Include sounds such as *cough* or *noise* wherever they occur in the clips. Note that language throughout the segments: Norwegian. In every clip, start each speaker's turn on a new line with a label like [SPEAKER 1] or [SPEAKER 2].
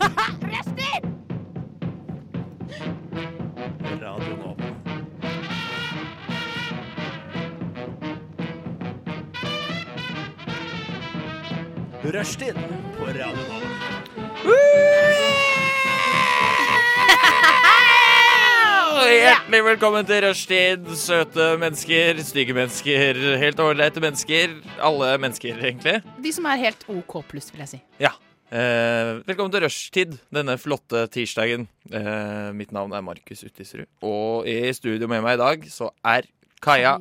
[SPEAKER 1] Rustin!
[SPEAKER 2] Radio Nova. Rushtid på Radio Nova.
[SPEAKER 3] Og Hjertelig velkommen til rushtid, søte mennesker, stygge mennesker, helt ålreite mennesker. Alle mennesker, egentlig.
[SPEAKER 1] De som er helt OK pluss, vil jeg si.
[SPEAKER 3] Ja. Eh, velkommen til rushtid denne flotte tirsdagen. Eh, mitt navn er Markus Uttisrud, og i studio med meg i dag så er Kaja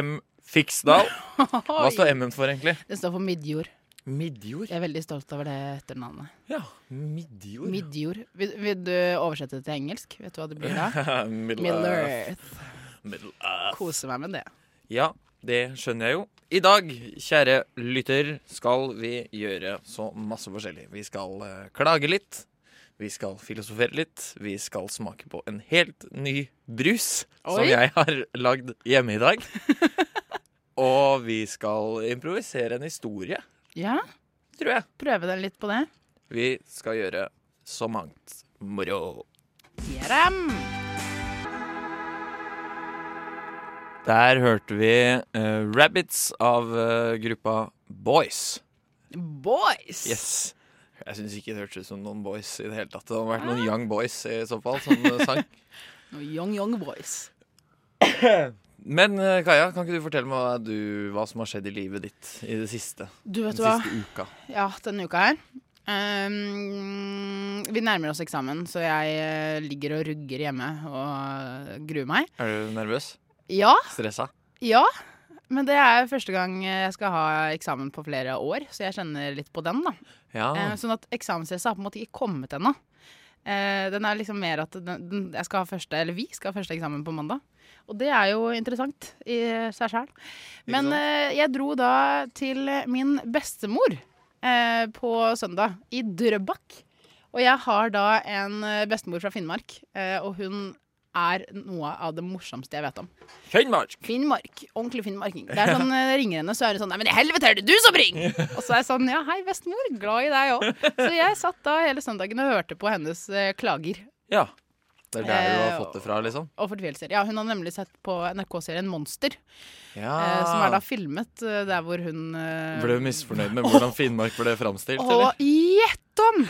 [SPEAKER 3] M. Fiksdal. Hva står M-en for, egentlig?
[SPEAKER 1] Det står for Midjord.
[SPEAKER 3] Midjord.
[SPEAKER 1] Jeg er veldig stolt over det etternavnet.
[SPEAKER 3] Ja, midjord.
[SPEAKER 1] Midjord. Vil, vil du oversette det til engelsk? Vet du hva det blir da?
[SPEAKER 3] *laughs* Middle
[SPEAKER 1] Middle
[SPEAKER 3] Earth.
[SPEAKER 1] Earth.
[SPEAKER 3] Middle Earth.
[SPEAKER 1] Kose meg med det.
[SPEAKER 3] Ja, det skjønner jeg jo. I dag, kjære lytter, skal vi gjøre så masse forskjellig. Vi skal eh, klage litt. Vi skal filosofere litt. Vi skal smake på en helt ny brus som
[SPEAKER 1] Oi.
[SPEAKER 3] jeg har lagd hjemme i dag. *laughs* Og vi skal improvisere en historie,
[SPEAKER 1] Ja,
[SPEAKER 3] tror jeg.
[SPEAKER 1] prøve den litt på det.
[SPEAKER 3] Vi skal gjøre så mangt moro.
[SPEAKER 1] Jeram!
[SPEAKER 3] Der hørte vi eh, Rabbits av eh, gruppa Boys.
[SPEAKER 1] Boys!
[SPEAKER 3] Yes. Jeg syns ikke det hørtes ut som noen boys i det hele tatt. Det hadde vært
[SPEAKER 1] Ah.
[SPEAKER 3] noen young boys i så fall som eh,
[SPEAKER 1] *laughs*
[SPEAKER 3] sang.
[SPEAKER 1] No, young, young boys.
[SPEAKER 3] Men eh, Kaja, kan ikke du fortelle meg hva, du, hva som har skjedd i livet ditt i det siste?
[SPEAKER 1] Du vet
[SPEAKER 3] Den
[SPEAKER 1] du hva?
[SPEAKER 3] siste uka.
[SPEAKER 1] Ja, denne uka her. Ehm, vi nærmer oss eksamen, så jeg eh, ligger og rugger hjemme og gruer meg.
[SPEAKER 3] Er du nervøs?
[SPEAKER 1] Ja,
[SPEAKER 3] Stressa?
[SPEAKER 1] Ja, men det er første gang jeg skal ha eksamen på flere år, så jeg kjenner litt på den, da.
[SPEAKER 3] Ja.
[SPEAKER 1] Eh, Sånn at eksamensstresset har på en måte ikke kommet ennå. Eh, Den er liksom mer at den, den, jeg skal ha første, eller vi skal ha første eksamen på mandag. Og det er jo interessant i seg sjøl. Men
[SPEAKER 3] sant?
[SPEAKER 1] eh, jeg dro da til min bestemor eh, på søndag, i Drøbak. Og jeg har da en eh, bestemor fra Finnmark, eh, og hun er noe av det morsomste jeg vet om.
[SPEAKER 3] Finnmark!
[SPEAKER 1] Finnmark. Ordentlig finnmarking. Det er sånn, eh, ringer henne, så er det sånn Nei, men i helvete, er det du som ringer?! Og så er jeg sånn Ja, hei, bestemor. Glad i deg òg. Så jeg satt da hele søndagen og hørte på hennes eh, klager
[SPEAKER 3] Ja. Det er der du har
[SPEAKER 1] Eh,
[SPEAKER 3] fått det fra, liksom?
[SPEAKER 1] og fortvilelser. Ja, hun har nemlig sett på NRK-serien Monster,
[SPEAKER 3] Ja.
[SPEAKER 1] eh, som er da filmet eh, der hvor hun eh,
[SPEAKER 3] Ble du misfornøyd med hvordan Finnmark ble framstilt, eller?
[SPEAKER 1] Og gjett om!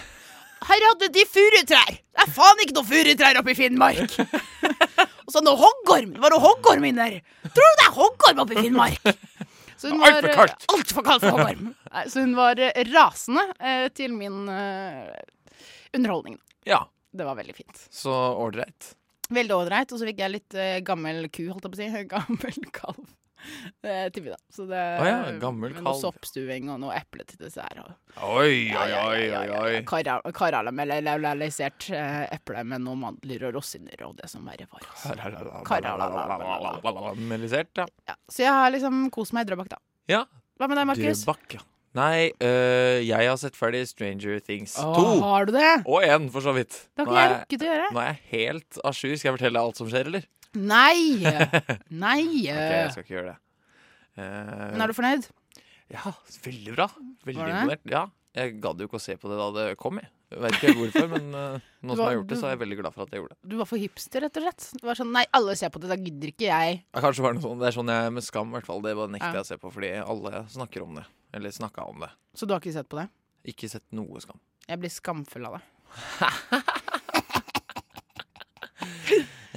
[SPEAKER 1] Her hadde de furutrær! Det er faen ikke noe furutrær oppe i Finnmark! Og så noe hoggorm! Det var noe hoggorm inni der! Tror du det er hoggorm oppe i Finnmark? Så hun
[SPEAKER 3] Alt for
[SPEAKER 1] var, eh,
[SPEAKER 3] kaldt.
[SPEAKER 1] alt for kaldt for hoggorm! Nei, Så hun var eh, rasende eh, til min eh, underholdning.
[SPEAKER 3] Ja.
[SPEAKER 1] Det var veldig fint.
[SPEAKER 3] Så ålreit.
[SPEAKER 1] Veldig ålreit. Og så fikk jeg litt eh, gammel ku, holdt jeg på å si. *laughs* Gammel kalv. eh, Til middag. Så det
[SPEAKER 3] Å ja, gammel
[SPEAKER 1] med
[SPEAKER 3] kalv.
[SPEAKER 1] Noe soppstuing og noe eple til dessert. Og
[SPEAKER 3] Oi,
[SPEAKER 1] ja, ja,
[SPEAKER 3] oi, oi,
[SPEAKER 1] ja,
[SPEAKER 3] oi.
[SPEAKER 1] ja, ja.
[SPEAKER 3] oi.
[SPEAKER 1] Kara- Karamellisert eh, eple med noen mandler og rosiner og det som verre var. altså.
[SPEAKER 3] Karamellisert, ja.
[SPEAKER 1] Ja. Så jeg har liksom kost meg i Drøbak, da.
[SPEAKER 3] Ja,
[SPEAKER 1] Hva med deg, Markus?
[SPEAKER 3] Drøbak, ja. Nei, øh, jeg har sett ferdig Stranger Things
[SPEAKER 1] Å,
[SPEAKER 3] 2.
[SPEAKER 1] Har du det?
[SPEAKER 3] Og 1, for så vidt.
[SPEAKER 1] Det har
[SPEAKER 3] Nå
[SPEAKER 1] ikke jeg
[SPEAKER 3] er-
[SPEAKER 1] rukket å gjøre.
[SPEAKER 3] Nå er jeg helt à jour. Skal jeg fortelle deg alt som skjer, eller?
[SPEAKER 1] Nei! *laughs* Nei!
[SPEAKER 3] Ok, jeg skal ikke gjøre det. Eh,
[SPEAKER 1] Men er du fornøyd?
[SPEAKER 3] Ja, veldig bra. Veldig
[SPEAKER 1] Var
[SPEAKER 3] imponert. Ja, jeg gadd jo ikke å se på det da det kom, jeg. Jeg Vet ikke helt hvorfor, men
[SPEAKER 1] *laughs*
[SPEAKER 3] øh, nå som jeg
[SPEAKER 1] var-
[SPEAKER 3] har gjort det,
[SPEAKER 1] du-
[SPEAKER 3] så er jeg veldig glad for at jeg gjorde det.
[SPEAKER 1] Du var for hipster, rett og slett. Du var sånn, Nei, alle ser på det, da gidder ikke jeg.
[SPEAKER 3] Ja, kanskje var det noe sånn, det er sånn jeg med skam, i hvert fall. Det bare nekter
[SPEAKER 1] Ja.
[SPEAKER 3] jeg å se på, fordi alle snakker om det. Eller snakka om det.
[SPEAKER 1] Så du har ikke sett på det?
[SPEAKER 3] Ikke sett noe skam.
[SPEAKER 1] Jeg blir skamfull av det.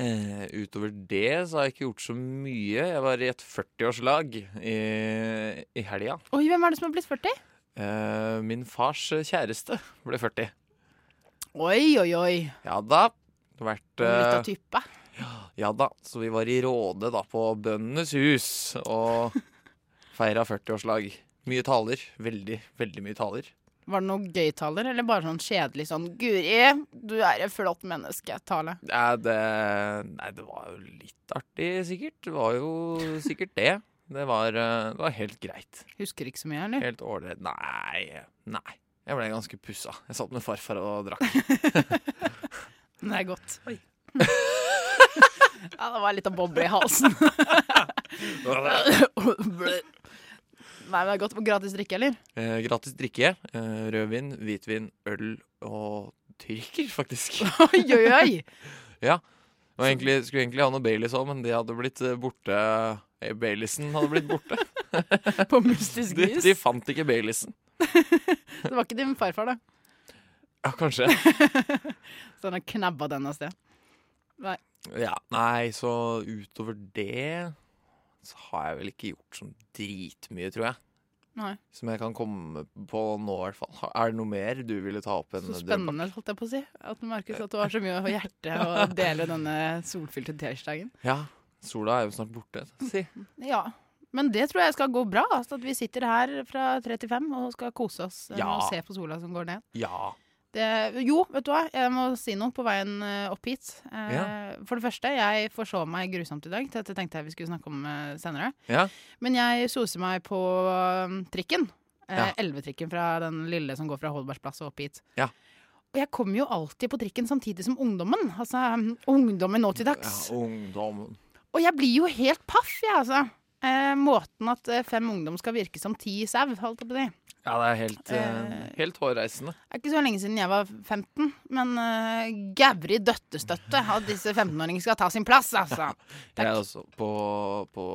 [SPEAKER 3] Eh, utover det så har jeg ikke gjort så mye. Jeg var i et 40-årslag i, i helga.
[SPEAKER 1] Oi, hvem er det som har blitt 40?
[SPEAKER 3] Eh, min fars kjæreste ble 40.
[SPEAKER 1] Oi, oi, oi.
[SPEAKER 3] Ja da. Vært,
[SPEAKER 1] Litt
[SPEAKER 3] eh,
[SPEAKER 1] av type.
[SPEAKER 3] ja da. Så vi var i Råde da på Bøndenes hus
[SPEAKER 1] *laughs*
[SPEAKER 3] og feira 40-årslag. Mye taler. Veldig, veldig mye taler.
[SPEAKER 1] Var det noen gøytaler, eller bare sånn kjedelig sånn Guri, du er et flott menneske-tale?
[SPEAKER 3] Nei, det, nei, det var jo litt artig, sikkert. Det var jo sikkert det. Det var, eh, det var helt greit.
[SPEAKER 1] Husker ikke så mye, eller?
[SPEAKER 3] Helt ålreit. Nei. Nei. Jeg ble ganske pussa. Jeg satt med farfar og drakk.
[SPEAKER 1] *laughs* Men det er godt. *laughs* ja, det var litt av boble i halsen. *laughs* Nei, men det er godt. Gratis drikke, eller?
[SPEAKER 3] eh, gratis drikke. Eh, rødvin, hvitvin, øl og tyrker, faktisk.
[SPEAKER 1] *laughs* Oi, oi, oi!
[SPEAKER 3] Og egentlig, skulle egentlig ha noe Baileys òg, men det hadde blitt eh, borte. Eh, Baileysen hadde blitt borte.
[SPEAKER 1] På mystisk
[SPEAKER 3] De,
[SPEAKER 1] vis.
[SPEAKER 3] de fant ikke Baileysen.
[SPEAKER 1] Det var ikke din farfar, da.
[SPEAKER 3] Ja, kanskje.
[SPEAKER 1] Så han har knabba den av sted.
[SPEAKER 3] Ja, Nei, så utover det så har jeg vel ikke gjort sånn dritmye, tror jeg.
[SPEAKER 1] Nei.
[SPEAKER 3] Som jeg kan komme på nå, i hvert fall. Ha- Er det noe mer du ville ta opp? enn
[SPEAKER 1] Så
[SPEAKER 3] drømmen?
[SPEAKER 1] spennende, holdt jeg på å si. At Markus, at du har så mye å hjerte å dele denne solfylte tirsdagen.
[SPEAKER 3] Ja. Sola er jo snart borte. Si.
[SPEAKER 1] Ja. Men det tror jeg skal gå bra. Altså at vi sitter her fra 35 og skal kose oss eh, med
[SPEAKER 3] Ja.
[SPEAKER 1] å se på sola som går ned.
[SPEAKER 3] Ja.
[SPEAKER 1] Det, jo, vet du hva? Jeg må si noe på veien eh, opp hit. Eh, For det første, jeg forsov meg grusomt i dag. Dette tenkte jeg vi skulle snakke om eh, senere.
[SPEAKER 3] Ja.
[SPEAKER 1] Men jeg soser meg på eh, trikken.
[SPEAKER 3] Ja.
[SPEAKER 1] Eh, Elvetrikken fra den lille som går fra Holbergsplass og opp hit.
[SPEAKER 3] Ja.
[SPEAKER 1] Og jeg kommer jo alltid på trikken samtidig som ungdommen. Altså mm, ungdommen nå til
[SPEAKER 3] ja
[SPEAKER 1] dags.
[SPEAKER 3] ungdommen.
[SPEAKER 1] Og jeg blir jo helt paff, jeg, altså. Eh, måten at eh, fem ungdom skal virke som ti sau, holdt jeg på å si.
[SPEAKER 3] Ja, det er helt, eh,
[SPEAKER 1] Eh.
[SPEAKER 3] helt hårreisende.
[SPEAKER 1] Det er ikke så lenge siden jeg var 15, men uh, gævrig døttestøtte at disse 15-åringene skal ta sin plass, altså.
[SPEAKER 3] Jeg
[SPEAKER 1] Takk.
[SPEAKER 3] er også på, på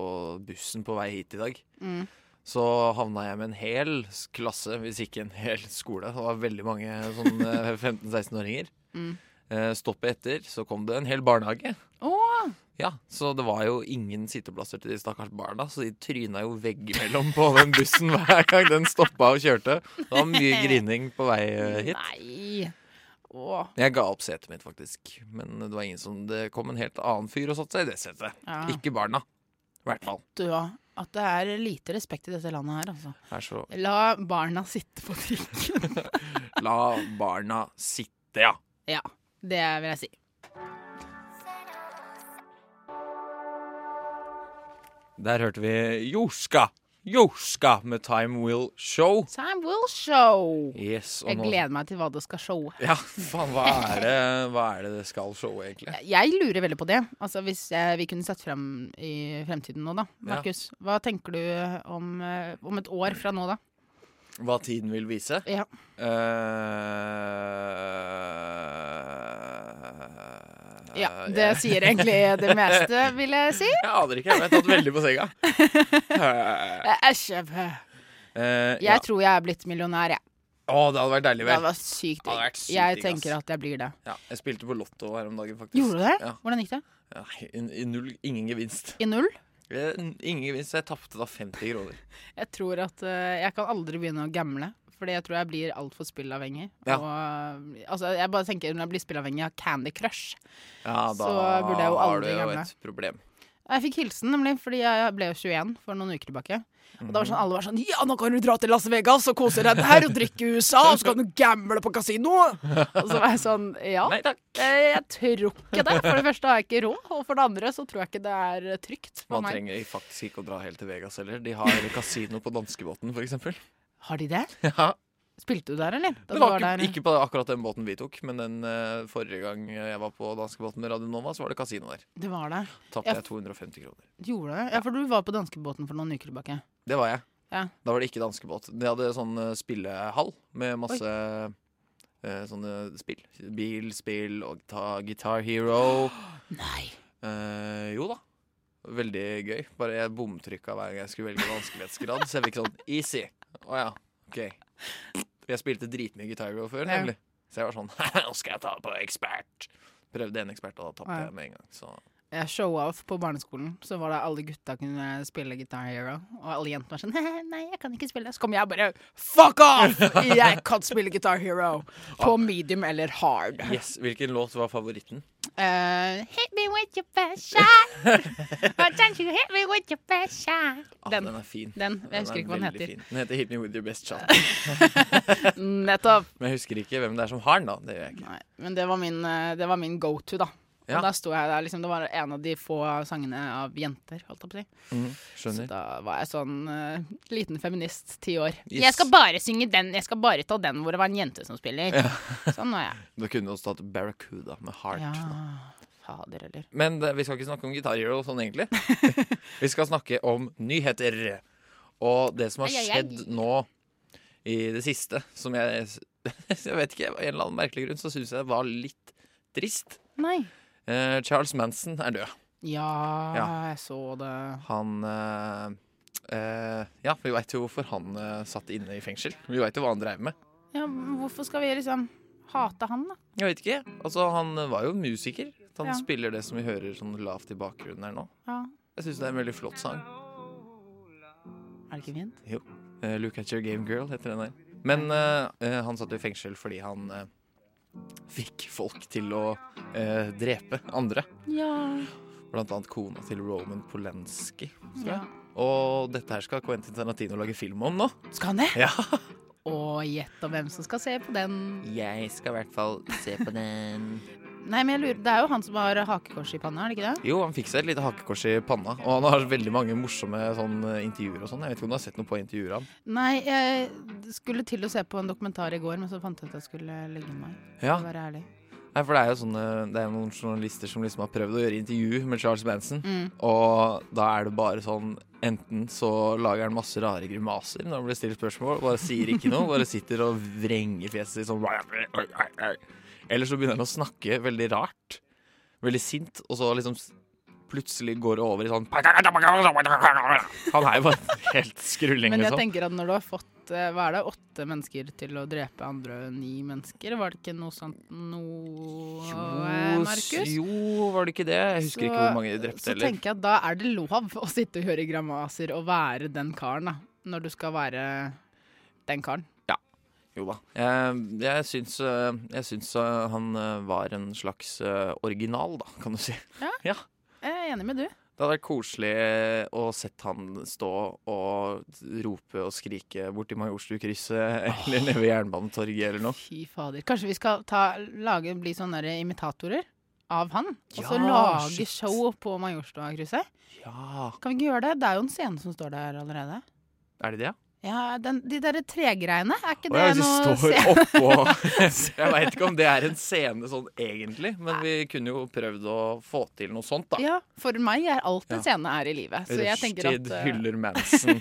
[SPEAKER 3] bussen på vei hit i dag.
[SPEAKER 1] Mm.
[SPEAKER 3] Så havna jeg med en hel s- klasse, hvis ikke en hel skole. Det var veldig mange sånn eh, 15-16-åringer.
[SPEAKER 1] Mm.
[SPEAKER 3] Eh, Stoppet etter, så kom det en hel barnehage.
[SPEAKER 1] Å,
[SPEAKER 3] Ja, Så det var jo ingen sitteplasser til de stakkars barna, så de tryna jo veggimellom på den bussen *laughs* hver gang den stoppa og kjørte. Det var
[SPEAKER 1] *laughs*
[SPEAKER 3] mye grining på vei eh, hit.
[SPEAKER 1] nei. Å,
[SPEAKER 3] Jeg ga opp setet mitt, faktisk. Men det var ingen som Det kom en helt annen fyr og satte seg i det setet.
[SPEAKER 1] ja.
[SPEAKER 3] Ikke barna. I hvert fall.
[SPEAKER 1] Du, ja. At det er lite respekt i dette landet her, altså.
[SPEAKER 3] Det er så
[SPEAKER 1] La barna sitte på trikken. *laughs*
[SPEAKER 3] La barna sitte, ja.
[SPEAKER 1] ja, det vil jeg si.
[SPEAKER 3] Der hørte vi Jorska. Jorska med Time Will Show.
[SPEAKER 1] Time will show.
[SPEAKER 3] Yes, og
[SPEAKER 1] Jeg
[SPEAKER 3] nå
[SPEAKER 1] gleder meg til hva det skal showe.
[SPEAKER 3] Ja, faen, hva er det hva er det, det skal showe, egentlig?
[SPEAKER 1] Jeg lurer veldig på det. Altså, hvis eh, vi kunne sett frem i fremtiden nå, da. Markus, hva tenker du om, eh, om et år fra nå, da?
[SPEAKER 3] Hva tiden vil vise?
[SPEAKER 1] Ja.
[SPEAKER 3] Eh,
[SPEAKER 1] Ja, det sier egentlig det meste, vil jeg si.
[SPEAKER 3] *laughs* Jeg aner ikke, jeg ble tatt veldig på
[SPEAKER 1] *laughs*
[SPEAKER 3] senga. Eh,
[SPEAKER 1] Æsj. jeg-
[SPEAKER 3] eh, ja.
[SPEAKER 1] Jeg tror jeg er blitt millionær, jeg.
[SPEAKER 3] Å, det hadde vært deilig,
[SPEAKER 1] Det
[SPEAKER 3] vel.
[SPEAKER 1] var sykt
[SPEAKER 3] Ja, det hadde
[SPEAKER 1] digg.
[SPEAKER 3] vært sykt
[SPEAKER 1] Jeg
[SPEAKER 3] digg,
[SPEAKER 1] tenker
[SPEAKER 3] ass.
[SPEAKER 1] at jeg blir det.
[SPEAKER 3] Ja, jeg spilte på Lotto her om dagen, faktisk.
[SPEAKER 1] Gjorde du det?
[SPEAKER 3] Ja.
[SPEAKER 1] Hvordan gikk det?
[SPEAKER 3] ja i, i null, ingen gevinst.
[SPEAKER 1] I null?
[SPEAKER 3] Eh, Ingen gevinst, så jeg tapte da 50 kroner.
[SPEAKER 1] Jeg tror at eh, jeg kan aldri begynne å gamble. Fordi jeg tror jeg blir altfor spillavhengig.
[SPEAKER 3] Ja.
[SPEAKER 1] Og, eh, altså, jeg bare tenker Når jeg blir spillavhengig av Candy Crush
[SPEAKER 3] Ja,
[SPEAKER 1] Så burde jeg jo
[SPEAKER 3] har
[SPEAKER 1] aldri
[SPEAKER 3] du jo
[SPEAKER 1] gamle.
[SPEAKER 3] et problem.
[SPEAKER 1] Jeg fikk hilsen, nemlig, fordi jeg ble jo 21 for noen uker tilbake. Og da var sånn, alle var sånn Ja, nå kan du dra til Las Vegas og kose deg der og drikke i USA, og så kan du gamble på kasino! Og så var jeg sånn Ja.
[SPEAKER 3] Mhm. Nei takk.
[SPEAKER 1] Eh, Jeg tror ikke det. For det første har jeg ikke råd, og for det andre så tror jeg ikke det er eh, trygt for
[SPEAKER 3] Man
[SPEAKER 1] meg.
[SPEAKER 3] trenger faktisk ikke å dra helt til Vegas heller. De har *laughs* kasino på danskebåten, f.eks.
[SPEAKER 1] Har de det?
[SPEAKER 3] Ja.
[SPEAKER 1] Spilte du der, eller? Da
[SPEAKER 3] Det
[SPEAKER 1] du
[SPEAKER 3] var ikke,
[SPEAKER 1] der?
[SPEAKER 3] ikke på akkurat den båten vi tok, men den eh, forrige gang jeg var på danskebåten med Radio Nova, så var det kasino der.
[SPEAKER 1] Det var det.
[SPEAKER 3] Tapte
[SPEAKER 1] Ja.
[SPEAKER 3] jeg 250 kroner.
[SPEAKER 1] Gjorde det? Ja, for du var på danskebåten for noen uker tilbake.
[SPEAKER 3] Det var jeg.
[SPEAKER 1] Ja.
[SPEAKER 3] Da var det ikke danskebåt. De hadde sånn eh, spillehall med masse eh, sånne spill. Bilspill og ta Guitar Hero.
[SPEAKER 1] *gasps* Nei.
[SPEAKER 3] Eh, jo da. Veldig gøy. Bare jeg bomtrykka hver gang jeg skulle velge vanskelighetsgrad, så jeg fikk sånn easy. Å ja, OK. Jeg spilte dritmye Guitar Hero før,
[SPEAKER 1] Ja.
[SPEAKER 3] nemlig. Så jeg var sånn *laughs* Nå skal jeg ta på ekspert. Prøvde en ekspert, og da tapte
[SPEAKER 1] Ja.
[SPEAKER 3] jeg med en gang. Så
[SPEAKER 1] Jeg show-off på barneskolen. Så var det alle gutta kunne spille Guitar Hero. Og alle jentene var sånn *laughs* Nei, jeg kan ikke spille. Så kom jeg og bare Fuck off! Jeg kan spille Guitar Hero.
[SPEAKER 3] Ah.
[SPEAKER 1] På medium eller hard.
[SPEAKER 3] yes, Hvilken låt var favoritten?
[SPEAKER 1] Eh, hit me with your best
[SPEAKER 3] *laughs*
[SPEAKER 1] shot. Why don't you hit me with your best shot?
[SPEAKER 3] Ah, den.
[SPEAKER 1] Den.
[SPEAKER 3] er fin.
[SPEAKER 1] Den. Jeg husker
[SPEAKER 3] er
[SPEAKER 1] ikke hva den
[SPEAKER 3] veldig
[SPEAKER 1] heter.
[SPEAKER 3] Fin. Den heter Hit Me With Your
[SPEAKER 1] *laughs*
[SPEAKER 3] Best Shot.
[SPEAKER 1] Nettopp.
[SPEAKER 3] Men jeg husker ikke hvem det er som har den, da. Det gjør jeg ikke.
[SPEAKER 1] Nei, men det var min, eh, det var min go to, da.
[SPEAKER 3] Ja.
[SPEAKER 1] Og da sto jeg der, liksom, Det var en av de få sangene av jenter. Holdt jeg på å si. Så
[SPEAKER 3] Skjønner.
[SPEAKER 1] da var jeg sånn eh, liten feminist, ti år.
[SPEAKER 3] Yes.
[SPEAKER 1] Jeg skal bare synge den, jeg skal bare ta den hvor det var en jente som spiller. sånn var jeg.
[SPEAKER 3] Da kunne du også tatt Barracuda med Heart.
[SPEAKER 1] Ja,
[SPEAKER 3] da.
[SPEAKER 1] fader eller
[SPEAKER 3] Men det, vi skal ikke snakke om Guitar Hero
[SPEAKER 1] *laughs*
[SPEAKER 3] sånn egentlig. vi skal snakke om nyheter. Og det som har
[SPEAKER 1] Ai, ai, ai.
[SPEAKER 3] skjedd nå i det siste, som jeg s- *laughs* jeg vet ikke, av en eller annen merkelig grunn så syns jeg det var litt trist.
[SPEAKER 1] Nei.
[SPEAKER 3] Eh, Charles Manson er død.
[SPEAKER 1] Ja,
[SPEAKER 3] Ja.
[SPEAKER 1] jeg så det.
[SPEAKER 3] Han eh, eh, Ja, vi veit jo hvorfor han eh, satt inne i fengsel. Vi veit jo hva han dreiv med.
[SPEAKER 1] Ja, men hvorfor skal vi liksom hate han, da?
[SPEAKER 3] Jeg vet ikke. Altså, han var jo musiker. Han
[SPEAKER 1] Ja.
[SPEAKER 3] spiller det som vi hører sånn lavt i bakgrunnen her nå.
[SPEAKER 1] Ja.
[SPEAKER 3] Jeg syns det er en veldig flott sang.
[SPEAKER 1] Er det ikke fint?
[SPEAKER 3] Eh, Look at your game girl heter den der. Men eh, eh, han satt i fengsel fordi han eh, fikk folk til å eh, drepe andre.
[SPEAKER 1] Ja.
[SPEAKER 3] Blant annet kona til Roman Polanski. tror
[SPEAKER 1] ja.
[SPEAKER 3] jeg. Og dette her skal Quentin Tarantino lage film om nå. *laughs*
[SPEAKER 1] Skal han det?
[SPEAKER 3] Ja.
[SPEAKER 1] Og gjett om hvem som skal se på den.
[SPEAKER 3] Jeg skal i hvert fall se på den.
[SPEAKER 1] Nei, men jeg lurer, Det er jo han som har hakekors i panna, er det ikke det?
[SPEAKER 3] Jo, han fikk seg et lite hakekors i panna. Og han har veldig mange morsomme sånn, eh, intervjuer og sånn. Jeg vet ikke om du har sett noe på intervjuer av han.
[SPEAKER 1] Nei, jeg skulle til å se på en dokumentar i går, men så fant jeg at jeg skulle legge meg.
[SPEAKER 3] Ja,
[SPEAKER 1] For å være ærlig.
[SPEAKER 3] Nei, for det er jo sånne, det er noen journalister som liksom har prøvd å gjøre intervju med Charles Manson.
[SPEAKER 1] Mm.
[SPEAKER 3] Og da er det bare sånn Enten så lager han masse rare grimaser når han blir stilt spørsmål, bare sier ikke noe, bare sitter og vrenger fjeset sitt sånn Eller så begynner han å snakke veldig rart, veldig sint, og så liksom s- plutselig går det over i sånn Han er jo bare helt skrulling,
[SPEAKER 1] Men jeg
[SPEAKER 3] liksom.
[SPEAKER 1] tenker at når du har fått eh, hva er det, åtte mennesker til å drepe andre og ni mennesker, var det ikke noe sånt noe, eh, Markus?
[SPEAKER 3] jo, var det ikke det? Jeg husker ikke
[SPEAKER 1] Så-
[SPEAKER 3] hvor mange de drepte
[SPEAKER 1] Så
[SPEAKER 3] heller.
[SPEAKER 1] tenker jeg at da er det lov å sitte og høre gramaser og være den karen, da. Når du skal være den karen.
[SPEAKER 3] Jo da. Jeg, jeg, syns, eh, jeg syns eh, han eh, var en slags eh, original, da, kan du si. *laughs*
[SPEAKER 1] Jeg er enig med du.
[SPEAKER 3] Det hadde vært koselig eh, å sett han stå og rope og skrike borti Majorstukrysset *laughs* eller nede ved Jernbanetorget eller noe.
[SPEAKER 1] Fy fader. Kanskje vi skal ta, lage, bli sånne der imitatorer av han? Og så
[SPEAKER 3] Ja,
[SPEAKER 1] lage
[SPEAKER 3] shit.
[SPEAKER 1] show på Majorstua-krysset?
[SPEAKER 3] Ja,
[SPEAKER 1] Kan vi ikke gjøre det? Det er jo en scene som står der allerede.
[SPEAKER 3] Er det det?
[SPEAKER 1] Ja, den, De derre tregreiene, er ikke
[SPEAKER 3] Å, ja,
[SPEAKER 1] det
[SPEAKER 3] hvis
[SPEAKER 1] noe
[SPEAKER 3] de står oppå
[SPEAKER 1] *laughs*
[SPEAKER 3] *laughs* Jeg veit ikke om det er en scene sånn egentlig, men vi kunne jo prøvd å få til noe sånt, da.
[SPEAKER 1] Ja, for meg er alt en
[SPEAKER 3] Ja.
[SPEAKER 1] scene er i livet. Så jeg tenker at
[SPEAKER 3] Rushtid
[SPEAKER 1] eh,
[SPEAKER 3] hyller
[SPEAKER 1] *laughs*
[SPEAKER 3] Manson.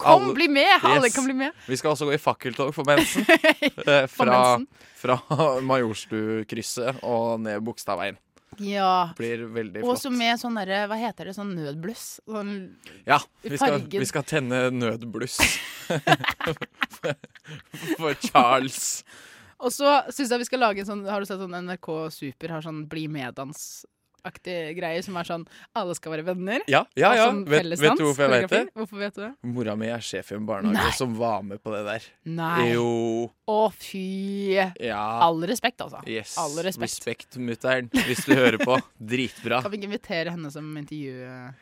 [SPEAKER 1] Kom,
[SPEAKER 3] *laughs* Alle-
[SPEAKER 1] bli med! *laughs* Alle
[SPEAKER 3] Yes.
[SPEAKER 1] kan bli med.
[SPEAKER 3] Vi skal også gå i fakkeltog for mensen. eh,
[SPEAKER 1] For
[SPEAKER 3] fra
[SPEAKER 1] mensen.
[SPEAKER 3] fra *laughs* Majorstukrysset og ned Bogstadveien.
[SPEAKER 1] Ja.
[SPEAKER 3] Blir veldig
[SPEAKER 1] Og så
[SPEAKER 3] flott.
[SPEAKER 1] med sånn derre, hva heter det, sånn nødbluss. Sånn,
[SPEAKER 3] Ja, vi skal,
[SPEAKER 1] fargen.
[SPEAKER 3] vi skal tenne nødbluss. *laughs* for Charles.
[SPEAKER 1] og så syns jeg vi skal lage en sånn, har du sett sånn NRK Super har sånn Bli med-dans-aktige greier som er sånn alle skal være venner.
[SPEAKER 3] Ja, ja,
[SPEAKER 1] og
[SPEAKER 3] ja.
[SPEAKER 1] sånn
[SPEAKER 3] Vet, vet du hvorfor jeg vet det?
[SPEAKER 1] fellesdans, koreografi. Hvorfor vet du det?
[SPEAKER 3] Mora mi er sjef i en barnehage
[SPEAKER 1] Nei.
[SPEAKER 3] som var med på det der.
[SPEAKER 1] Nei.
[SPEAKER 3] Jo.
[SPEAKER 1] Å, fy.
[SPEAKER 3] Ja.
[SPEAKER 1] All respekt, altså.
[SPEAKER 3] Yes.
[SPEAKER 1] All respekt.
[SPEAKER 3] Respekt, mutter'n, hvis du hører på. Dritbra.
[SPEAKER 1] Kan Mm. vi ikke invitere henne som intervju...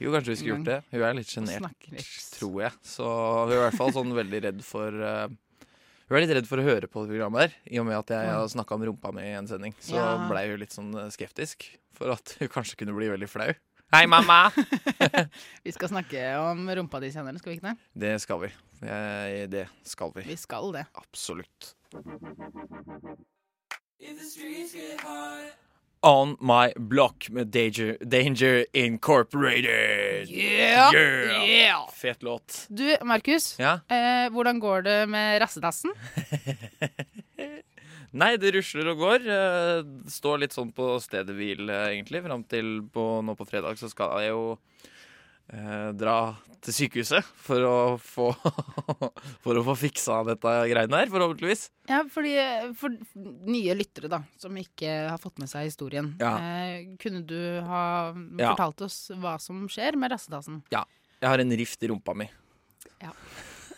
[SPEAKER 3] Jo, kanskje vi skulle gjort det. Hun er litt sjenert.
[SPEAKER 1] Snakke litt.
[SPEAKER 3] tror jeg. Så hun er i hvert fall sånn veldig redd for eh, Hun er litt redd for å høre på det programmet her, i og med at jeg har snakka om rumpa mi i en sending. Så
[SPEAKER 1] Ja.
[SPEAKER 3] blei hun litt sånn eh, skeptisk for at hun kanskje kunne bli veldig flau. Hei, mamma!
[SPEAKER 1] Vi skal snakke om rumpa di senere, skal vi ikke det?
[SPEAKER 3] *laughs* Det skal vi. Eh, Det skal vi.
[SPEAKER 1] Vi skal det.
[SPEAKER 3] Absolutt. On My Block med Danger, Danger Incorporated.
[SPEAKER 1] Yeah!
[SPEAKER 3] Yeah!
[SPEAKER 1] Yeah!
[SPEAKER 3] Fet låt.
[SPEAKER 1] Du, Markus.
[SPEAKER 3] Ja?
[SPEAKER 1] Eh, hvordan går det med rassedassen?
[SPEAKER 3] Nei, det rusler og går. Eh, Står litt sånn på stedet hvil, eh, egentlig. Fram til på, nå på fredag så skal jeg jo eh, dra til sykehuset for å få *laughs* For å få fiksa dette greiene her, forhåpentligvis.
[SPEAKER 1] Ja, fordi, eh, For nye lyttere da, som ikke har fått med seg historien.
[SPEAKER 3] Ja.
[SPEAKER 1] Eh, kunne du ha
[SPEAKER 3] Ja.
[SPEAKER 1] fortalt oss hva som skjer med rassedassen?
[SPEAKER 3] Jeg har en rift i rumpa mi.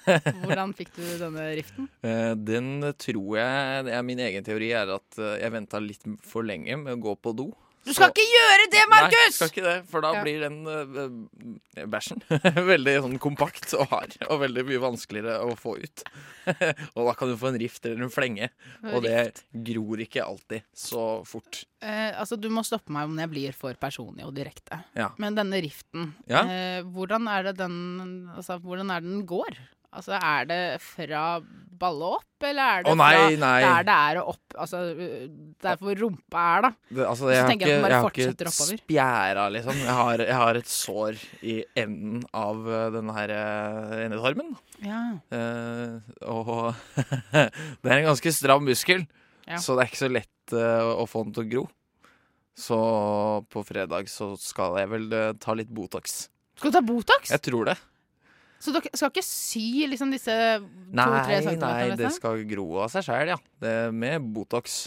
[SPEAKER 1] Hvordan fikk du denne
[SPEAKER 3] *laughs*
[SPEAKER 1] riften?
[SPEAKER 3] Eh, Den tror jeg det er Min egen teori er at eh, jeg venta litt for lenge med å gå på do.
[SPEAKER 1] Du skal
[SPEAKER 3] Så-
[SPEAKER 1] ikke gjøre det,
[SPEAKER 3] Nei,
[SPEAKER 1] Markus!
[SPEAKER 3] skal ikke det, for da
[SPEAKER 1] Ja.
[SPEAKER 3] blir den eh, eh, bæsjen *laughs* veldig sånn kompakt og hard, og veldig mye vanskeligere å få ut. *laughs* og da kan du få en rift eller en flenge, og det gror ikke alltid så fort.
[SPEAKER 1] Eh, altså, Du må stoppe meg om jeg blir for personlig og direkte.
[SPEAKER 3] Ja.
[SPEAKER 1] Men denne riften,
[SPEAKER 3] Ja.
[SPEAKER 1] eh, hvordan er det den altså, hvordan er det den går? Altså, er det fra balle opp, eller er det
[SPEAKER 3] Å, nei,
[SPEAKER 1] fra
[SPEAKER 3] nei.
[SPEAKER 1] der det er å opp Altså, der hvor rumpa er, da.
[SPEAKER 3] Det, altså,
[SPEAKER 1] Så
[SPEAKER 3] jeg, har
[SPEAKER 1] tenker
[SPEAKER 3] ikke,
[SPEAKER 1] jeg at den bare
[SPEAKER 3] jeg har
[SPEAKER 1] fortsetter
[SPEAKER 3] ikke
[SPEAKER 1] oppover.
[SPEAKER 3] spjæra, liksom. Jeg har, jeg har et sår i enden av eh, denne her eh, endetarmen.
[SPEAKER 1] Ja.
[SPEAKER 3] Eh, og *laughs* det er en ganske stram muskel,
[SPEAKER 1] Ja.
[SPEAKER 3] så det er ikke så lett eh, å få den til å gro. Så på fredag så skal jeg vel eh, ta litt Botox.
[SPEAKER 1] Skal du ta Botox?
[SPEAKER 3] Jeg tror det.
[SPEAKER 1] Så dere skal ikke sy liksom disse to-tre
[SPEAKER 3] Nei, nei,
[SPEAKER 1] centimeterne?
[SPEAKER 3] det
[SPEAKER 1] Liksom?
[SPEAKER 3] skal gro av seg sjæl, ja. Det er med Botox.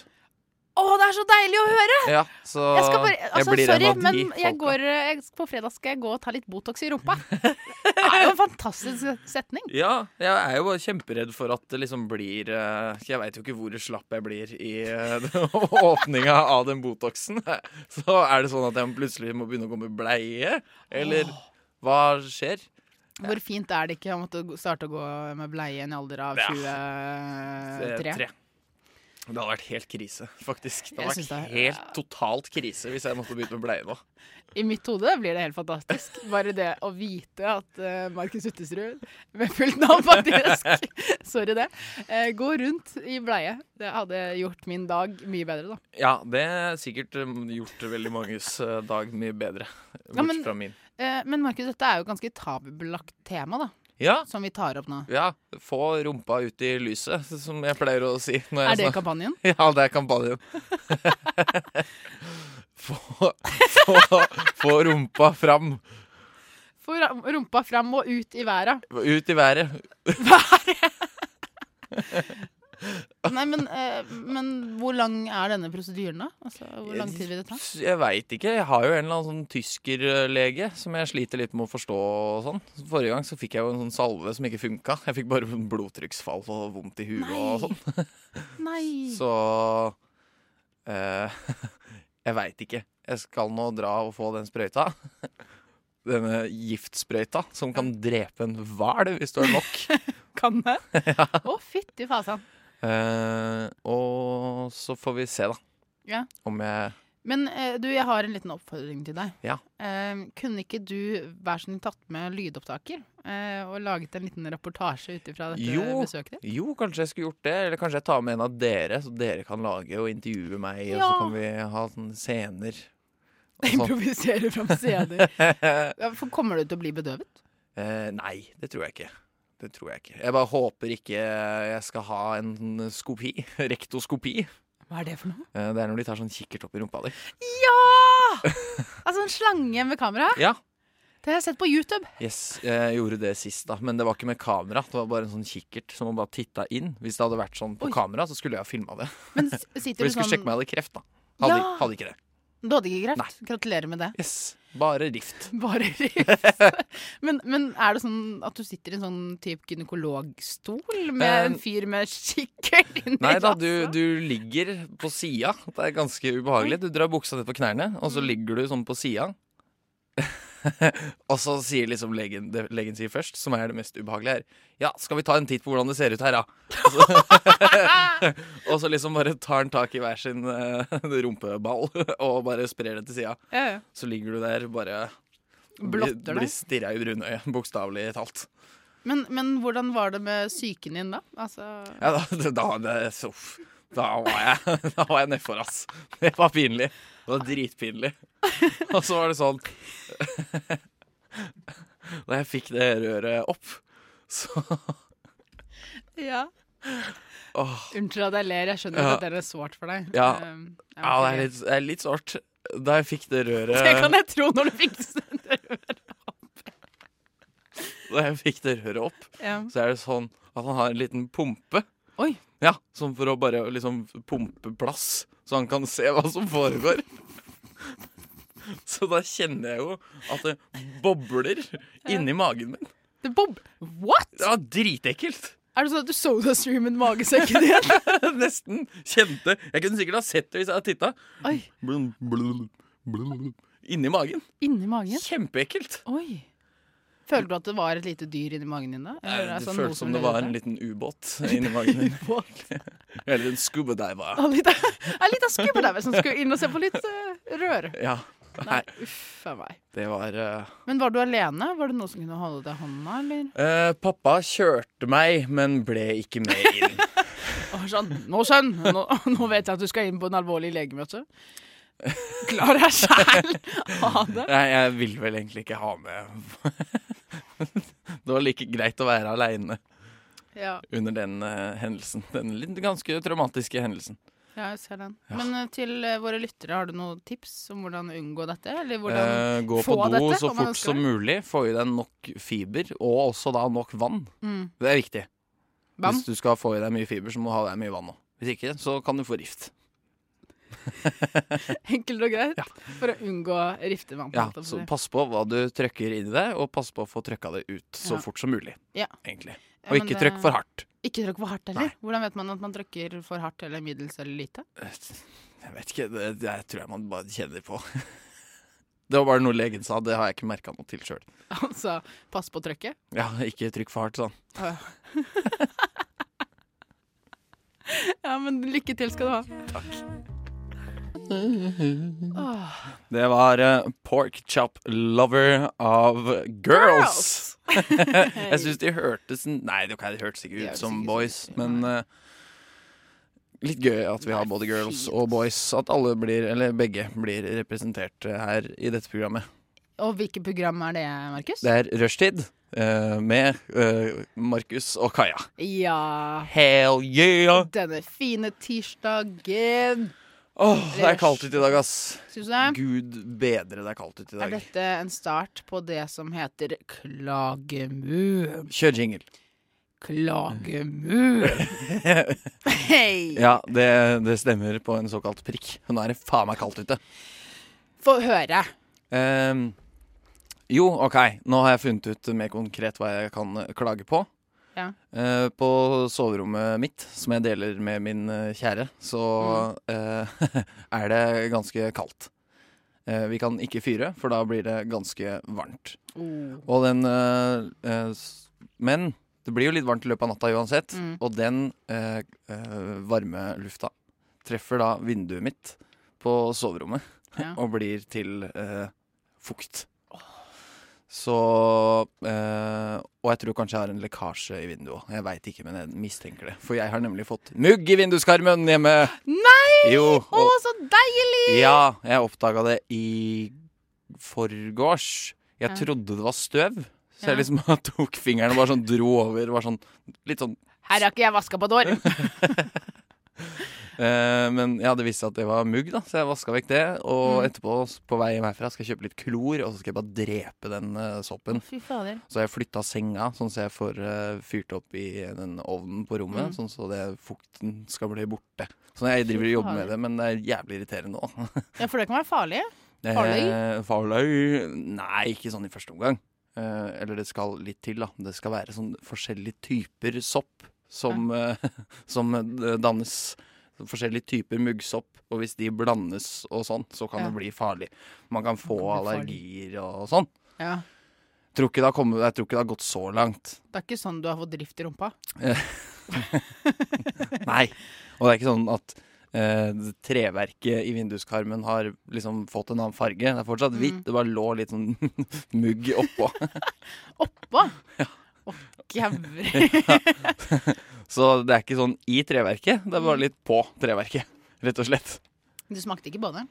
[SPEAKER 1] Å, det er så deilig å høre!
[SPEAKER 3] Ja, så
[SPEAKER 1] Jeg skal bare, altså,
[SPEAKER 3] blir en
[SPEAKER 1] sorry,
[SPEAKER 3] av de
[SPEAKER 1] men jeg
[SPEAKER 3] folka.
[SPEAKER 1] går, eh, jeg, på fredag skal jeg gå og ta litt Botox i
[SPEAKER 3] *laughs*
[SPEAKER 1] rumpa. Det er jo en fantastisk setning.
[SPEAKER 3] Ja, jeg er jo bare kjemperedd for at det liksom blir eh, Jeg veit jo ikke hvor slapp jeg blir i eh, *laughs* åpninga av den Botoxen. *laughs* Så er det sånn at jeg plutselig må begynne å gå med bleie? Eller hva skjer?
[SPEAKER 1] Hvor fint er det ikke å måtte gå- starte å gå med bleie i en alder av
[SPEAKER 3] Ja.
[SPEAKER 1] 23?
[SPEAKER 3] Tre. Det hadde vært helt krise, faktisk. Det
[SPEAKER 1] Eh, Jeg
[SPEAKER 3] hadde
[SPEAKER 1] synes det
[SPEAKER 3] vært
[SPEAKER 1] er-
[SPEAKER 3] helt totalt krise hvis jeg måtte begynne med bleie nå.
[SPEAKER 1] I mitt hode blir det helt fantastisk. Bare det å vite at eh, Markus Uttesrud, med fullt navn faktisk, *laughs* sorry det, eh, går rundt i bleie. Det hadde gjort min dag mye bedre, da.
[SPEAKER 3] Ja, det er sikkert um, gjort veldig manges eh, dag mye bedre. Bort
[SPEAKER 1] Ja, men-
[SPEAKER 3] fra min.
[SPEAKER 1] Eh, men Markus, dette er jo et ganske tabubelagt tema, da,
[SPEAKER 3] Ja,
[SPEAKER 1] som vi tar opp nå.
[SPEAKER 3] ja, få rumpa ut i lyset, som jeg pleier å si. Når
[SPEAKER 1] Er
[SPEAKER 3] jeg
[SPEAKER 1] det
[SPEAKER 3] snakker.
[SPEAKER 1] kampanjen?
[SPEAKER 3] *laughs* Ja, det er kampanjen. få, få, få rumpa fram.
[SPEAKER 1] Få ra- rumpa fram og ut i verda.
[SPEAKER 3] Ut i været.
[SPEAKER 1] Nei, men, eh, men hvor lang er denne prosedyren, da? Altså, hvor lang tid vil det ta?
[SPEAKER 3] Jeg veit ikke. Jeg har jo en eller annen sånn tyskerlege som jeg sliter litt med å forstå. og sånn. Forrige gang så fikk jeg jo en sånn salve som ikke funka. Jeg fikk bare sånn blodtrykksfall og vondt i huet og sånn. *laughs*
[SPEAKER 1] Nei.
[SPEAKER 3] Så eh, *laughs* Jeg veit ikke. Jeg skal nå dra og få den sprøyta. Denne giftsprøyta som kan drepe en hval hvis du er nok.
[SPEAKER 1] Kan det? Å, fytti fasan.
[SPEAKER 3] Eh, og så får vi se, da.
[SPEAKER 1] Ja.
[SPEAKER 3] Om jeg
[SPEAKER 1] Men eh, du, jeg har en liten oppfordring til deg.
[SPEAKER 3] Ja.
[SPEAKER 1] Eh, kunne ikke du vær så snill tatt med lydopptaker eh, og laget en liten reportasje ut ifra dette
[SPEAKER 3] Jo.
[SPEAKER 1] besøket ditt?
[SPEAKER 3] Jo, kanskje jeg skulle gjort det. Eller kanskje jeg tar med en av dere, så dere kan lage og intervjue meg. Og
[SPEAKER 1] Ja.
[SPEAKER 3] så kan vi ha sånne scener. og sånn.
[SPEAKER 1] *laughs* Improvisere fram
[SPEAKER 3] *laughs*
[SPEAKER 1] scener. Ja, for kommer du til å bli bedøvet?
[SPEAKER 3] eh, nei, det tror jeg ikke. Det tror jeg ikke. Jeg bare håper ikke jeg skal ha en skopi. *laughs* Rektoskopi.
[SPEAKER 1] Hva er det for noe?
[SPEAKER 3] Eh, Det er når de tar sånn kikkert opp i rumpa di.
[SPEAKER 1] Ja! Altså en slange med kamera.
[SPEAKER 3] Ja,
[SPEAKER 1] Det har jeg sett på YouTube.
[SPEAKER 3] yes, Jeg gjorde det sist, da. Men det var ikke med kamera. Det var bare en sånn kikkert som man bare titta inn. Hvis det hadde vært sånn på
[SPEAKER 1] Oi.
[SPEAKER 3] kamera, så skulle jeg ha filma det.
[SPEAKER 1] Men s- sitter du
[SPEAKER 3] For de skulle sjekke om
[SPEAKER 1] sånn
[SPEAKER 3] jeg hadde kreft, da. Hadde,
[SPEAKER 1] Ja.
[SPEAKER 3] hadde ikke det.
[SPEAKER 1] Du hadde ikke kreft? Gratulerer med det. *laughs*
[SPEAKER 3] Yes. Bare rift. *laughs*
[SPEAKER 1] Bare rift. Men, men er det sånn at du sitter i en sånn type gynekologstol med en
[SPEAKER 3] Eh,
[SPEAKER 1] fyr med kikkert inni
[SPEAKER 3] Nei da,
[SPEAKER 1] glasset?
[SPEAKER 3] du, du ligger på sida. Det er ganske ubehagelig. Du drar buksa ned på knærne, og
[SPEAKER 1] Mm.
[SPEAKER 3] så ligger du sånn på sida. *laughs* og så sier liksom legen det legen sier først, som er det mest ubehagelige her Ja, skal vi ta en titt på hvordan det ser ut her, da? *laughs* Og så, og så liksom bare tar han tak i hver sin eh, *laughs* rumpeball og bare sprer det til sida.
[SPEAKER 1] Ja, ja.
[SPEAKER 3] Så ligger du der bare
[SPEAKER 1] Blotter
[SPEAKER 3] Blir
[SPEAKER 1] deg.
[SPEAKER 3] stirra i brunøyet, bokstavelig talt.
[SPEAKER 1] Men, men hvordan var det med psyken din da? Altså,
[SPEAKER 3] Ja, da, da, det, så, uff. da var jeg, *laughs* da var jeg nedfor, ass. Det var pinlig. Det var dritpinlig. *laughs* Og så var det sånn *laughs* Da jeg fikk det røret opp, så *laughs*
[SPEAKER 1] ja.
[SPEAKER 3] åh,
[SPEAKER 1] Unnskyld at jeg ler, jeg skjønner
[SPEAKER 3] Ja.
[SPEAKER 1] at det er sårt for deg.
[SPEAKER 3] Ja.
[SPEAKER 1] Um, jeg
[SPEAKER 3] Ja, det
[SPEAKER 1] vet ikke.
[SPEAKER 3] er litt, eh, det er litt sårt. Da jeg fikk
[SPEAKER 1] *laughs*
[SPEAKER 3] det
[SPEAKER 1] Det kan
[SPEAKER 3] røret
[SPEAKER 1] jeg tro når du fikk det.
[SPEAKER 3] Da jeg fikk det røret opp,
[SPEAKER 1] Ja.
[SPEAKER 3] så er det sånn at han har en liten pumpe.
[SPEAKER 1] Oi.
[SPEAKER 3] Ja, Sånn for å bare liksom pumpe plass, så han kan se hva som foregår. Så da kjenner jeg jo at det bobler inni magen min.
[SPEAKER 1] Det bob... What?
[SPEAKER 3] Det var
[SPEAKER 1] *laughs*
[SPEAKER 3] dritekkelt!
[SPEAKER 1] Er det sånn at du sodastreamet magesekken din?
[SPEAKER 3] *laughs* Nesten kjente Jeg kunne sikkert ha sett det hvis jeg hadde titta.
[SPEAKER 1] *laughs* Oi,
[SPEAKER 3] Blum, blum, blum. Inni magen.
[SPEAKER 1] inni magen?
[SPEAKER 3] Kjempeekkelt.
[SPEAKER 1] Oi. Følte du at det var et lite dyr inni magen din da? Eller,
[SPEAKER 3] Det
[SPEAKER 1] altså, noe
[SPEAKER 3] føltes som det
[SPEAKER 1] levde
[SPEAKER 3] var en
[SPEAKER 1] der?
[SPEAKER 3] liten ubåt inni magen min.
[SPEAKER 1] *laughs* Ubåt.
[SPEAKER 3] Eller en scuba diver.
[SPEAKER 1] En liten skubbedever som skulle inn og se på litt eh, rør.
[SPEAKER 3] Ja.
[SPEAKER 1] Nei, uff a meg.
[SPEAKER 3] Det var eh,
[SPEAKER 1] Men var du alene? Var det noen som kunne holde deg i hånda, eller?
[SPEAKER 3] eh, Pappa kjørte meg, men ble ikke med
[SPEAKER 1] *laughs*
[SPEAKER 3] inn.
[SPEAKER 1] Og sånn, nå sønn, nå, *laughs* nå vet jeg at du skal inn på en alvorlig legemøte. Klar deg sjæl!
[SPEAKER 3] *laughs*
[SPEAKER 1] Ha det.
[SPEAKER 3] Nei, jeg vil vel egentlig ikke ha med *laughs* Det var like greit å være aleine
[SPEAKER 1] Ja,
[SPEAKER 3] under den eh, hendelsen. Den litt ganske traumatiske hendelsen.
[SPEAKER 1] ja, jeg ser den.
[SPEAKER 3] Ja.
[SPEAKER 1] Men eh, til eh, våre lyttere, har du noen tips om hvordan unngå dette? Eller hvordan
[SPEAKER 3] Eh, gå på
[SPEAKER 1] få
[SPEAKER 3] do
[SPEAKER 1] dette,
[SPEAKER 3] så
[SPEAKER 1] om man
[SPEAKER 3] fort
[SPEAKER 1] ønsker
[SPEAKER 3] som mulig. Få i deg nok fiber, og også da nok vann.
[SPEAKER 1] Mm.
[SPEAKER 3] Det er viktig.
[SPEAKER 1] Bam.
[SPEAKER 3] Hvis du skal få i deg mye fiber, så må du ha i deg mye vann òg. Hvis ikke, så kan du få rift.
[SPEAKER 1] Enkelt og greit. For å unngå riftevann.
[SPEAKER 3] Ja,
[SPEAKER 1] holdt jeg på å
[SPEAKER 3] så
[SPEAKER 1] si.
[SPEAKER 3] pass på hva du trøkker inn i deg, og pass på å få trøkka det ut så
[SPEAKER 1] Ja.
[SPEAKER 3] fort som mulig.
[SPEAKER 1] Ja.
[SPEAKER 3] Egentlig.
[SPEAKER 1] Ja,
[SPEAKER 3] Og
[SPEAKER 1] men
[SPEAKER 3] ikke
[SPEAKER 1] det-
[SPEAKER 3] trøkk for hardt.
[SPEAKER 1] Ikke trykk for hardt heller? Hvordan vet man at man trykker for hardt eller middels eller lite? *laughs*
[SPEAKER 3] Jeg vet ikke, det, det tror jeg man bare kjenner på. *laughs* Det var bare noe legen sa, det har jeg ikke merka noe til sjøl.
[SPEAKER 1] Altså, pass på trykket.
[SPEAKER 3] Ja, ikke trykk for hardt, sånn.
[SPEAKER 1] *laughs* Ja, men lykke til skal du ha. Åh,
[SPEAKER 3] Det var eh, Pork Chop Lover av Girls. *laughs* Jeg syns de hørtes Nei, det kan- det hørtes ikke
[SPEAKER 1] De
[SPEAKER 3] ut
[SPEAKER 1] hørtes
[SPEAKER 3] som
[SPEAKER 1] ikke så
[SPEAKER 3] boys,
[SPEAKER 1] ut, ja.
[SPEAKER 3] men eh, litt gøy at vi har både girls
[SPEAKER 1] fint.
[SPEAKER 3] og boys. At alle blir, eller begge, blir representert eh, her i dette programmet.
[SPEAKER 1] Og hvilket program er det, Markus?
[SPEAKER 3] Det er Rushtid eh, med eh, Markus og Kaja.
[SPEAKER 1] Ja.
[SPEAKER 3] Hell yeah!
[SPEAKER 1] Denne fine tirsdagen.
[SPEAKER 3] Åh, det er kaldt ute i dag, ass.
[SPEAKER 1] Syns du det?
[SPEAKER 3] Gud bedre det er kaldt ute i
[SPEAKER 1] Er
[SPEAKER 3] dag.
[SPEAKER 1] dette en start på det som heter klagemur?
[SPEAKER 3] Kjør jingle.
[SPEAKER 1] Klagemur. Hei.
[SPEAKER 3] *laughs* Ja, det, det stemmer på en såkalt prikk. Nå er det faen meg kaldt ute.
[SPEAKER 1] Få høre.
[SPEAKER 3] Ehm, jo, OK. Nå har jeg funnet ut mer konkret hva jeg kan eh, klage på.
[SPEAKER 1] Ja.
[SPEAKER 3] Eh, på soverommet mitt, som jeg deler med min eh, kjære, så
[SPEAKER 1] Mm.
[SPEAKER 3] eh, *laughs* er det ganske kaldt. Eh, vi kan ikke fyre, for da blir det ganske varmt.
[SPEAKER 1] Oh.
[SPEAKER 3] Og den eh, eh, s- Men det blir jo litt varmt i løpet av natta uansett.
[SPEAKER 1] Mm.
[SPEAKER 3] Og den eh, eh, varme lufta treffer da vinduet mitt på soverommet
[SPEAKER 1] Ja.
[SPEAKER 3] *laughs* og blir til eh, fukt. Så eh, Og jeg tror kanskje jeg har en lekkasje i vinduet òg. Jeg veit ikke, men jeg mistenker det. For jeg har nemlig fått mugg i vinduskarmen hjemme.
[SPEAKER 1] Nei!
[SPEAKER 3] Jo,
[SPEAKER 1] Å,
[SPEAKER 3] og,
[SPEAKER 1] så deilig!
[SPEAKER 3] ja, jeg oppdaga det i forgårs. Jeg
[SPEAKER 1] Ja.
[SPEAKER 3] trodde det var støv. Så jeg
[SPEAKER 1] Ja.
[SPEAKER 3] liksom *laughs* tok fingeren og bare sånn dro over. Var sånn, litt sånn
[SPEAKER 1] Her har ikke jeg vaska på et år.
[SPEAKER 3] Eh, men jeg hadde visst at det var mugg, da, så jeg vaska vekk det. Og
[SPEAKER 1] Mm.
[SPEAKER 3] etterpå, s- på vei hjem herfra, skal jeg kjøpe litt klor, og så skal jeg bare drepe den eh, soppen.
[SPEAKER 1] *laughs* Fy fader.
[SPEAKER 3] Så har jeg flytta senga, sånn så jeg får eh, fyrt opp i den ovnen på rommet.
[SPEAKER 1] Mm.
[SPEAKER 3] Sånn så det, fukten skal bli borte. Så jeg driver og jobber
[SPEAKER 1] faen.
[SPEAKER 3] med det, men det er jævlig irriterende òg.
[SPEAKER 1] Ja, for det kan være farlig. Farløy?
[SPEAKER 3] Eh, Farløy? Nei, ikke sånn i første omgang. Eh, eller det skal litt til, da. Det skal være sånn forskjellige typer sopp som, eh, *laughs* som eh, dannes. Forskjellige typer muggsopp, og hvis de blandes og sånn, så kan
[SPEAKER 1] Ja.
[SPEAKER 3] det bli farlig. Man kan få
[SPEAKER 1] Det kan bli
[SPEAKER 3] allergier og sånn.
[SPEAKER 1] Ja.
[SPEAKER 3] Tror ikke det har kommet, jeg tror ikke det har gått så
[SPEAKER 1] *laughs*
[SPEAKER 3] langt.
[SPEAKER 1] Det er ikke sånn du har fått drift i rumpa.
[SPEAKER 3] Nei. Og det er ikke sånn at eh, treverket i vinduskarmen har liksom fått en annen farge. Det er fortsatt hvitt,
[SPEAKER 1] Mm.
[SPEAKER 3] det bare lå litt sånn *laughs* mugg oppå.
[SPEAKER 1] Oppå? *laughs* Å, jævlig. *laughs*
[SPEAKER 3] Så det er ikke sånn i treverket, det er
[SPEAKER 1] Mm.
[SPEAKER 3] bare litt på treverket, *laughs* rett og slett.
[SPEAKER 1] Du smakte ikke på det?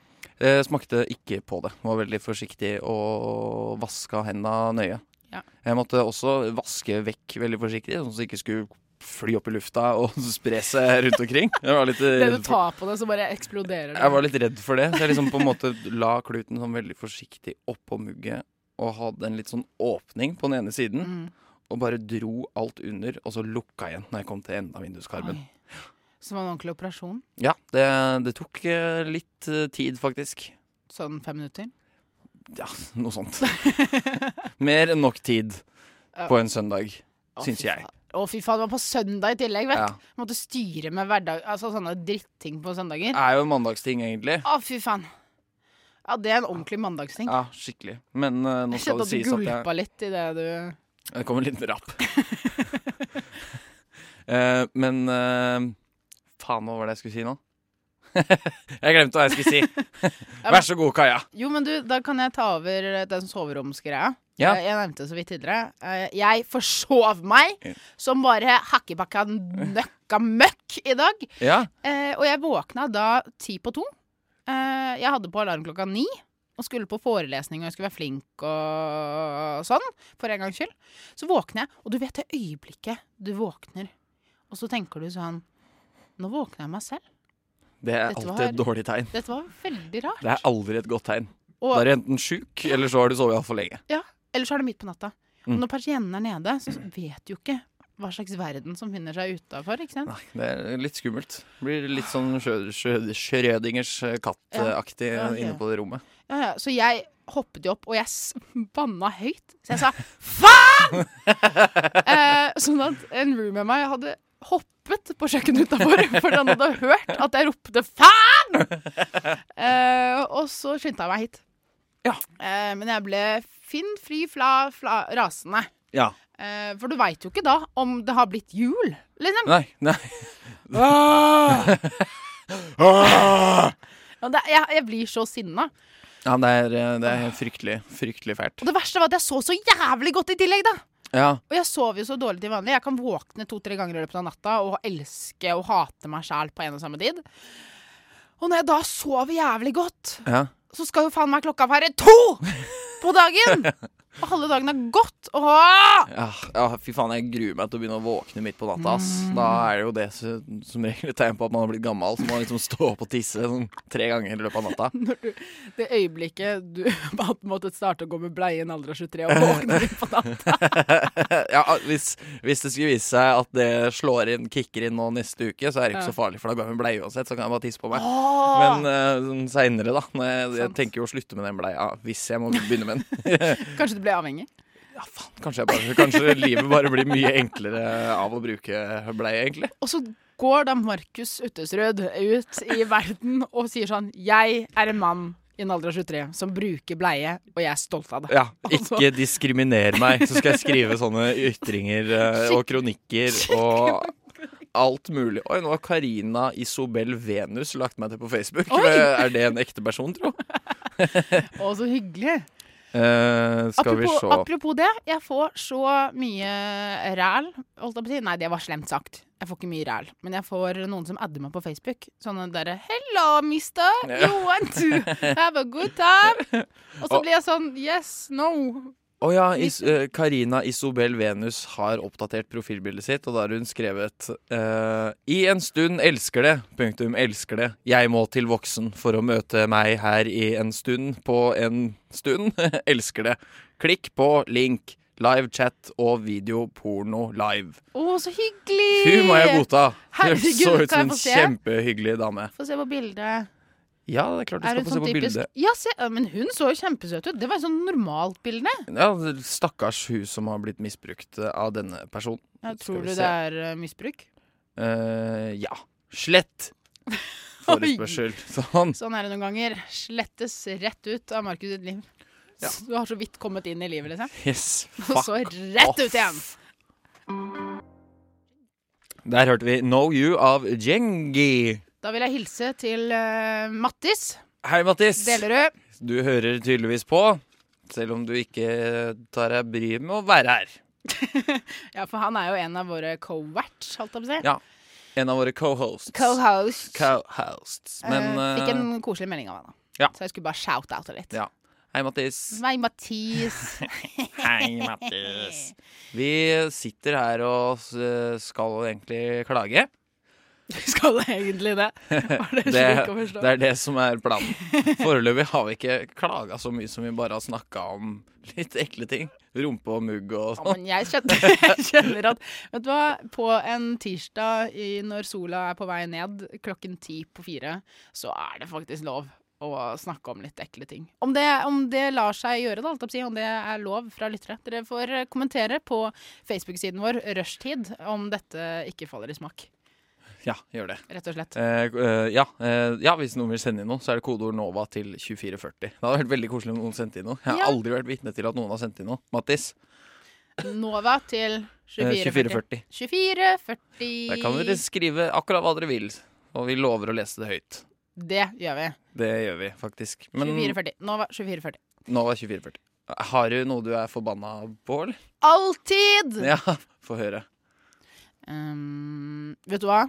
[SPEAKER 3] Eh, smakte ikke på det. Var veldig forsiktig og vaska henda nøye.
[SPEAKER 1] Ja.
[SPEAKER 3] Jeg måtte også vaske vekk veldig forsiktig, sånn at det ikke skulle fly opp i lufta og *laughs* spre seg rundt omkring. Jeg var litt
[SPEAKER 1] Det
[SPEAKER 3] redd
[SPEAKER 1] du
[SPEAKER 3] for,
[SPEAKER 1] tar på det, så bare eksploderer det.
[SPEAKER 3] Eh, jeg var litt redd for det, så jeg liksom på en måte la kluten sånn veldig forsiktig oppå mugget og hadde en litt sånn åpning på den ene siden,
[SPEAKER 1] Mm.
[SPEAKER 3] og bare dro alt under, og så lukka igjen når jeg kom til enden av vinduskarmen.
[SPEAKER 1] Oi. Som en ordentlig operasjon.
[SPEAKER 3] Ja, det, det tok eh, litt eh, tid, faktisk.
[SPEAKER 1] Sånn fem minutter.
[SPEAKER 3] Ja, noe
[SPEAKER 1] *laughs*
[SPEAKER 3] sånt. Mer enn nok tid
[SPEAKER 1] Ja.
[SPEAKER 3] på en søndag,
[SPEAKER 1] Å,
[SPEAKER 3] syns
[SPEAKER 1] fy
[SPEAKER 3] jeg.
[SPEAKER 1] faen. Å, fy faen. Det var på søndag i tillegg, vet
[SPEAKER 3] Ja.
[SPEAKER 1] du. Måtte styre med hverdag, altså sånne dritting på søndager.
[SPEAKER 3] Det er jo en mandagsting, egentlig.
[SPEAKER 1] Å, fy faen. Ja, det er en ordentlig mandagsting.
[SPEAKER 3] Ja, skikkelig. Men eh, nå
[SPEAKER 1] Jeg kjente
[SPEAKER 3] skal det
[SPEAKER 1] at du
[SPEAKER 3] sies at jeg
[SPEAKER 1] gulpa litt i det du
[SPEAKER 3] Det kom en
[SPEAKER 1] *laughs*
[SPEAKER 3] liten rapp. *laughs* Eh, men eh, Faen, hva var det jeg skulle si nå? *laughs* Jeg glemte hva jeg
[SPEAKER 1] *laughs*
[SPEAKER 3] skulle si. Vær så god, Kaja.
[SPEAKER 1] Jo, men du, da kan jeg ta over eh, den soveromsgreia.
[SPEAKER 3] Ja.
[SPEAKER 1] Eh, Jeg nevnte det så vidt tidligere. Eh, Jeg forsov meg
[SPEAKER 3] Ja.
[SPEAKER 1] som bare hakkepakka nøkka møkk i dag.
[SPEAKER 3] Ja.
[SPEAKER 1] Eh, og jeg våkna da ti på to. Eh, jeg hadde på alarm klokka ni og skulle på forelesning og jeg skulle være flink og sånn. For en gangs skyld. Så våkner jeg, og du vet det øyeblikket du våkner, og så tenker du sånn Nå våkner jeg meg selv.
[SPEAKER 3] Det er
[SPEAKER 1] Dette
[SPEAKER 3] alltid et
[SPEAKER 1] var-
[SPEAKER 3] dårlig tegn.
[SPEAKER 1] Dette var veldig rart.
[SPEAKER 3] Det er aldri et godt tegn. Da
[SPEAKER 1] Og,
[SPEAKER 3] er du enten sjuk, eller så har du sovet altfor lenge.
[SPEAKER 1] ja, eller så er det midt på natta.
[SPEAKER 3] Mm.
[SPEAKER 1] Og når persiennen er nede, så vet du jo ikke hva slags verden som finner seg utafor. ikke sant?
[SPEAKER 3] Nei, det er litt skummelt. Blir litt sånn Schrø- Schrø- Schrødingers katt-aktig
[SPEAKER 1] Ja, ok.
[SPEAKER 3] inne på det rommet.
[SPEAKER 1] Ja, ja. Så jeg hoppet jo opp, og jeg s- banna høyt. Så jeg sa faen! eh, sånn at en roomie av meg hadde hoppet på kjøkkenet utafor, for han hadde hørt at jeg ropte faen! Eh, og så skyndte jeg meg hit.
[SPEAKER 3] Ja.
[SPEAKER 1] Eh, men jeg ble finn, fri, fla, fla rasende.
[SPEAKER 3] Ja.
[SPEAKER 1] Eh, for du veit jo ikke da om det har blitt jul, liksom.
[SPEAKER 3] Nei, nei.
[SPEAKER 1] Og det, jeg, jeg blir så sinna.
[SPEAKER 3] Ja, det er, eh, det er fryktelig, fryktelig fælt.
[SPEAKER 1] Og det verste var at jeg så så jævlig godt i tillegg, da.
[SPEAKER 3] Ja,
[SPEAKER 1] Og jeg sover jo så dårlig til vanlig. Jeg kan våkne to-tre ganger i løpet av natta og elske og hate meg sjæl på en og samme tid. Og når jeg da sover jævlig godt,
[SPEAKER 3] ja.
[SPEAKER 1] så skal jo faen meg klokka være to på dagen! Og halve dagen er gått. Åh!
[SPEAKER 3] Ja, ja, fy faen, jeg gruer meg til å begynne å våkne midt på natta. ass
[SPEAKER 1] Mm.
[SPEAKER 3] Da er det jo det som som regel et tegn på at man har blitt gammel. Så må man liksom stå opp og tisse sånn tre ganger i løpet av natta.
[SPEAKER 1] Når du, det øyeblikket du *laughs* hadde måttet starte å gå med bleie i en alder av 23 og våkne litt på natta.
[SPEAKER 3] *laughs* Ja, hvis, hvis det skulle vise seg at det slår inn, kicker inn nå neste uke, så er det ikke så farlig, for da går jeg med bleie uansett. Så kan jeg bare tisse på meg. Men eh, sånn seinere, da. Når jeg, jeg
[SPEAKER 1] Sant.
[SPEAKER 3] tenker jo å slutte med den bleia hvis jeg må begynne med den.
[SPEAKER 1] Kanskje du ble avhengig?
[SPEAKER 3] *laughs* Ja, faen, kanskje, jeg bare, kanskje livet bare blir mye enklere av å bruke bleie, egentlig.
[SPEAKER 1] Og så går da Markus Uttesrød ut i verden og sier sånn Jeg er en mann i en alder av 23 som bruker bleie, og jeg er stolt av det.
[SPEAKER 3] Ja, *laughs* ikke diskriminer meg, så skal jeg skrive sånne ytringer eh, og *laughs* kronikker og alt mulig. Oi, nå har Karina Isobel Venus lagt meg til på Facebook.
[SPEAKER 1] Oi!
[SPEAKER 3] Er det en ekte person, tro?
[SPEAKER 1] Å, så hyggelig.
[SPEAKER 3] Eh, skal vi
[SPEAKER 1] Apropos,
[SPEAKER 3] se.
[SPEAKER 1] apropos det, jeg får så mye ræl. Holdt jeg på å si. Nei, det var slemt sagt. Jeg får ikke mye ræl. Men jeg får noen som adder meg på Facebook. Sånne derre 'Hello, mister.
[SPEAKER 3] Ja.
[SPEAKER 1] You want to have a good time?' Og så
[SPEAKER 3] Og-
[SPEAKER 1] blir jeg sånn 'Yes. No.'
[SPEAKER 3] Å ja, Is eh, Karina Isobel Venus har oppdatert profilbildet sitt, og da har hun skrevet eh, I en stund elsker det, punktum elsker det. Jeg må til voksen for å møte meg her i en stund på en stund. *laughs* elsker det. Klikk på link. Live chat og video porno live.
[SPEAKER 1] Å, så hyggelig!
[SPEAKER 3] Hun må jeg godta. Hun
[SPEAKER 1] Herregud,
[SPEAKER 3] så ut
[SPEAKER 1] kan jeg
[SPEAKER 3] som en
[SPEAKER 1] få se?
[SPEAKER 3] kjempehyggelig dame.
[SPEAKER 1] Få se på bildet.
[SPEAKER 3] Ja, det er klart du
[SPEAKER 1] Er
[SPEAKER 3] skal
[SPEAKER 1] hun
[SPEAKER 3] få se
[SPEAKER 1] sånn
[SPEAKER 3] på
[SPEAKER 1] typisk
[SPEAKER 3] bildet.
[SPEAKER 1] Ja, se, ja, men hun så jo kjempesøt ut. Det var et sånn normalt bilde.
[SPEAKER 3] Ja, stakkars hun som har blitt misbrukt eh, av denne personen.
[SPEAKER 1] Ja,
[SPEAKER 3] Skal
[SPEAKER 1] tror
[SPEAKER 3] vi
[SPEAKER 1] du
[SPEAKER 3] se.
[SPEAKER 1] det er eh, misbruk?
[SPEAKER 3] Eh, ja. Slett
[SPEAKER 1] *laughs*
[SPEAKER 3] forespørsel. Sånn.
[SPEAKER 1] Sånn er det noen ganger. Slettes rett ut av Markus sitt liv.
[SPEAKER 3] Ja.
[SPEAKER 1] Så *laughs* Du har så vidt kommet inn i livet, liksom.
[SPEAKER 3] Yes,
[SPEAKER 1] Og
[SPEAKER 3] fuck
[SPEAKER 1] så rett ut igjen.
[SPEAKER 3] Der hørte vi Know You av Djengi.
[SPEAKER 1] Da vil jeg hilse til eh, Mattis
[SPEAKER 3] Hei, Mattis.
[SPEAKER 1] Delerød.
[SPEAKER 3] Du hører tydeligvis på, selv om du ikke tar deg bryet med å være her.
[SPEAKER 1] Ja, for han er jo en av våre co-verts, holdt jeg på å si.
[SPEAKER 3] Ja. En av våre co-hosts.
[SPEAKER 1] Co-host.
[SPEAKER 3] Co-hosts. Men
[SPEAKER 1] Eh, fikk
[SPEAKER 3] eh,
[SPEAKER 1] en koselig melding av han. da.
[SPEAKER 3] ja.
[SPEAKER 1] Så jeg skulle bare shout-oute litt.
[SPEAKER 3] ja. Hei,
[SPEAKER 1] *laughs*
[SPEAKER 3] Mattis.
[SPEAKER 1] Nei,
[SPEAKER 3] *laughs*
[SPEAKER 1] Mattis.
[SPEAKER 3] Hei, Mattis.
[SPEAKER 1] *laughs*
[SPEAKER 3] Vi sitter her og eh, skal egentlig klage.
[SPEAKER 1] Skal egentlig
[SPEAKER 3] *laughs*
[SPEAKER 1] det? *laughs* Var det slik å
[SPEAKER 3] det,
[SPEAKER 1] forstå?
[SPEAKER 3] det er det som er planen. Foreløpig har vi ikke klaga så mye som vi bare har snakka om litt ekle ting. Rumpe og mugg og
[SPEAKER 1] Ja,
[SPEAKER 3] sånn.
[SPEAKER 1] men jeg kjenner, *laughs* jeg kjenner at Vet du hva, på en tirsdag i, når sola er på vei ned klokken ti på fire, så er det faktisk lov å snakke om litt ekle ting. Om det, om det lar seg gjøre, da, alt opp si, om det er lov fra lyttere. Dere får eh, kommentere på Facebook-siden vår, Rushtid, om dette ikke faller i smak.
[SPEAKER 3] Ja, gjør det.
[SPEAKER 1] Rett og slett.
[SPEAKER 3] Eh, eh, ja, eh, ja, hvis noen vil sende inn noe, så er det kodeord NOVA til 2440. Det hadde vært veldig koselig om noen sendte inn noe. Jeg har
[SPEAKER 1] Ja.
[SPEAKER 3] aldri vært vitne til at noen har sendt inn noe. Mattis,
[SPEAKER 1] Nova til
[SPEAKER 3] eh,
[SPEAKER 1] 2440.
[SPEAKER 3] 2440.
[SPEAKER 1] 2440.
[SPEAKER 3] Der kan dere skrive akkurat hva dere vil, og vi lover å lese det høyt.
[SPEAKER 1] Det gjør vi.
[SPEAKER 3] Det gjør vi faktisk. Men
[SPEAKER 1] 24,40. Nova 24,40.
[SPEAKER 3] nå var 2440. Har du noe du er forbanna på, eller?
[SPEAKER 1] Alltid!
[SPEAKER 3] Ja, *laughs* få høre.
[SPEAKER 1] Ehm, vet du hva?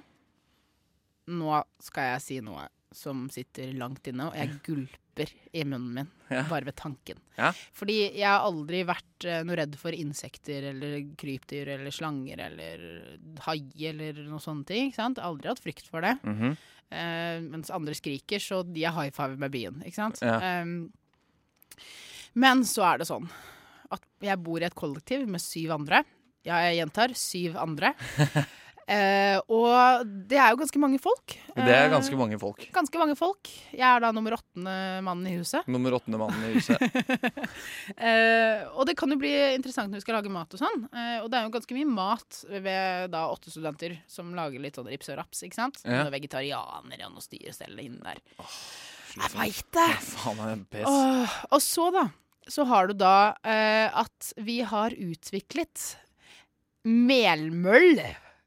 [SPEAKER 1] Nå skal jeg si noe som sitter langt inne, og jeg
[SPEAKER 3] *laughs*
[SPEAKER 1] gulper i munnen min
[SPEAKER 3] Ja.
[SPEAKER 1] bare ved tanken.
[SPEAKER 3] Ja.
[SPEAKER 1] Fordi jeg har aldri vært eh, noe redd for insekter eller krypdyr eller slanger eller hai eller noe sånne ting. Ikke sant? Aldri hatt frykt for det.
[SPEAKER 3] Mhm.
[SPEAKER 1] Eh, mens andre skriker, så de er high five med bien, ikke sant?
[SPEAKER 3] Ja.
[SPEAKER 1] Ehm, men så er det sånn at jeg bor i et kollektiv med syv andre. Ja, jeg gjentar syv
[SPEAKER 3] *laughs*
[SPEAKER 1] andre. Eh, og det er jo ganske mange folk.
[SPEAKER 3] Det
[SPEAKER 1] Eh,
[SPEAKER 3] er ganske mange folk.
[SPEAKER 1] ganske mange folk. Jeg er da nummer åttende mannen i huset.
[SPEAKER 3] Nummer åttende mannen i
[SPEAKER 1] *laughs*
[SPEAKER 3] huset.
[SPEAKER 1] Eh, og det kan jo bli interessant når vi skal lage mat og sånn. Eh, og det er jo ganske mye mat ved da åtte studenter som lager litt sånn rips og raps, ikke sant?
[SPEAKER 3] Ja.
[SPEAKER 1] Noen vegetarianere og noe styrestell inni der.
[SPEAKER 3] slitsomt.
[SPEAKER 1] Jeg veit det!
[SPEAKER 3] Faen, han er best.
[SPEAKER 1] Åh, og så, da, så har du da eh, at vi har utviklet melmøll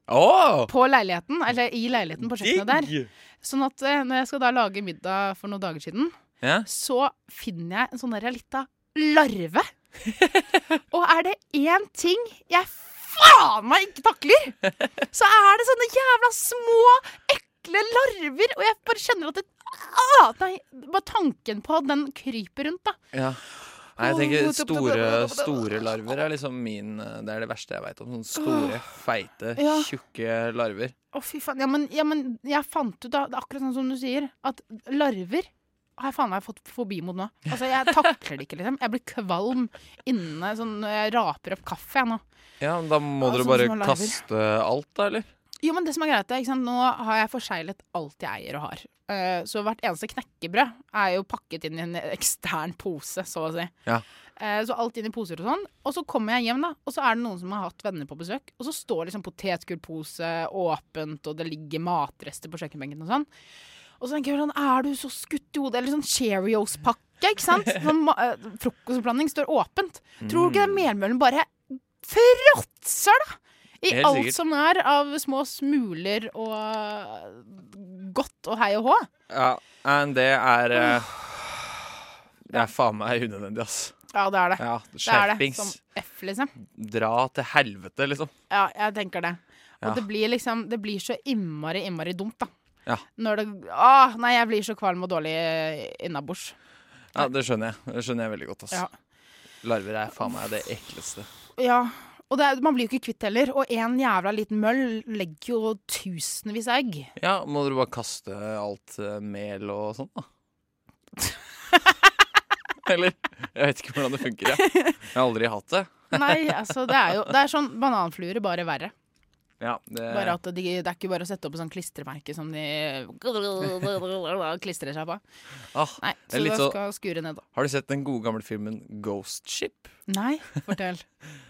[SPEAKER 3] Åh!
[SPEAKER 1] på leiligheten, eller i leiligheten på kjøkkenet der.
[SPEAKER 3] Digg!
[SPEAKER 1] Sånn at eh, når jeg skal da lage middag for noen dager siden,
[SPEAKER 3] Ja.
[SPEAKER 1] så finner jeg en sånn der lita larve. Og er det én ting jeg faen meg ikke takler, så er det sånne jævla små, ekle larver. Og jeg bare kjenner at det ah, Nei, bare tanken på at den kryper rundt, da.
[SPEAKER 3] ja. Nei, jeg tenker
[SPEAKER 1] Åh, topp, topp,
[SPEAKER 3] store,
[SPEAKER 1] topp, topp, topp.
[SPEAKER 3] store larver er liksom min eh, Det er det verste jeg veit om. Sånne store, feite,
[SPEAKER 1] Ja.
[SPEAKER 3] tjukke larver.
[SPEAKER 1] Å, fy faen. Ja, men, ja, men jeg fant ut da, det er akkurat sånn som du sier, at larver har jeg faen meg fått fobi mot nå. Altså, jeg takler det ikke, liksom. Jeg blir kvalm inne, sånn Jeg raper opp kaffe, jeg nå.
[SPEAKER 3] Ja, men da
[SPEAKER 1] Ja,
[SPEAKER 3] må dere
[SPEAKER 1] sånne
[SPEAKER 3] bare
[SPEAKER 1] små larver.
[SPEAKER 3] kaste alt, da, eller?
[SPEAKER 1] Jo, men det som er greit, er ikke sant? nå har jeg forseglet alt jeg eier og har. Eh, så hvert eneste knekkebrød er jo pakket inn i en ekstern pose, så å si.
[SPEAKER 3] Ja.
[SPEAKER 1] Eh, så alt inn i poser og sånn. Og så kommer jeg hjem, da, og så er det noen som har hatt venner på besøk. Og så står liksom potetgullpose åpent, og det ligger matrester på kjøkkenbenken og sånn. Og så tenker jeg sånn, er du så skutt i hodet? Eller sånn Cheerios-pakke, ikke *laughs* sant? Sånn ma- eh, frokostblanding står åpent. Tror du ikke det melmølen bare fråtser, da? I
[SPEAKER 3] Helt
[SPEAKER 1] alt
[SPEAKER 3] sikkert.
[SPEAKER 1] som er av små smuler og eh, godt og hei og hå.
[SPEAKER 3] Ja, men det er eh, Det er faen meg unødvendig, ass.
[SPEAKER 1] Ja, det er det.
[SPEAKER 3] Ja,
[SPEAKER 1] Det er det. Som
[SPEAKER 3] skjerpings.
[SPEAKER 1] F, liksom.
[SPEAKER 3] Dra til helvete, liksom.
[SPEAKER 1] Ja, jeg tenker det. Og
[SPEAKER 3] Ja.
[SPEAKER 1] det blir liksom Det blir så innmari, innmari dumt, da.
[SPEAKER 3] Ja.
[SPEAKER 1] Når det Åh, nei, jeg blir så kvalm og dårlig innabords.
[SPEAKER 3] Ja, det skjønner jeg. Det skjønner jeg veldig godt, ass.
[SPEAKER 1] Ja.
[SPEAKER 3] Larver er faen meg det ekleste.
[SPEAKER 1] Ja. Og det er, man blir jo ikke kvitt heller. Og en jævla liten møll legger jo tusenvis av egg.
[SPEAKER 3] Ja, må dere bare kaste alt eh, mel og sånn,
[SPEAKER 1] *laughs*
[SPEAKER 3] da? Eller? Jeg vet ikke hvordan det funker, jeg. Jeg har aldri hatt det.
[SPEAKER 1] Nei, altså, det er jo Det er sånn bananfluer, bare verre.
[SPEAKER 3] Ja, det
[SPEAKER 1] Bare at de, Det er ikke bare å sette opp et sånt klistremerke som de *laughs* klistrer seg på.
[SPEAKER 3] ah,
[SPEAKER 1] Nei,
[SPEAKER 3] Det er
[SPEAKER 1] så
[SPEAKER 3] litt
[SPEAKER 1] da
[SPEAKER 3] så-
[SPEAKER 1] skal skure ned, da.
[SPEAKER 3] Har du sett den gode gamle filmen Ghost Ship?
[SPEAKER 1] Nei,
[SPEAKER 3] *laughs*
[SPEAKER 1] fortell.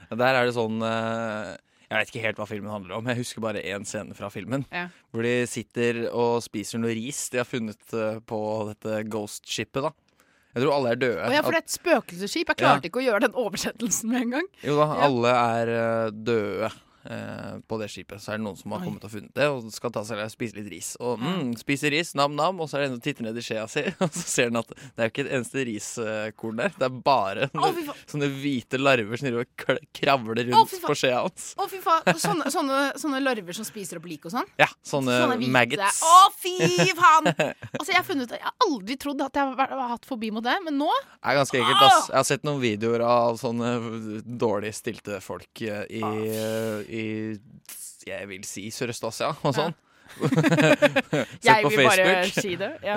[SPEAKER 3] Der er det sånn eh, Jeg vet ikke helt hva filmen handler om, jeg husker bare én scene fra filmen.
[SPEAKER 1] Ja.
[SPEAKER 3] Hvor de sitter og spiser noe ris de har funnet eh, på dette Ghost Shipet, da. Jeg tror alle er døde.
[SPEAKER 1] Og ja, for det er et spøkelsesskip. Jeg klarte ikke å gjøre den oversettelsen med en gang.
[SPEAKER 3] Jo da,
[SPEAKER 1] Ja.
[SPEAKER 3] alle er eh, døde eh, på det skipet. Så er det noen som har
[SPEAKER 1] Oi.
[SPEAKER 3] kommet og funnet det, og skal ta seg og spise litt ris. Og mm, spiser ris, nam-nam, og så er det en som titter ned i skjea si, *laughs* og så ser den at det er jo ikke et eneste riskorn der. Det er bare
[SPEAKER 1] Å, fy faen.
[SPEAKER 3] sånne hvite larver som driver og kl- kravler rundt
[SPEAKER 1] Å, fy faen.
[SPEAKER 3] på skjea hans.
[SPEAKER 1] Å, fy faen. Sånne, sånne, sånne larver som spiser opp lik og sånn.
[SPEAKER 3] Ja, sånne,
[SPEAKER 1] Sånne hvite.
[SPEAKER 3] maggots.
[SPEAKER 1] Å, fy faen! Altså, jeg har funnet ut Jeg har aldri trodd at jeg har vært- har hatt fobi mot det, men nå
[SPEAKER 3] Det er ganske ekkelt, ass. Jeg har sett noen videoer av sånne dårlig stilte folk eh, i, i Jeg vil si Sørøst-Asia og
[SPEAKER 1] *laughs*
[SPEAKER 3] sånn. Sett
[SPEAKER 1] Jeg
[SPEAKER 3] på
[SPEAKER 1] vil bare
[SPEAKER 3] Facebook.
[SPEAKER 1] si det. Ja.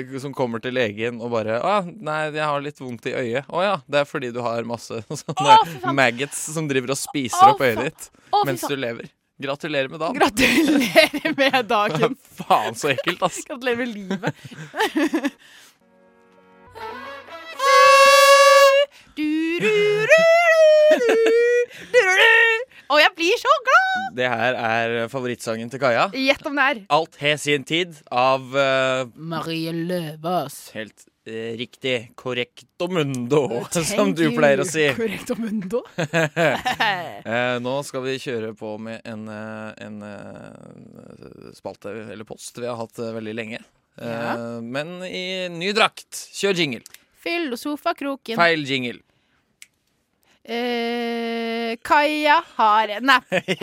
[SPEAKER 3] Eh, som kommer til legen og bare ah, 'Nei, jeg har litt vondt i øyet.' 'Å ja, det er fordi du har masse *laughs* sånne
[SPEAKER 1] fy faen.
[SPEAKER 3] maggots som driver og spiser
[SPEAKER 1] Å,
[SPEAKER 3] opp øyet
[SPEAKER 1] faen.
[SPEAKER 3] ditt
[SPEAKER 1] Å, fy
[SPEAKER 3] mens
[SPEAKER 1] faen.
[SPEAKER 3] du lever. Gratulerer med dagen.
[SPEAKER 1] Gratulerer med
[SPEAKER 3] *laughs*
[SPEAKER 1] dagen.
[SPEAKER 3] Faen, så ekkelt,
[SPEAKER 1] *laughs*
[SPEAKER 3] ass.
[SPEAKER 1] Gratulerer med livet. Du, du, du, du, du, du, du. Og jeg blir så glad!
[SPEAKER 3] Det her er favorittsangen til Kaja.
[SPEAKER 1] Gjett om det er.
[SPEAKER 3] Alt har sin tid av eh,
[SPEAKER 1] Marie Løvaas.
[SPEAKER 3] Helt eh, riktig. Correcto mundo, *laughs* som
[SPEAKER 1] Thank
[SPEAKER 3] du
[SPEAKER 1] you,
[SPEAKER 3] pleier å
[SPEAKER 1] *laughs*
[SPEAKER 3] si.
[SPEAKER 1] Correcto mundo.
[SPEAKER 3] *laughs* Eh, nå skal vi kjøre på med en, eh, en eh, spalte, eller post, vi har hatt eh, veldig lenge. Eh,
[SPEAKER 1] Ja.
[SPEAKER 3] Men i ny drakt. Kjør jingle.
[SPEAKER 1] Filosofakroken.
[SPEAKER 3] Feil
[SPEAKER 1] *laughs*
[SPEAKER 3] jingle.
[SPEAKER 1] Eh, Kaja har en app. Hei,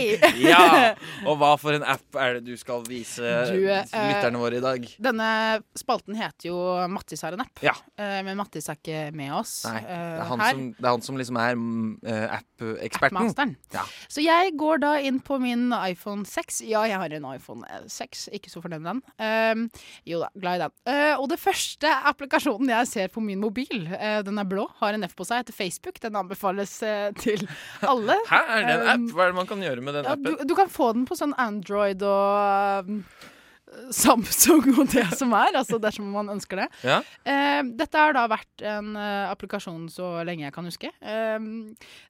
[SPEAKER 1] hei!
[SPEAKER 3] Ja! Og hva for en app er det du skal vise
[SPEAKER 1] Du, eh,
[SPEAKER 3] lytterne våre i dag?
[SPEAKER 1] Denne spalten heter jo Mattis har en app,
[SPEAKER 3] Ja.
[SPEAKER 1] eh, men Mattis er ikke med oss
[SPEAKER 3] Nei, det
[SPEAKER 1] eh,
[SPEAKER 3] er han,
[SPEAKER 1] her.
[SPEAKER 3] som, det er han som liksom er mm, eh, app-eksperten.
[SPEAKER 1] Appmasteren.
[SPEAKER 3] Ja.
[SPEAKER 1] Så jeg går da inn på min iPhone 6. Ja, jeg har en iPhone eh, 6, ikke så fornøyd med den. Ehm, jo da, glad i den. Eh, og det første applikasjonen jeg ser på min mobil, eh, den er blå, har en F på seg, heter Facebook. Den anbefales eh, til alle.
[SPEAKER 3] Hæ, er det en app?
[SPEAKER 1] Um,
[SPEAKER 3] Hva er det man kan gjøre med den
[SPEAKER 1] Ja, du,
[SPEAKER 3] appen?
[SPEAKER 1] du kan få den på sånn Android og eh, Samsung og det som er, altså dersom man ønsker det.
[SPEAKER 3] Ja.
[SPEAKER 1] Eh, dette har da vært en eh, applikasjon så lenge jeg kan huske. Eh,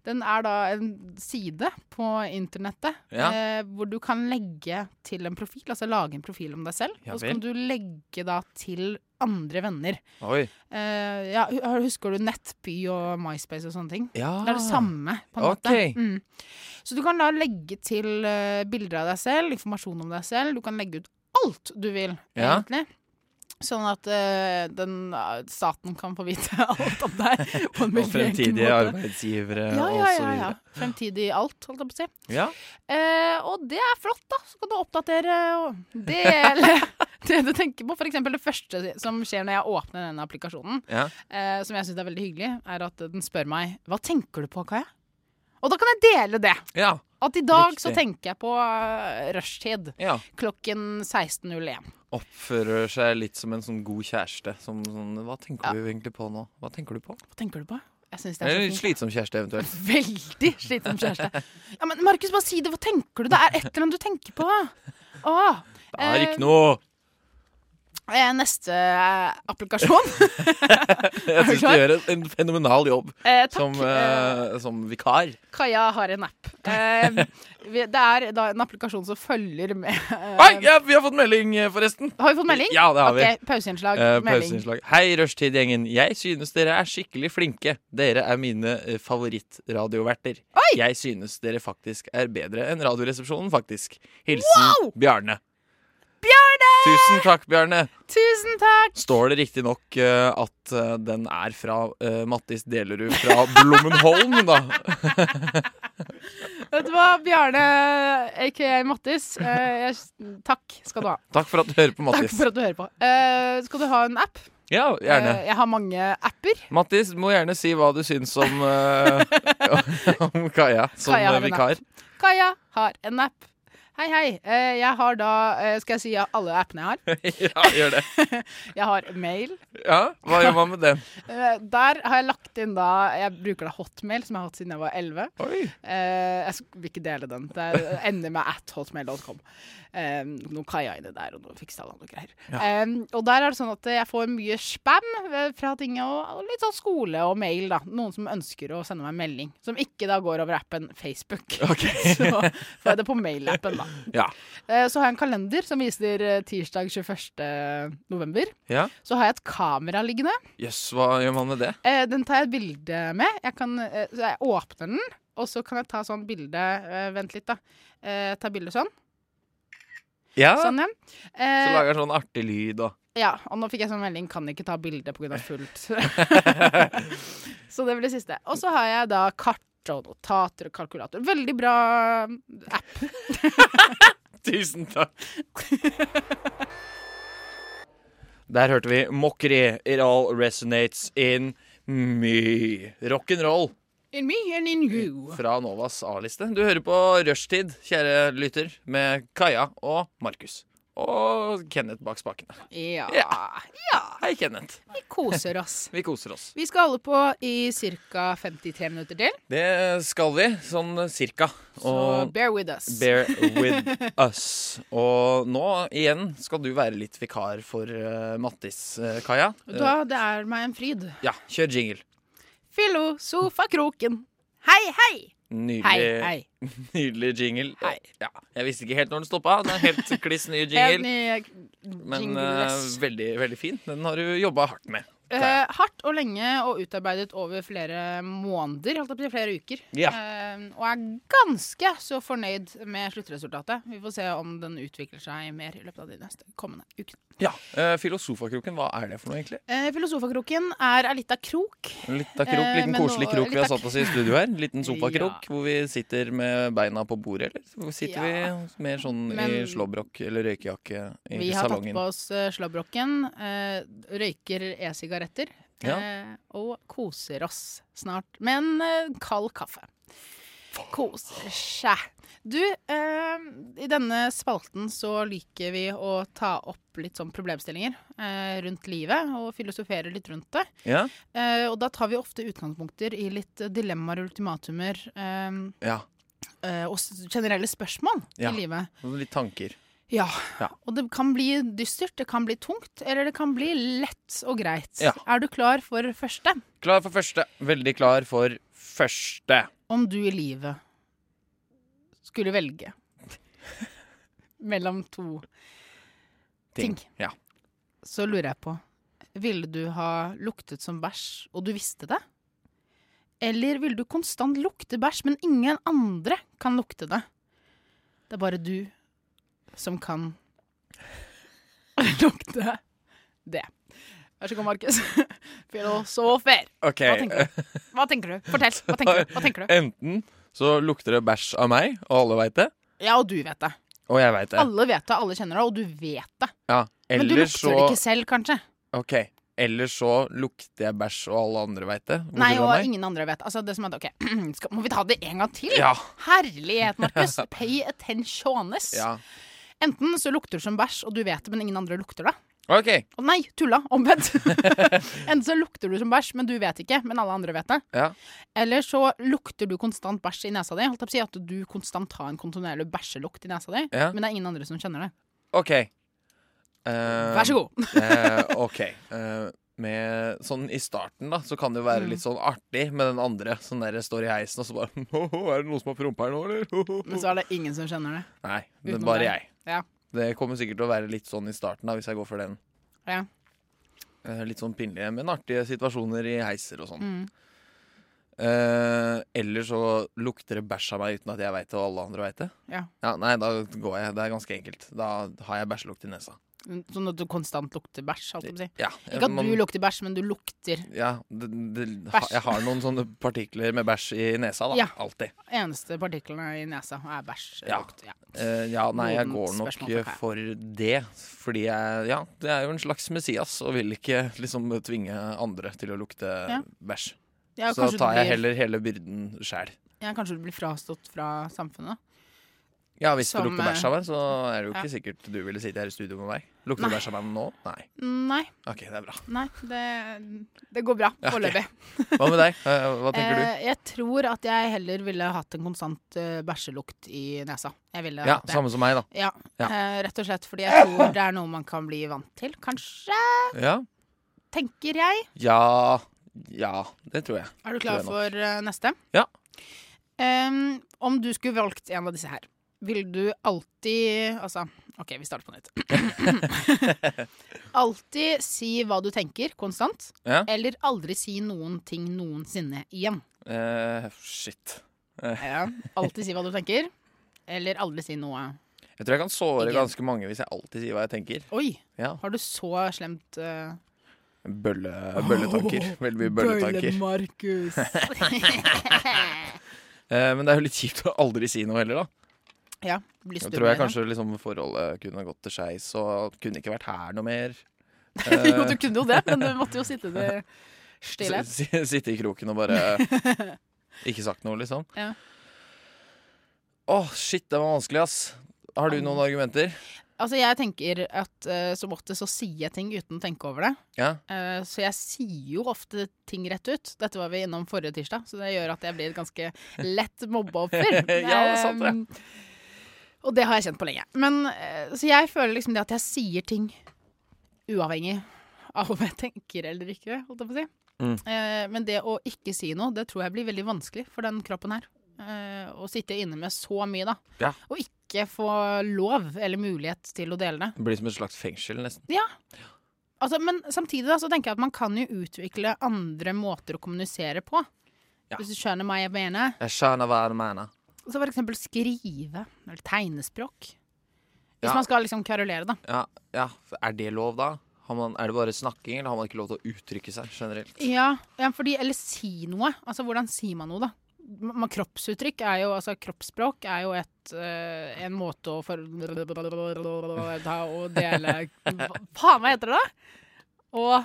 [SPEAKER 1] den er da en side på internettet
[SPEAKER 3] Ja.
[SPEAKER 1] eh, hvor du kan legge til en profil, altså lage en profil om deg selv.
[SPEAKER 3] Ja
[SPEAKER 1] og så kan du legge da til andre venner.
[SPEAKER 3] Oi.
[SPEAKER 1] Eh, ja, hu- husker du Nettby og MySpace og sånne ting?
[SPEAKER 3] Ja.
[SPEAKER 1] Det er det samme, på en
[SPEAKER 3] Ah. Ok.
[SPEAKER 1] måte. Mm. Så du kan da legge til eh, bilder av deg selv, informasjon om deg selv. Du kan legge ut alt du vil,
[SPEAKER 3] Ja.
[SPEAKER 1] egentlig. Sånn at eh, den, eh, staten kan få vite *laughs* alt om deg på en
[SPEAKER 3] Og
[SPEAKER 1] veldig enkel
[SPEAKER 3] fremtidige
[SPEAKER 1] måte.
[SPEAKER 3] arbeidsgivere
[SPEAKER 1] Ja,
[SPEAKER 3] og
[SPEAKER 1] ja, ja,
[SPEAKER 3] så
[SPEAKER 1] ja.
[SPEAKER 3] videre.
[SPEAKER 1] Fremtidig alt, holdt jeg på å si.
[SPEAKER 3] Ja.
[SPEAKER 1] Eh, og det er flott, da. Så kan du oppdatere og dele det du tenker på. For eksempel det første som skjer når jeg åpner denne applikasjonen,
[SPEAKER 3] Ja.
[SPEAKER 1] eh, som jeg syns er veldig hyggelig, er at den spør meg Hva tenker du på, Kaja? Og da kan jeg dele det.
[SPEAKER 3] ja.
[SPEAKER 1] At i dag så
[SPEAKER 3] Riktig.
[SPEAKER 1] tenker jeg på eh, rushtid.
[SPEAKER 3] ja.
[SPEAKER 1] Klokken 16.01.
[SPEAKER 3] Oppfører seg litt som en sånn god kjæreste. Som sånn Hva tenker
[SPEAKER 1] Ja.
[SPEAKER 3] du egentlig på nå? Hva tenker du på?
[SPEAKER 1] Hva tenker du på? Jeg synes det
[SPEAKER 3] Eller
[SPEAKER 1] er
[SPEAKER 3] litt
[SPEAKER 1] så fint.
[SPEAKER 3] slitsom kjæreste, eventuelt.
[SPEAKER 1] *laughs* Veldig slitsom kjæreste. Ja, men Markus, bare si det. Hva tenker du? Det er et eller annet du tenker på. Åh,
[SPEAKER 3] Det er
[SPEAKER 1] eh,
[SPEAKER 3] ikke noe
[SPEAKER 1] eh, Neste eh, applikasjon.
[SPEAKER 3] Jeg syns du
[SPEAKER 1] klar?
[SPEAKER 3] gjør en, en fenomenal jobb
[SPEAKER 1] Eh, takk.
[SPEAKER 3] som,
[SPEAKER 1] eh,
[SPEAKER 3] eh, som vikar.
[SPEAKER 1] Kaja har en app.
[SPEAKER 3] *laughs*
[SPEAKER 1] Eh, vi- det er da en applikasjon som følger med eh,
[SPEAKER 3] Oi, ja, vi har fått melding, eh, forresten.
[SPEAKER 1] Har vi fått melding?
[SPEAKER 3] Ja, det har vi.
[SPEAKER 1] Ok, Pauseinnslag.
[SPEAKER 3] Eh,
[SPEAKER 1] melding.
[SPEAKER 3] Pauseinnslag. Hei, rushtidgjengen. Jeg synes dere er skikkelig flinke. Dere er mine eh, favorittradioverter. Jeg synes dere faktisk er bedre enn Radioresepsjonen, faktisk. Hilsen
[SPEAKER 1] Wow!
[SPEAKER 3] Bjarne. Tusen takk, Bjarne.
[SPEAKER 1] Tusen takk!
[SPEAKER 3] Står det riktignok uh, at eh, den er fra eh, Mattis Delerud fra Blommenholm, da?
[SPEAKER 1] Vet du hva, Bjarne aka Mattis, eh, jeg, takk skal du ha. *laughs*
[SPEAKER 3] Takk for at du hører på,
[SPEAKER 1] Takk
[SPEAKER 3] Mattis.
[SPEAKER 1] for at du hører på. Eh, skal du ha en app?
[SPEAKER 3] Ja, gjerne.
[SPEAKER 1] Eh, jeg har mange apper.
[SPEAKER 3] Mattis, du må gjerne si hva du syns om,
[SPEAKER 1] *laughs*
[SPEAKER 3] eh, om Kaja som
[SPEAKER 1] Kaja har
[SPEAKER 3] eh,
[SPEAKER 1] en
[SPEAKER 3] vikar.
[SPEAKER 1] Kaja har en app. Hei, hei. Eh, jeg har da eh, Skal jeg si alle appene jeg har?
[SPEAKER 3] *laughs* ja, gjør det.
[SPEAKER 1] Jeg har mail.
[SPEAKER 3] Ja, Hva gjør man med den?
[SPEAKER 1] Eh, der har jeg lagt inn da Jeg bruker da hotmail, som jeg har hatt siden jeg var 11.
[SPEAKER 3] *laughs* Oi.
[SPEAKER 1] Eh, jeg sk- vil ikke dele den. Det er- ender med at hotmail.com. Eh, noe kaja inni der, og noe fikstall og noe greier. Eh, og der er det sånn at jeg får mye spam eh, fra ting, og, og litt sånn skole og mail, da. Noen som ønsker å sende meg en melding. Som ikke da går over appen Facebook. *laughs* Så får jeg det på mailappen, da.
[SPEAKER 3] Ja.
[SPEAKER 1] Eh, så har jeg en kalender som viser eh, tirsdag 21. november.
[SPEAKER 3] Ja.
[SPEAKER 1] Så har jeg et kamera liggende.
[SPEAKER 3] Jøss, hva gjør man med det?
[SPEAKER 1] Eh, den tar jeg et bilde med. Jeg, kan, eh, så jeg åpner den, og så kan jeg ta sånn bilde eh, Vent litt, da. Eh, ta bilde sånn.
[SPEAKER 3] Ja.
[SPEAKER 1] Sånn, ja.
[SPEAKER 3] Ah. Så
[SPEAKER 1] Eh,
[SPEAKER 3] lager jeg sånn artig lyd og
[SPEAKER 1] ja. Og nå fikk jeg sånn melding 'kan ikke ta bilde pga. fullt'.
[SPEAKER 3] *laughs*
[SPEAKER 1] så det blir det siste. Og så har jeg da kart. Og notater og kalkulator. Veldig bra app.
[SPEAKER 3] *laughs* Tusen takk. Der hørte vi 'Mockery'. It all resonates in me. Rock'n'roll
[SPEAKER 1] In me and in you.
[SPEAKER 3] fra Novas A-liste. Du hører på Rushtid, kjære lytter, med Kaja og Markus. Og Kenneth bak spakene.
[SPEAKER 1] Ja.
[SPEAKER 3] Ja.
[SPEAKER 1] ja.
[SPEAKER 3] Hei, Kenneth.
[SPEAKER 1] Vi koser oss.
[SPEAKER 3] Vi koser oss.
[SPEAKER 1] Vi skal holde på i ca. 53 minutter til,
[SPEAKER 3] Det skal vi, sånn cirka.
[SPEAKER 1] så
[SPEAKER 3] Og
[SPEAKER 1] bear with us.
[SPEAKER 3] bear
[SPEAKER 1] *laughs*
[SPEAKER 3] with us. Og nå igjen skal du være litt vikar for eh, Mattis, eh, Kaja. Eh,
[SPEAKER 1] Da, det er meg en fryd.
[SPEAKER 3] ja, kjør jingle.
[SPEAKER 1] Filosofakroken. Hei, hei!
[SPEAKER 3] Nydelig,
[SPEAKER 1] Hei, hei.
[SPEAKER 3] nydelig jingle.
[SPEAKER 1] Hei.
[SPEAKER 3] Ja, jeg visste ikke helt når den stoppa. Den er helt
[SPEAKER 1] *laughs*
[SPEAKER 3] kliss ny
[SPEAKER 1] Helt
[SPEAKER 3] jingle.
[SPEAKER 1] ny
[SPEAKER 3] Men
[SPEAKER 1] eh, jingle.
[SPEAKER 3] eh, veldig, veldig fin. Den har du jobba hardt med.
[SPEAKER 1] Eh, hardt og lenge og utarbeidet over flere måneder, holdt jeg på å si flere uker.
[SPEAKER 3] Ja.
[SPEAKER 1] Eh, og er ganske så fornøyd med sluttresultatet. Vi får se om den utvikler seg mer i løpet av de neste kommende ukene.
[SPEAKER 3] Ja, eh, Filosofakroken, hva er det for noe, egentlig?
[SPEAKER 1] Eh, Filosofakroken er ei lita krok.
[SPEAKER 3] En lita krok,
[SPEAKER 1] Eh,
[SPEAKER 3] liten
[SPEAKER 1] men
[SPEAKER 3] koselig
[SPEAKER 1] nå-
[SPEAKER 3] krok vi har
[SPEAKER 1] lita
[SPEAKER 3] satt oss i studio her. En
[SPEAKER 1] *laughs*
[SPEAKER 3] Liten sofakrok
[SPEAKER 1] Ja.
[SPEAKER 3] hvor vi sitter med beina på bordet, eller? Hvor sitter
[SPEAKER 1] Ja.
[SPEAKER 3] vi mer sånn i
[SPEAKER 1] Men-
[SPEAKER 3] slåbrok eller røykejakke i
[SPEAKER 1] Vi har tatt
[SPEAKER 3] salongen?
[SPEAKER 1] på oss eh, slåbroken, eh, røyker e-sigaretter
[SPEAKER 3] Ja.
[SPEAKER 1] eh, og koser oss snart med en eh, kald kaffe. Koser seg. Du, eh, i denne spalten så liker vi å ta opp litt sånn problemstillinger eh, rundt livet og filosofere litt rundt det.
[SPEAKER 3] Ja?
[SPEAKER 1] Eh, og da tar vi ofte utgangspunkter i litt eh, dilemmaer og ultimatumer eh,
[SPEAKER 3] ja.
[SPEAKER 1] eh, og s- generelle spørsmål
[SPEAKER 3] Ja.
[SPEAKER 1] i livet.
[SPEAKER 3] Litt tanker.
[SPEAKER 1] Ja.
[SPEAKER 3] Ja.
[SPEAKER 1] Og det kan bli dystert, det kan bli tungt, eller det kan bli lett og greit.
[SPEAKER 3] Ja.
[SPEAKER 1] Er du klar for første?
[SPEAKER 3] Klar for første. Veldig klar for første.
[SPEAKER 1] Om du i livet skulle velge mellom to, Ting.
[SPEAKER 3] Ja.
[SPEAKER 1] så lurer jeg på Ville du ha luktet som bæsj, og du visste det? Eller ville du konstant lukte bæsj, men ingen andre kan lukte det? Det er bare du som kan *laughs* lukte det. Vær så god, Markus. *laughs* Filosofer.
[SPEAKER 3] OK.
[SPEAKER 1] Hva tenker du? Hva tenker du? Fortell. Hva tenker du? Hva tenker du?
[SPEAKER 3] *laughs* Enten så lukter det bæsj av meg, og alle veit det.
[SPEAKER 1] Ja, og du vet det.
[SPEAKER 3] Og jeg veit det.
[SPEAKER 1] Alle vet det, alle kjenner det, og du vet det.
[SPEAKER 3] Ja.
[SPEAKER 1] Men du
[SPEAKER 3] Eller
[SPEAKER 1] lukter
[SPEAKER 3] så
[SPEAKER 1] det ikke selv, kanskje?
[SPEAKER 3] OK. Eller så lukter jeg bæsj, og alle andre veit det. Bortsett
[SPEAKER 1] Nei,
[SPEAKER 3] fra
[SPEAKER 1] og
[SPEAKER 3] meg.
[SPEAKER 1] ingen andre vet. Altså, det som er, ok, *clears throat* skal, Må vi ta det en gang til?
[SPEAKER 3] Ja.
[SPEAKER 1] Herlighet, Markus.
[SPEAKER 3] *laughs*
[SPEAKER 1] Pay attentiones.
[SPEAKER 3] ja.
[SPEAKER 1] Enten så lukter du som bæsj, og du vet det, men ingen andre lukter det.
[SPEAKER 3] OK.
[SPEAKER 1] Å nei, tulla.
[SPEAKER 3] *laughs*
[SPEAKER 1] Omvendt. Enten så lukter du som bæsj, men du vet ikke, men alle andre vet det.
[SPEAKER 3] Ja.
[SPEAKER 1] Eller så lukter du konstant bæsj i nesa di. Holdt jeg på å si at du konstant har en kontinuerlig bæsjelukt i nesa di,
[SPEAKER 3] Ja.
[SPEAKER 1] men det er ingen andre som kjenner det.
[SPEAKER 3] OK. Eh,
[SPEAKER 1] Vær så god. *laughs*
[SPEAKER 3] eh, OK. Eh, med, sånn I starten da, så kan det jo
[SPEAKER 1] Mm.
[SPEAKER 3] være litt sånn artig med den andre. Sånn der står i heisen og så bare *laughs* «Hoho, Er det noen som har prompa her nå, eller? *laughs* Hoho».
[SPEAKER 1] Men så er det ingen som kjenner det.
[SPEAKER 3] Nei, det er
[SPEAKER 1] sånn. Utenom
[SPEAKER 3] bare
[SPEAKER 1] deg.
[SPEAKER 3] jeg.
[SPEAKER 1] Ja.
[SPEAKER 3] Det kommer sikkert til å være litt sånn i starten da, hvis jeg går for den.
[SPEAKER 1] Ja.
[SPEAKER 3] Eh, Litt sånn pinlige, men artige situasjoner i heiser og sånn.
[SPEAKER 1] Mm.
[SPEAKER 3] Eh, eller så lukter det bæsj av meg uten at jeg veit det, og alle andre veit det.
[SPEAKER 1] Ja.
[SPEAKER 3] Nei, da går jeg. Det er ganske enkelt. Da har jeg bæsjelukt i nesa.
[SPEAKER 1] Sånn at du konstant lukter bæsj, holdt jeg på å si.
[SPEAKER 3] Ja,
[SPEAKER 1] Ikke at
[SPEAKER 3] man-
[SPEAKER 1] du lukter bæsj, men du lukter
[SPEAKER 3] ja, det, det, ha,
[SPEAKER 1] Bæsj.
[SPEAKER 3] jeg har noen sånne partikler med bæsj i nesa, da.
[SPEAKER 1] Ja.
[SPEAKER 3] Alltid.
[SPEAKER 1] Eneste partiklene i nesa er bæsj.
[SPEAKER 3] Ja.
[SPEAKER 1] lukt, Ja.
[SPEAKER 3] Eh, ja, nei, jeg
[SPEAKER 1] Modent
[SPEAKER 3] går nok
[SPEAKER 1] spørsmål for
[SPEAKER 3] eh, for det. Fordi jeg Ja, det er jo en slags Messias og vil ikke liksom tvinge andre til å lukte
[SPEAKER 1] Ja.
[SPEAKER 3] bæsj.
[SPEAKER 1] Ja,
[SPEAKER 3] Så
[SPEAKER 1] kanskje du
[SPEAKER 3] tar jeg
[SPEAKER 1] blir-
[SPEAKER 3] heller hele byrden sjæl.
[SPEAKER 1] ja, Kanskje du blir frastått fra samfunnet.
[SPEAKER 3] Ja, hvis
[SPEAKER 1] Som, eh,
[SPEAKER 3] det lukter bæsj av meg, så er det jo
[SPEAKER 1] ja.
[SPEAKER 3] ikke sikkert du ville sitte her i studio med meg. Lukter det bæsj av meg nå? Nei.
[SPEAKER 1] Nei,
[SPEAKER 3] OK, det er bra.
[SPEAKER 1] nei det, det går bra
[SPEAKER 3] *laughs* Ja, ok.
[SPEAKER 1] foreløpig.
[SPEAKER 3] Hva med deg? Eh, Hva tenker du?
[SPEAKER 1] Eh, jeg tror at jeg heller ville hatt en konstant eh, bæsjelukt i nesa. Jeg ville
[SPEAKER 3] Ja,
[SPEAKER 1] hatt det.
[SPEAKER 3] samme som meg, da.
[SPEAKER 1] Ja,
[SPEAKER 3] Ja.
[SPEAKER 1] Eh, rett og slett fordi jeg tror det er noe man kan bli vant til, kanskje,
[SPEAKER 3] Ja.
[SPEAKER 1] tenker jeg.
[SPEAKER 3] Ja, ja det tror jeg.
[SPEAKER 1] Er du klar
[SPEAKER 3] Tror jeg nok.
[SPEAKER 1] for eh, neste?
[SPEAKER 3] Ja.
[SPEAKER 1] Em, om du skulle valgt en av disse her, ville du alltid Altså, OK, vi starter på nytt.
[SPEAKER 3] *laughs*
[SPEAKER 1] alltid si hva du tenker, konstant,
[SPEAKER 3] Ja.
[SPEAKER 1] eller aldri si noen ting noensinne igjen.
[SPEAKER 3] Eh, shit.
[SPEAKER 1] Ja. Alltid si hva du tenker, eller aldri si noe.
[SPEAKER 3] Jeg tror jeg kan såre
[SPEAKER 1] Ikke.
[SPEAKER 3] ganske mange hvis jeg alltid sier hva jeg tenker.
[SPEAKER 1] Oi,
[SPEAKER 3] Ja.
[SPEAKER 1] har du så slemt eh,
[SPEAKER 3] Bølle,
[SPEAKER 1] *laughs*
[SPEAKER 3] bølletanker. Veldig mye bølletanker. *laughs*
[SPEAKER 1] Markus.
[SPEAKER 3] Eh, men det er jo litt kjipt å aldri si noe heller, da.
[SPEAKER 1] ja, blir
[SPEAKER 3] Jeg tror jeg
[SPEAKER 1] stubben
[SPEAKER 3] kanskje liksom forholdet kunne gått til skeis og kunne ikke vært her noe
[SPEAKER 1] *laughs*
[SPEAKER 3] mer. Eh,
[SPEAKER 1] igjen, da. Jo, du kunne jo det, men du måtte jo sitte det
[SPEAKER 3] *laughs*
[SPEAKER 1] stille.
[SPEAKER 3] S- s- Sitte i kroken og
[SPEAKER 1] *laughs*
[SPEAKER 3] bare ikke sagt noe, liksom. Åh,
[SPEAKER 1] Ja.
[SPEAKER 3] shit, det var vanskelig, ass. Har du noen argumenter?
[SPEAKER 1] Altså, jeg tenker at eh, som oftest så sier jeg ting uten å tenke over det.
[SPEAKER 3] Ja.
[SPEAKER 1] Eh, så jeg sier jo ofte ting rett ut. Dette var vi innom forrige tirsdag, så det gjør at jeg blir et ganske lett mobbeoffer.
[SPEAKER 3] *laughs* Ja, det er sant, det.
[SPEAKER 1] Eh, og det har jeg kjent på lenge. Men, eh, så jeg føler liksom det at jeg sier ting uavhengig av om jeg tenker eller ikke, holdt jeg på å si.
[SPEAKER 3] Mm.
[SPEAKER 1] Eh, men det å ikke si noe, det tror jeg blir veldig vanskelig for den kroppen her. Eh, å sitte inne med så mye, da.
[SPEAKER 3] Ja.
[SPEAKER 1] Og ikke få lov eller mulighet til å dele det.
[SPEAKER 3] Det blir som et slags fengsel, nesten.
[SPEAKER 1] Ja. altså, men samtidig da, så tenker jeg at man kan jo utvikle andre måter å kommunisere på.
[SPEAKER 3] Ja.
[SPEAKER 1] Hvis du skjønner hva jeg mener.
[SPEAKER 3] Jeg skjønner hva du mener.
[SPEAKER 1] Så for eksempel skrive, eller tegnespråk. Hvis
[SPEAKER 3] Ja.
[SPEAKER 1] man skal liksom kverulere, da.
[SPEAKER 3] Ja, ja, er det lov, da? Har man, er det bare snakking, eller har man ikke lov til å uttrykke seg *laughs* generelt?
[SPEAKER 1] Ja, ja fordi, eller si noe. Altså, hvordan sier man noe, da? M- Man, kroppsuttrykk er jo, altså kroppsspråk er jo et, eh, en måte å for... Ta og dele Hva faen, hva heter det da? Å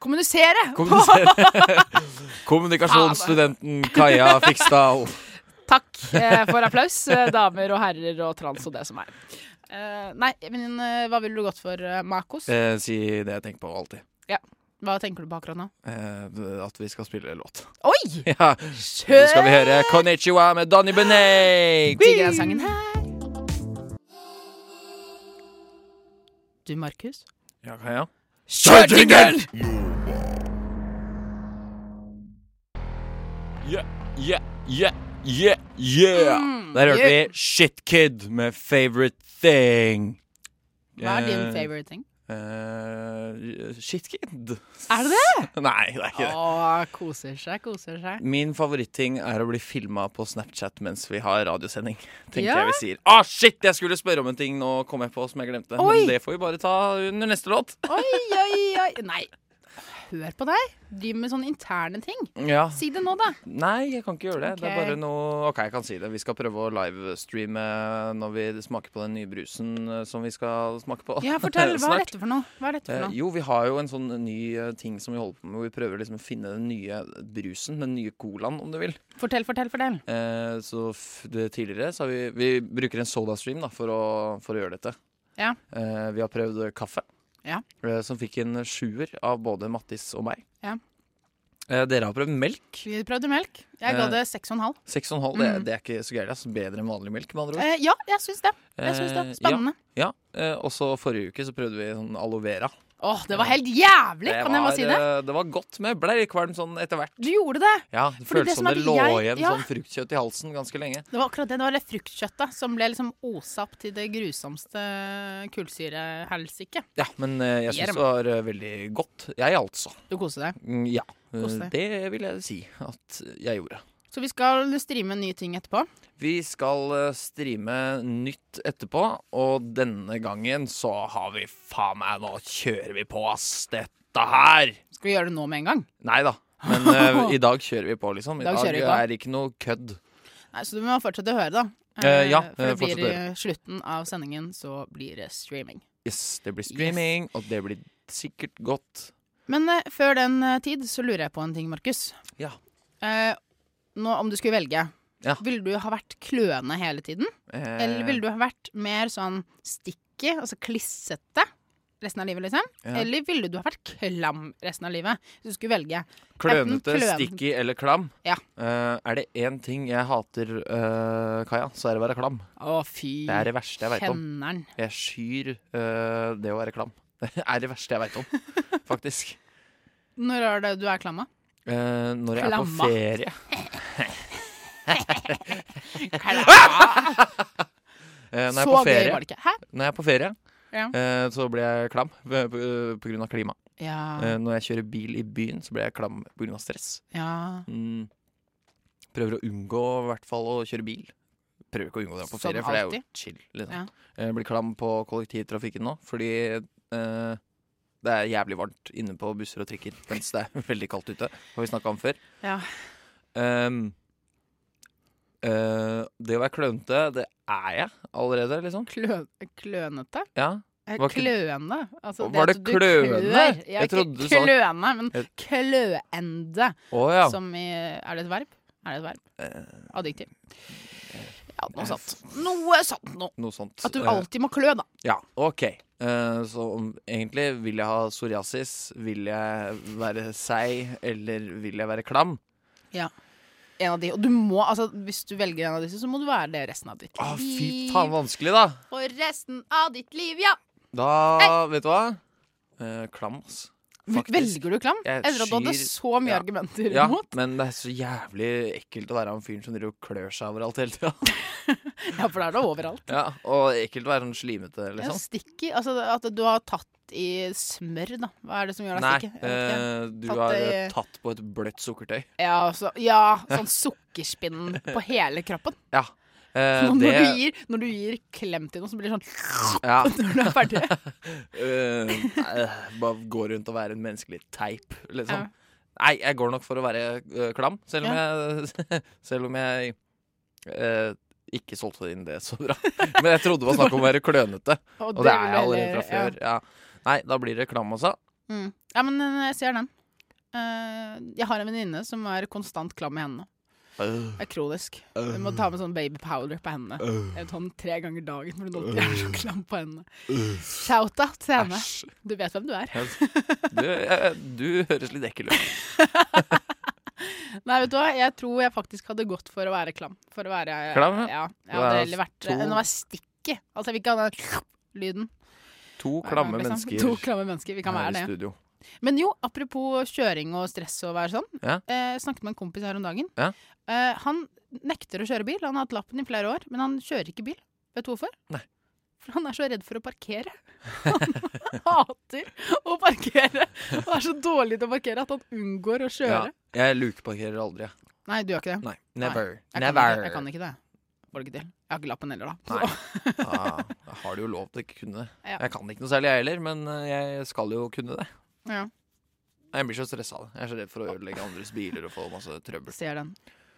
[SPEAKER 1] kommunisere!
[SPEAKER 3] *laughs* Kommunisere. Kommunikasjonsstudenten Kaja *laughs* Fikstad.
[SPEAKER 1] Takk eh, for applaus, eh, damer og herrer og trans og det som er. Eh, nei, men eh, hva ville du gått for, eh, Makos?
[SPEAKER 3] Eh, si det jeg tenker på alltid.
[SPEAKER 1] Hva tenker du på akkurat nå?
[SPEAKER 3] Eh, at vi skal spille låt. *laughs*
[SPEAKER 1] Oi!
[SPEAKER 3] Ja, nå skal vi høre Konnichiwa med Donny Benet.
[SPEAKER 1] Digger den sangen her. Du, Markus.
[SPEAKER 3] Ja, Kaja.
[SPEAKER 1] Kjør jinglen!
[SPEAKER 3] Yeah, yeah, yeah, yeah, yeah.
[SPEAKER 1] Mm.
[SPEAKER 3] Der hørte vi Shit Kid med Favorite Thing.
[SPEAKER 1] Hva er din
[SPEAKER 3] Eh,
[SPEAKER 1] favorite thing?
[SPEAKER 3] eh, shit Kid?
[SPEAKER 1] Er det det?
[SPEAKER 3] *laughs* Nei, det er ikke det.
[SPEAKER 1] Å, koser seg, koser seg.
[SPEAKER 3] Min favoritting er å bli filma på Snapchat mens vi har radiosending. Tenker
[SPEAKER 1] Ja.
[SPEAKER 3] jeg vi sier Ah, shit! Jeg skulle spørre om en ting, nå kom jeg på som jeg glemte.
[SPEAKER 1] Oi.
[SPEAKER 3] Men det får vi bare ta under neste låt.
[SPEAKER 1] Oi, oi, oi. Nei, hør på deg. Driv med sånne interne ting.
[SPEAKER 3] Ja.
[SPEAKER 1] Si det nå, da.
[SPEAKER 3] Nei, jeg kan ikke gjøre det. Det er
[SPEAKER 1] Ok.
[SPEAKER 3] bare noe OK, jeg kan si det. Vi skal prøve å livestreame når vi smaker på den nye brusen eh, som vi skal smake på.
[SPEAKER 1] Ja,
[SPEAKER 3] *laughs*
[SPEAKER 1] fortell. Hva er
[SPEAKER 3] snart.
[SPEAKER 1] dette for noe? Hva er dette
[SPEAKER 3] Eh,
[SPEAKER 1] for noe?
[SPEAKER 3] jo, vi har jo en sånn ny eh, ting som vi holder på med, hvor vi prøver liksom å finne den nye brusen, den nye colaen, om du vil.
[SPEAKER 1] Fortell, fortell, fortell.
[SPEAKER 3] Eh, så f det tidligere så har vi Vi bruker en sodastream da, for, å, for å gjøre dette.
[SPEAKER 1] Ja.
[SPEAKER 3] Eh, vi har prøvd kaffe,
[SPEAKER 1] Ja.
[SPEAKER 3] eh, som fikk en sjuer av både Mattis og meg.
[SPEAKER 1] Ja.
[SPEAKER 3] Eh, dere har prøvd melk.
[SPEAKER 1] Vi prøvde melk. Jeg ga
[SPEAKER 3] Eh.
[SPEAKER 1] det seks og en halv.
[SPEAKER 3] Seks og en halv, det,
[SPEAKER 1] Mm.
[SPEAKER 3] det er ikke så gærent. ass. Bedre enn vanlig melk, med andre ord.
[SPEAKER 1] Eh, ja, jeg syns det. Jeg syns det.
[SPEAKER 3] Eh,
[SPEAKER 1] Spennende.
[SPEAKER 3] Ja, ja. Eh, Og så forrige uke så prøvde vi sånn aloe vera.
[SPEAKER 1] Åh, det var helt jævlig, kan jeg
[SPEAKER 3] var,
[SPEAKER 1] bare si det?
[SPEAKER 3] eh, det var godt, men jeg ble litt kvalm sånn etter hvert.
[SPEAKER 1] Du gjorde det.
[SPEAKER 3] Ja,
[SPEAKER 1] Fordi det
[SPEAKER 3] det føltes
[SPEAKER 1] som
[SPEAKER 3] som det
[SPEAKER 1] er-
[SPEAKER 3] lå
[SPEAKER 1] jeg-
[SPEAKER 3] igjen
[SPEAKER 1] ja.
[SPEAKER 3] sånn fruktkjøtt i halsen ganske lenge.
[SPEAKER 1] Det var akkurat det. Det var det fruktkjøttet som ble liksom osa opp til det grusomste kullsyrehelsike.
[SPEAKER 3] Ja, men eh, jeg syns
[SPEAKER 1] Jerm.
[SPEAKER 3] det var eh, veldig godt. Jeg, altså.
[SPEAKER 1] Du koser deg.
[SPEAKER 3] Mm, Ja. Eh,
[SPEAKER 1] Kos deg.
[SPEAKER 3] Det vil jeg si at jeg gjorde.
[SPEAKER 1] Så vi skal streame en ny ting etterpå.
[SPEAKER 3] Vi skal eh, streame nytt etterpå, og denne gangen så har vi faen meg Nå kjører vi på, ass! Dette her!
[SPEAKER 1] Skal vi gjøre det nå med en gang?
[SPEAKER 3] Nei da. Men
[SPEAKER 1] *laughs*
[SPEAKER 3] eh, i dag kjører vi på, liksom. I
[SPEAKER 1] Dag
[SPEAKER 3] dag,
[SPEAKER 1] kjører vi på.
[SPEAKER 3] er det ikke noe kødd.
[SPEAKER 1] Nei, Så du må fortsette å høre, da.
[SPEAKER 3] Eh, ja,
[SPEAKER 1] for
[SPEAKER 3] eh,
[SPEAKER 1] det blir
[SPEAKER 3] fortsett å
[SPEAKER 1] i slutten av sendingen, så blir det streaming.
[SPEAKER 3] Yes, det blir streaming, og det blir sikkert godt.
[SPEAKER 1] Men eh, før den eh, tid så lurer jeg på en ting, Markus.
[SPEAKER 3] Ja.
[SPEAKER 1] Eh, nå, om du skulle velge,
[SPEAKER 3] Ja.
[SPEAKER 1] ville du ha vært kløne hele tiden?
[SPEAKER 3] Eh,
[SPEAKER 1] Eller ville du ha vært mer sånn sticky, altså klissete, resten av livet, liksom?
[SPEAKER 3] Ja.
[SPEAKER 1] Eller ville du ha vært klam resten av livet? Hvis du skulle velge.
[SPEAKER 3] Klønete,
[SPEAKER 1] Enten kløn-
[SPEAKER 3] sticky eller klam.
[SPEAKER 1] Ja.
[SPEAKER 3] Eh, er det én ting jeg hater, eh, Kaja, så er det å være klam.
[SPEAKER 1] Å, fy
[SPEAKER 3] Det er det verste jeg veit om.
[SPEAKER 1] kjenneren.
[SPEAKER 3] Jeg skyr eh, det å være klam. *laughs* Det er det verste jeg
[SPEAKER 1] *laughs*
[SPEAKER 3] veit om, faktisk.
[SPEAKER 1] Når er det du er
[SPEAKER 3] *laughs*
[SPEAKER 1] klamma?
[SPEAKER 3] Eh, når jeg er
[SPEAKER 1] Klamma.
[SPEAKER 3] på ferie. Eh, når, jeg er på
[SPEAKER 1] Ah, Så gøy
[SPEAKER 3] ferie
[SPEAKER 1] var det ikke. Hæ?
[SPEAKER 3] når jeg er på ferie,
[SPEAKER 1] Ja.
[SPEAKER 3] eh, så blir jeg klam eh, pga. klima.
[SPEAKER 1] Ja.
[SPEAKER 3] Eh, når jeg kjører bil i byen, så blir jeg klam pga. stress.
[SPEAKER 1] ja.
[SPEAKER 3] Mm. Prøver å unngå i hvert fall å kjøre bil. Prøver ikke å unngå det
[SPEAKER 1] Som
[SPEAKER 3] på ferie, for det er jo
[SPEAKER 1] alltid.
[SPEAKER 3] chill. Liksom.
[SPEAKER 1] Ja.
[SPEAKER 3] Eh, blir klam på kollektivtrafikken nå, fordi eh, det er jævlig varmt inne på busser og trikker, mens det er *laughs* veldig kaldt ute. Har vi snakka om før.
[SPEAKER 1] Ja.
[SPEAKER 3] Ehm, eh, det å være klønete, det er jeg allerede, liksom.
[SPEAKER 1] Klø klønete?
[SPEAKER 3] Ja.
[SPEAKER 1] Eh,
[SPEAKER 3] Var ikke-
[SPEAKER 1] Kløende? Altså,
[SPEAKER 3] Var
[SPEAKER 1] at
[SPEAKER 3] det
[SPEAKER 1] du
[SPEAKER 3] kløende?
[SPEAKER 1] klør. Ja,
[SPEAKER 3] Jeg
[SPEAKER 1] ikke
[SPEAKER 3] trodde du sa-
[SPEAKER 1] kløende, men
[SPEAKER 3] Jeg-
[SPEAKER 1] kløende.
[SPEAKER 3] Å ja.
[SPEAKER 1] Som i Er det et verb? Er det et verb?
[SPEAKER 3] Eh,
[SPEAKER 1] Adjektiv. Ja, noe
[SPEAKER 3] eh,
[SPEAKER 1] sant. Noe sant nå.
[SPEAKER 3] noe sånt.
[SPEAKER 1] At du
[SPEAKER 3] Eh,
[SPEAKER 1] alltid må klø, da.
[SPEAKER 3] Ja, ok. Eh, så om, egentlig vil jeg ha psoriasis, vil jeg være seig, eller vil jeg være klam?
[SPEAKER 1] En av de. Og du må, altså, hvis du velger en av disse, så må du være det resten av ditt liv.
[SPEAKER 3] Å, fy faen, vanskelig, da!
[SPEAKER 1] For resten av ditt liv, ja!
[SPEAKER 3] Da, vet du hva? Eh, klam, ass. Faktisk.
[SPEAKER 1] Velger du klam?
[SPEAKER 3] Jeg
[SPEAKER 1] Etter at du hadde
[SPEAKER 3] skyr-
[SPEAKER 1] så mye
[SPEAKER 3] Ja.
[SPEAKER 1] argumenter
[SPEAKER 3] Ja,
[SPEAKER 1] imot.
[SPEAKER 3] men det er så jævlig ekkelt å være han fyren som driver og klør seg overalt hele tida. *laughs*
[SPEAKER 1] Ja, for da er det overalt.
[SPEAKER 3] Ja, og ekkelt å være sånn slimete,
[SPEAKER 1] Ja,
[SPEAKER 3] liksom.
[SPEAKER 1] sticky. Altså at du har tatt tatt i smør, da? Hva er det som gjør deg
[SPEAKER 3] Nei,
[SPEAKER 1] sikker? Jeg vet ikke.
[SPEAKER 3] eh, du
[SPEAKER 1] Tatt
[SPEAKER 3] har
[SPEAKER 1] det i-
[SPEAKER 3] eh, tatt på et bløtt sukkertøy.
[SPEAKER 1] Ja, så, ja, sånn sukkerspinn på hele kroppen.
[SPEAKER 3] Ja. *laughs* eh,
[SPEAKER 1] Når,
[SPEAKER 3] det
[SPEAKER 1] du gir, når du gir klem til noen, så blir det sånn *laughs*
[SPEAKER 3] ja,
[SPEAKER 1] når du er ferdig.
[SPEAKER 3] eh, eh, Bare gå rundt og være en menneskelig teip,
[SPEAKER 1] Ja.
[SPEAKER 3] liksom. Nei, jeg går nok for å være eh, klam, selv om jeg, *laughs* selv om jeg eh, ikke solgte inn det så bra. Men jeg trodde det var snakk om å være klønete, *laughs*
[SPEAKER 1] *laughs*
[SPEAKER 3] og det er jeg
[SPEAKER 1] vil
[SPEAKER 3] allerede
[SPEAKER 1] heller-
[SPEAKER 3] fra før. Ja. Nei, da blir det klam også.
[SPEAKER 1] Ja, mm. ja men eh, jeg ser den. Eh, jeg har en venninne som er konstant klam i hendene. Det er kronisk. Du må ta med sånn baby powder på hendene. Jeg tar den tre ganger dagen, for hun alltid er så klam på hendene. Shout-out til henne.
[SPEAKER 3] Æsj.
[SPEAKER 1] Du vet hvem du er.
[SPEAKER 3] Du, eh, du høres litt ekkel ut.
[SPEAKER 1] Nei, vet du hva? Jeg tror jeg faktisk hadde gått for å være klam. For å være
[SPEAKER 3] Klam,
[SPEAKER 1] Ja. Jeg
[SPEAKER 3] Du er
[SPEAKER 1] hadde heller vært
[SPEAKER 3] to-
[SPEAKER 1] enn å være sticky. Altså, jeg vil ikke ha den lyden.
[SPEAKER 3] To
[SPEAKER 1] hver
[SPEAKER 3] klamme
[SPEAKER 1] gang, liksom.
[SPEAKER 3] mennesker
[SPEAKER 1] To klamme mennesker. Vi kan
[SPEAKER 3] her
[SPEAKER 1] være
[SPEAKER 3] i
[SPEAKER 1] det.
[SPEAKER 3] studio.
[SPEAKER 1] Men jo, apropos kjøring og stress og være sånn.
[SPEAKER 3] Ja.
[SPEAKER 1] Eh, snakket med en kompis her om dagen.
[SPEAKER 3] Ja.
[SPEAKER 1] Eh, han nekter å kjøre bil. Han har hatt lappen i flere år, men han kjører ikke bil. Vet du hvorfor?
[SPEAKER 3] Nei.
[SPEAKER 1] For han er så redd for å parkere. Han *laughs* hater å parkere. Han er så dårlig til å parkere at han unngår å kjøre.
[SPEAKER 3] Ja, jeg lukeparkerer aldri, jeg.
[SPEAKER 1] Nei, du gjør ikke det.
[SPEAKER 3] Nei. Never.
[SPEAKER 1] Jeg kan,
[SPEAKER 3] Never.
[SPEAKER 1] ikke, jeg kan ikke det. Får det ikke til. Jeg har ikke lappen heller, da.
[SPEAKER 3] Nei. Ah, jeg har det jo lov til å ikke kunne det.
[SPEAKER 1] Ja.
[SPEAKER 3] Jeg kan ikke noe særlig, jeg heller, men eh, jeg skal jo kunne det.
[SPEAKER 1] Ja,
[SPEAKER 3] Jeg blir så stressa av det. Jeg er så redd for å ødelegge andres biler og få masse trøbbel.
[SPEAKER 1] ser den.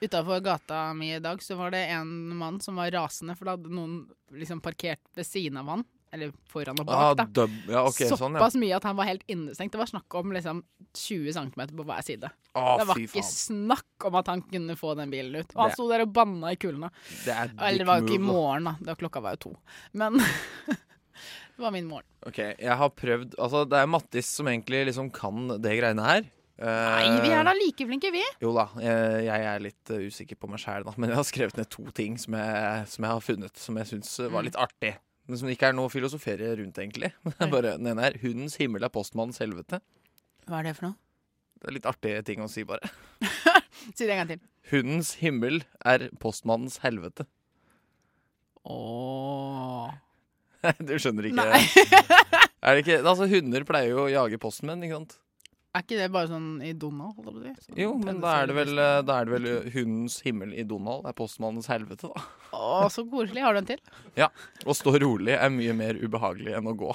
[SPEAKER 1] Utafor gata mi i dag så var det en mann som var rasende, for da hadde noen liksom parkert ved siden av han. Eller foran og
[SPEAKER 3] Ah,
[SPEAKER 1] bak, da.
[SPEAKER 3] dub ja, ok, sånn, ja.
[SPEAKER 1] Såpass mye at han var helt innestengt. Det var snakk om liksom 20 cm på hver side.
[SPEAKER 3] Ah,
[SPEAKER 1] det var
[SPEAKER 3] fy
[SPEAKER 1] ikke
[SPEAKER 3] faen.
[SPEAKER 1] snakk om at han kunne få den bilen ut. Og han
[SPEAKER 3] Det-
[SPEAKER 1] sto der og banna i kulene.
[SPEAKER 3] Det er dick
[SPEAKER 1] Eller det var jo ikke i
[SPEAKER 3] move, da.
[SPEAKER 1] morgen, da. Det var- klokka var jo to. Men *laughs* det var min morgen.
[SPEAKER 3] Ok, jeg har prøvd Altså, det er Mattis som egentlig liksom kan det greiene her. Eh,
[SPEAKER 1] Nei, vi er
[SPEAKER 3] da
[SPEAKER 1] da like flinke, vi.
[SPEAKER 3] Jo da, jeg, jeg er litt eh, usikker på meg sjæl, da. *laughs* Men jeg har skrevet ned to ting som jeg, som jeg har funnet, som jeg syns eh, var litt artig. Men som det ikke er noe å filosofere rundt, egentlig. *laughs*
[SPEAKER 1] Nei.
[SPEAKER 3] Bare, den ene er 'Hundens himmel er postmannens helvete'.
[SPEAKER 1] Hva er det for noe?
[SPEAKER 3] Det er litt artige ting å si, bare. *laughs*
[SPEAKER 1] Si det en gang til.
[SPEAKER 3] Hundens himmel er postmannens helvete. *laughs*
[SPEAKER 1] Åh.
[SPEAKER 3] Du skjønner ikke
[SPEAKER 1] Nei.
[SPEAKER 3] *laughs* Er det ikke? Altså, hunder pleier jo å jage postmenn, ikke sant?
[SPEAKER 1] Er ikke det bare sånn i Donald? holdt jeg på å si? Sånn
[SPEAKER 3] Jo, men da er det vel, eh, da er det vel eh, hundens himmel i Donald er postmannens helvete, da. *laughs*
[SPEAKER 1] Å, så koselig. Har du en til?
[SPEAKER 3] Å stå rolig er mye mer ubehagelig enn å gå.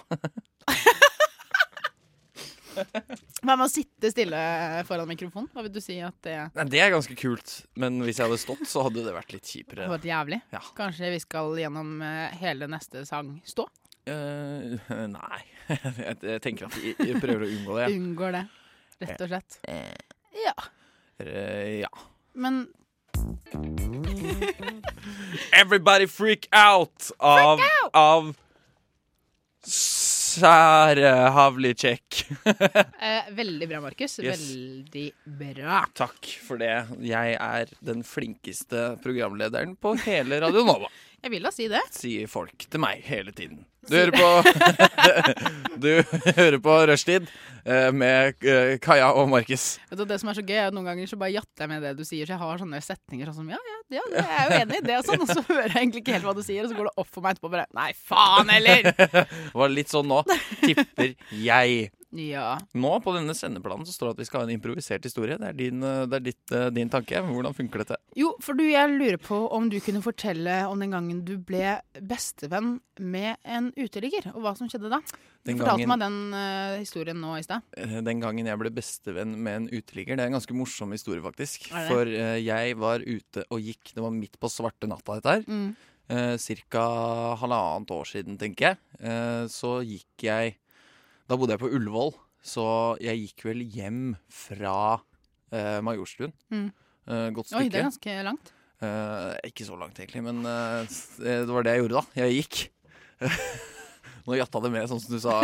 [SPEAKER 1] Hva med å sitte stille foran mikrofonen? Hva vil du si at det
[SPEAKER 3] Nei, det er ganske kult, men hvis jeg hadde stått, så hadde det vært litt kjipere.
[SPEAKER 1] har vært jævlig?
[SPEAKER 3] Ja.
[SPEAKER 1] Kanskje vi skal gjennom eh, hele neste sang stå?
[SPEAKER 3] Eh, nei. *laughs* Jeg, jeg tenker at jeg, jeg prøver å unngå
[SPEAKER 1] *laughs*
[SPEAKER 3] det. jeg.
[SPEAKER 1] Unngår det, rett og slett. Eh. Ja.
[SPEAKER 3] Eh, ja.
[SPEAKER 1] Men
[SPEAKER 3] Everybody freak out av, av Sære Havlicek.
[SPEAKER 1] eh, veldig bra, Markus.
[SPEAKER 3] Yes.
[SPEAKER 1] Veldig bra.
[SPEAKER 3] Takk for det. Jeg er den flinkeste programlederen på hele Radio Nova,
[SPEAKER 1] Jeg vil da si det.
[SPEAKER 3] sier folk til meg hele tiden. Du hører på, *laughs* du hører på Rushtid eh, med eh, Kaja og Markus.
[SPEAKER 1] Vet du, det som er så gøy, er at noen ganger så bare jatter jeg med det du sier. Så jeg har sånne setninger sånn som ja, ja, ja det er jeg jo enig i det, og sånn. Og så *laughs* hører jeg egentlig ikke helt hva du sier, og så går det opp for meg etterpå bare Nei, faen heller!
[SPEAKER 3] *laughs* Det var litt sånn nå. Tipper jeg.
[SPEAKER 1] Ja.
[SPEAKER 3] Nå på denne sendeplanen så står det at vi skal ha en improvisert historie. Det er din, eh, det er ditt, eh, din tanke. Hvordan funker dette?
[SPEAKER 1] Jo, for du, jeg lurer på om du kunne fortelle om den gangen du ble bestevenn med en uteligger, og hva som skjedde da. Du
[SPEAKER 3] Den
[SPEAKER 1] fortalte
[SPEAKER 3] gangen-
[SPEAKER 1] meg den eh, historien nå i sted.
[SPEAKER 3] Eh, Den gangen jeg ble bestevenn med en uteligger. Det er en ganske morsom historie, faktisk.
[SPEAKER 1] Er det?
[SPEAKER 3] For eh, jeg var ute og gikk, det var midt på svarte natta, dette her.
[SPEAKER 1] Mm.
[SPEAKER 3] Eh, cirka halvannet år siden, tenker jeg. Eh, så gikk jeg Da bodde jeg på Ullevål, så jeg gikk vel hjem fra eh, Majorstuen.
[SPEAKER 1] Mm.
[SPEAKER 3] Eh, godt stykke.
[SPEAKER 1] Oi, det er ganske langt.
[SPEAKER 3] Eh, ikke så langt, egentlig, men eh, s- eh, det var det jeg gjorde da. Jeg gikk. *laughs* Nå jatta det med, sånn som du sa.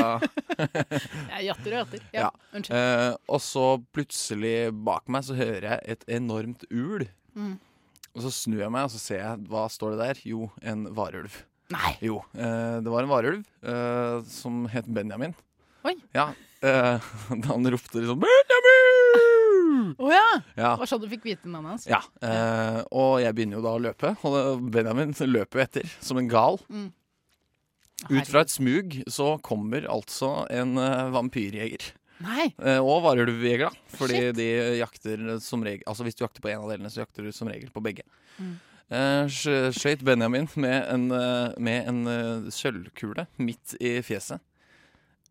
[SPEAKER 1] *laughs* Jeg jatter og jatter. Ja,
[SPEAKER 3] Ja.
[SPEAKER 1] Unnskyld.
[SPEAKER 3] Eh, og så plutselig bak meg så hører jeg et enormt ul.
[SPEAKER 1] Mm.
[SPEAKER 3] Og så snur jeg meg og så ser jeg, hva står det der? Jo, en varulv.
[SPEAKER 1] Nei!
[SPEAKER 3] Jo, eh, det var en varulv eh, som het Benjamin.
[SPEAKER 1] Oi.
[SPEAKER 3] Ja, eh, *laughs* da han ropte liksom Benjamin!
[SPEAKER 1] Å ja!
[SPEAKER 3] Ja,
[SPEAKER 1] Det var sånn du fikk vite navnet hans.
[SPEAKER 3] ja. eh, og jeg begynner jo da å løpe, og Benjamin løper jo etter som en gal.
[SPEAKER 1] Mm.
[SPEAKER 3] Ut fra et smug så kommer altså en eh, vampyrjeger.
[SPEAKER 1] Nei!
[SPEAKER 3] Eh, og varulvjeger, da. Fordi
[SPEAKER 1] Shit.
[SPEAKER 3] de jakter som regel Altså hvis du jakter på en av delene, så jakter du som regel på begge.
[SPEAKER 1] Mm.
[SPEAKER 3] Eh, skj- skjøt Benjamin med en, eh, med en eh, sølvkule midt i fjeset.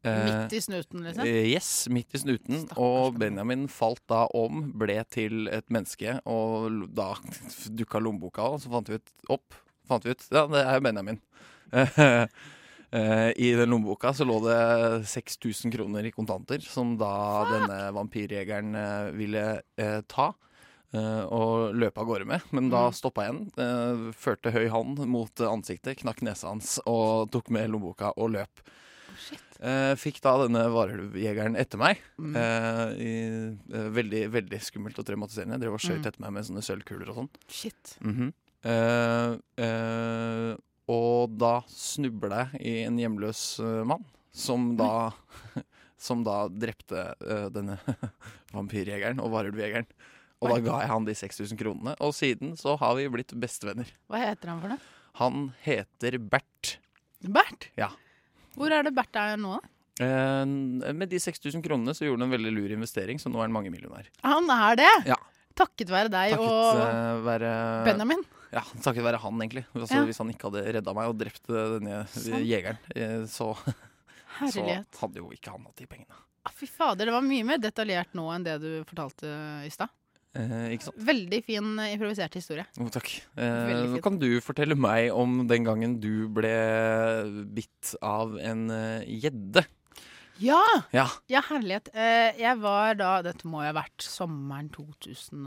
[SPEAKER 1] Midt i snuten, liksom.
[SPEAKER 3] Eh, Yes, midt i snuten.
[SPEAKER 1] Stakkars
[SPEAKER 3] Og
[SPEAKER 1] Benjamin.
[SPEAKER 3] Benjamin falt da om, ble til et menneske, og l- da *laughs* dukka lommeboka av, og så fant vi ut opp. Fant vi ut, Ja, det er jo Benjamin. *laughs* Eh, eh, I den lommeboka så lå det 6000 kroner i kontanter, som da denne vampyrjegeren eh, ville eh, ta. eh, og løpe av gårde med, men da
[SPEAKER 1] Mm.
[SPEAKER 3] stoppa jeg den. eh, førte høy hånd mot eh, ansiktet, knakk nesa hans og tok med lommeboka og løp.
[SPEAKER 1] Oh, Shit.
[SPEAKER 3] Eh, fikk da denne varulvjegeren etter meg.
[SPEAKER 1] Mm.
[SPEAKER 3] Eh, i, eh, veldig, veldig skummelt og traumatiserende. Drev og skjøt
[SPEAKER 1] Mm.
[SPEAKER 3] etter meg med sånne sølvkuler og sånn.
[SPEAKER 1] Shit.
[SPEAKER 3] eh, eh, og da snubla jeg i en hjemløs eh, mann, som da *laughs* Som da drepte eh, denne *laughs* vampyrjegeren og varulvjegeren. Og da
[SPEAKER 1] Oi.
[SPEAKER 3] ga jeg han de 6000 kronene, og siden så har vi blitt bestevenner.
[SPEAKER 1] Hva heter han for noe?
[SPEAKER 3] Han heter Bert.
[SPEAKER 1] Bert?
[SPEAKER 3] Ja.
[SPEAKER 1] Hvor er det Bert er nå, da?
[SPEAKER 3] Eh, med de 6000 kronene så gjorde han en veldig lur investering, så nå er han mangemillionær.
[SPEAKER 1] Han er det!
[SPEAKER 3] Ja.
[SPEAKER 1] Takket være deg
[SPEAKER 3] Takket
[SPEAKER 1] og
[SPEAKER 3] eh, være
[SPEAKER 1] Benjamin.
[SPEAKER 3] Ja, takket være han, egentlig.
[SPEAKER 1] Ja.
[SPEAKER 3] Altså,
[SPEAKER 1] Sånn.
[SPEAKER 3] Hvis han ikke hadde redda meg og drept eh, denne
[SPEAKER 1] Sant.
[SPEAKER 3] jegeren, eh, så, så
[SPEAKER 1] Herlighet.
[SPEAKER 3] hadde jo ikke han hatt de pengene.
[SPEAKER 1] Ah, Fy fader, det var mye mer detaljert nå enn det du fortalte i stad.
[SPEAKER 3] Eh, ikke sant?
[SPEAKER 1] Veldig fin eh, improvisert historie.
[SPEAKER 3] Jo, takk.
[SPEAKER 1] Veldig
[SPEAKER 3] Eh,
[SPEAKER 1] fint.
[SPEAKER 3] kan du fortelle meg om den gangen du ble bitt av en eh, gjedde?
[SPEAKER 1] Ja!
[SPEAKER 3] ja.
[SPEAKER 1] Ja, herlighet. Eh, Jeg var da Dette må jo ha vært sommeren 2010,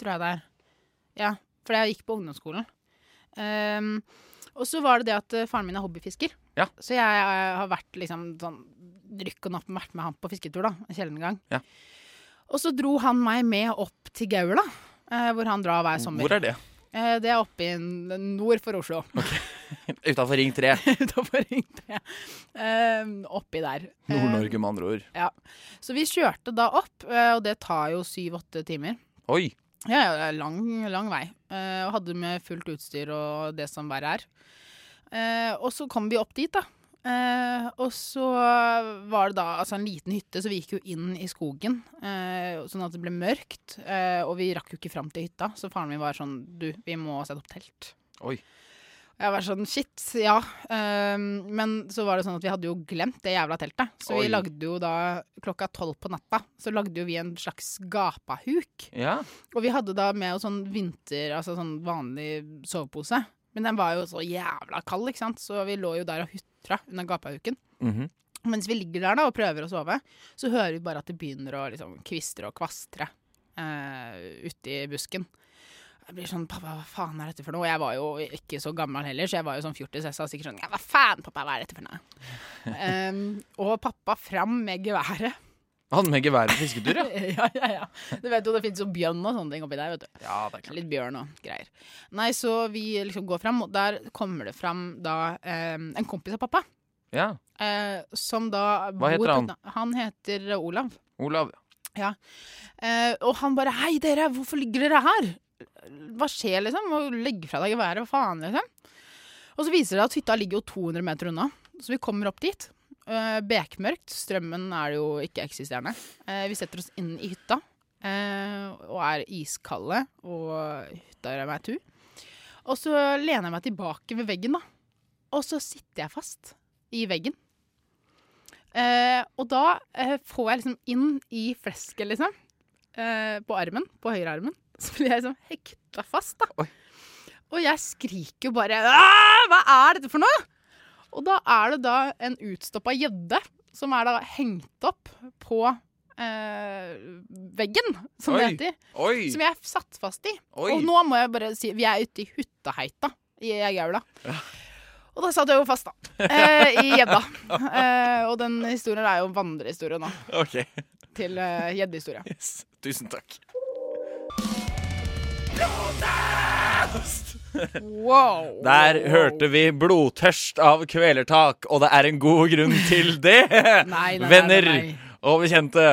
[SPEAKER 1] tror jeg det er. Ja, for jeg gikk på ungdomsskolen. Ehm, og så var det det at eh, faren min er hobbyfisker.
[SPEAKER 3] Ja.
[SPEAKER 1] Så jeg eh, har vært liksom sånn rykk og napp vært med han på fisketur, da. En sjelden gang.
[SPEAKER 3] Ja.
[SPEAKER 1] Og så dro han meg med opp til Gaula, eh, hvor han drar hver sommer.
[SPEAKER 3] Hvor er det? *laughs*
[SPEAKER 1] Eh, Det er oppe i n- nord for Oslo.
[SPEAKER 3] Utafor Ring 3.
[SPEAKER 1] Eh. *laughs* Utafor Ring 3. Ehm, oppi der. Ehm,
[SPEAKER 3] Nord-Norge, med andre ord.
[SPEAKER 1] så vi kjørte da opp, eh, og det tar jo syv-åtte timer.
[SPEAKER 3] Oi!
[SPEAKER 1] Ja, ja, det er lang, lang vei. Eh, Og hadde med fullt utstyr og det som verre er. Eh, Og så kom vi opp dit, da. Eh, og så var det da altså en liten hytte, så vi gikk jo inn i skogen. Eh, sånn at det ble mørkt. Eh, og vi rakk jo ikke fram til hytta, så faren min var sånn Du, vi må sette opp telt.
[SPEAKER 3] Oi.
[SPEAKER 1] Og Jeg var sånn, shit, ja. Ehm, men så var det sånn at vi hadde jo glemt det jævla teltet. Så
[SPEAKER 3] Oi.
[SPEAKER 1] vi lagde jo da klokka tolv på natta, så lagde jo vi en slags gapahuk.
[SPEAKER 3] Ja.
[SPEAKER 1] Og vi hadde da med oss sånn vinter, altså sånn vanlig sovepose. Men den var jo så jævla kald, ikke sant. Så vi lå jo der og hutra under gapahuken.
[SPEAKER 3] Mhm.
[SPEAKER 1] Mens vi ligger der da og prøver å sove, så hører vi bare at det begynner å liksom, kvistre og kvastre eh, ute i busken. Jeg blir sånn Pappa, hva faen er dette for noe? Og jeg var jo ikke så gammel heller, så jeg var jo sånn fjortis. Jeg sa sikkert sånn Ja, hva faen, pappa, hva er dette for noe? Em, og pappa fram med geværet.
[SPEAKER 3] Han med gevær på fisketur, ja.
[SPEAKER 1] *laughs* ja, ja, ja. Du vet jo, det fins jo bjørn og sånne ting oppi der, vet du.
[SPEAKER 3] ja det er klart.
[SPEAKER 1] Litt bjørn og greier. Nei, så vi liksom går fram, og der kommer det fram da em, en kompis av pappa.
[SPEAKER 3] Ja.
[SPEAKER 1] Eh, som da bor
[SPEAKER 3] heter
[SPEAKER 1] på
[SPEAKER 3] han?
[SPEAKER 1] et- Han heter eh, Olav.
[SPEAKER 3] Olav.
[SPEAKER 1] Eh, og han bare 'Hei, dere, hvorfor ligger dere her?' Hva skjer, liksom? Og legg fra deg geværet, hva faen, liksom? Og så viser det at hytta ligger jo 200 meter unna, så vi kommer opp dit. Eh, bekmørkt. Strømmen er det jo ikke-eksisterende. Eh, vi setter oss inn i hytta eh, og er iskalde, og hytta gjør meg tu. Og så lener jeg meg tilbake ved veggen, da. Og så sitter jeg fast i veggen. Eh, og da eh, får jeg liksom inn i flesket, liksom eh, på armen, på høyrearmen, *laughs* så ble jeg liksom hekta fast, da.
[SPEAKER 3] Oi.
[SPEAKER 1] Og jeg skriker jo bare «Åh, Hva er dette for noe?! Og da er det da en utstoppa gjedde som er da hengt opp på eh, veggen, som det
[SPEAKER 3] Oi.
[SPEAKER 1] heter.
[SPEAKER 3] Oi!
[SPEAKER 1] Som jeg satt fast i.
[SPEAKER 3] Oi.
[SPEAKER 1] Og nå må jeg bare si Vi er ute i Huttaheita i Gaula. Og da satt jeg jo fast, da. Eh, I gjedda. Eh, og den historien er jo vandrehistorie nå.
[SPEAKER 3] Ok, *laughs*
[SPEAKER 1] Til eh, gjeddehistorie.
[SPEAKER 3] yes. Tusen takk.
[SPEAKER 1] Wow.
[SPEAKER 3] Der hørte vi 'Blodtørst av kvelertak', og det er en god grunn til det,
[SPEAKER 1] *laughs* Nei, nei, nei,
[SPEAKER 3] venner
[SPEAKER 1] nei, nei.
[SPEAKER 3] og bekjente.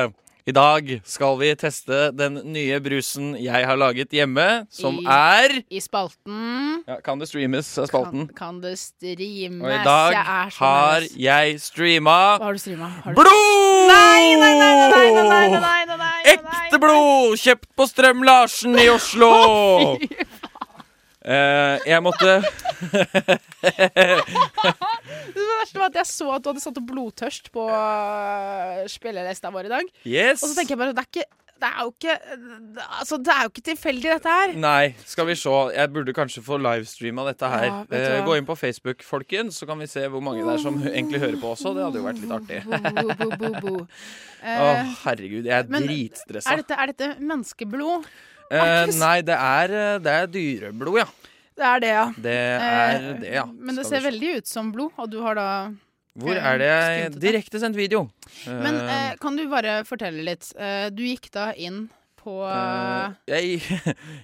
[SPEAKER 3] I dag skal vi teste den nye brusen jeg har laget hjemme, som
[SPEAKER 1] I-
[SPEAKER 3] er
[SPEAKER 1] I spalten
[SPEAKER 3] ja, Kan det streames, er spalten.
[SPEAKER 1] kan, kan det streames.
[SPEAKER 3] Og i dag
[SPEAKER 1] Jeg er så
[SPEAKER 3] har
[SPEAKER 1] nervøs.
[SPEAKER 3] jeg streama
[SPEAKER 1] Hva har du streama? Har du-
[SPEAKER 3] blod!
[SPEAKER 1] Nei, nei, nei, nei, nei, nei, nei, nei, nei, nei, nei,
[SPEAKER 3] Ekte blod! Kjøpt på Strøm-Larsen
[SPEAKER 1] *laughs*
[SPEAKER 3] i Oslo! Eh, jeg måtte
[SPEAKER 1] Det verste var at jeg så at du hadde satt opp blodtørst på øh, spillelista vår i dag. *laughs*
[SPEAKER 3] Yes!
[SPEAKER 1] Og så tenker jeg bare det er, ikke, det er jo ikke Altså, det er jo ikke tilfeldig, dette
[SPEAKER 3] *laughs*
[SPEAKER 1] her.
[SPEAKER 3] Nei, skal vi se. Jeg burde kanskje få livestreama dette her.
[SPEAKER 1] Ja, vet du
[SPEAKER 3] Eh,
[SPEAKER 1] hva?
[SPEAKER 3] gå inn på Facebook, folkens, så kan vi se hvor mange det er som hø- egentlig hører på også. Det hadde jo vært litt artig.
[SPEAKER 1] Bo, bo, bo, bo, bo.
[SPEAKER 3] Å,
[SPEAKER 1] Eh,
[SPEAKER 3] herregud. Jeg er
[SPEAKER 1] men
[SPEAKER 3] dritstressa.
[SPEAKER 1] er, dette, er dette menneskeblod?
[SPEAKER 3] Eh, nei, det er, eh, det er dyreblod, ja.
[SPEAKER 1] Det er det, ja.
[SPEAKER 3] Det
[SPEAKER 1] Eh,
[SPEAKER 3] er det, ja.
[SPEAKER 1] Men det
[SPEAKER 3] Skal
[SPEAKER 1] ser
[SPEAKER 3] vi se.
[SPEAKER 1] veldig ut som blod, og du har da
[SPEAKER 3] Hvor er det jeg
[SPEAKER 1] Skrimtet, da.
[SPEAKER 3] Direktesendt video.
[SPEAKER 1] Men
[SPEAKER 3] Eh,
[SPEAKER 1] eh, kan du bare fortelle litt? Eh, du gikk da inn på
[SPEAKER 3] Eh, jeg,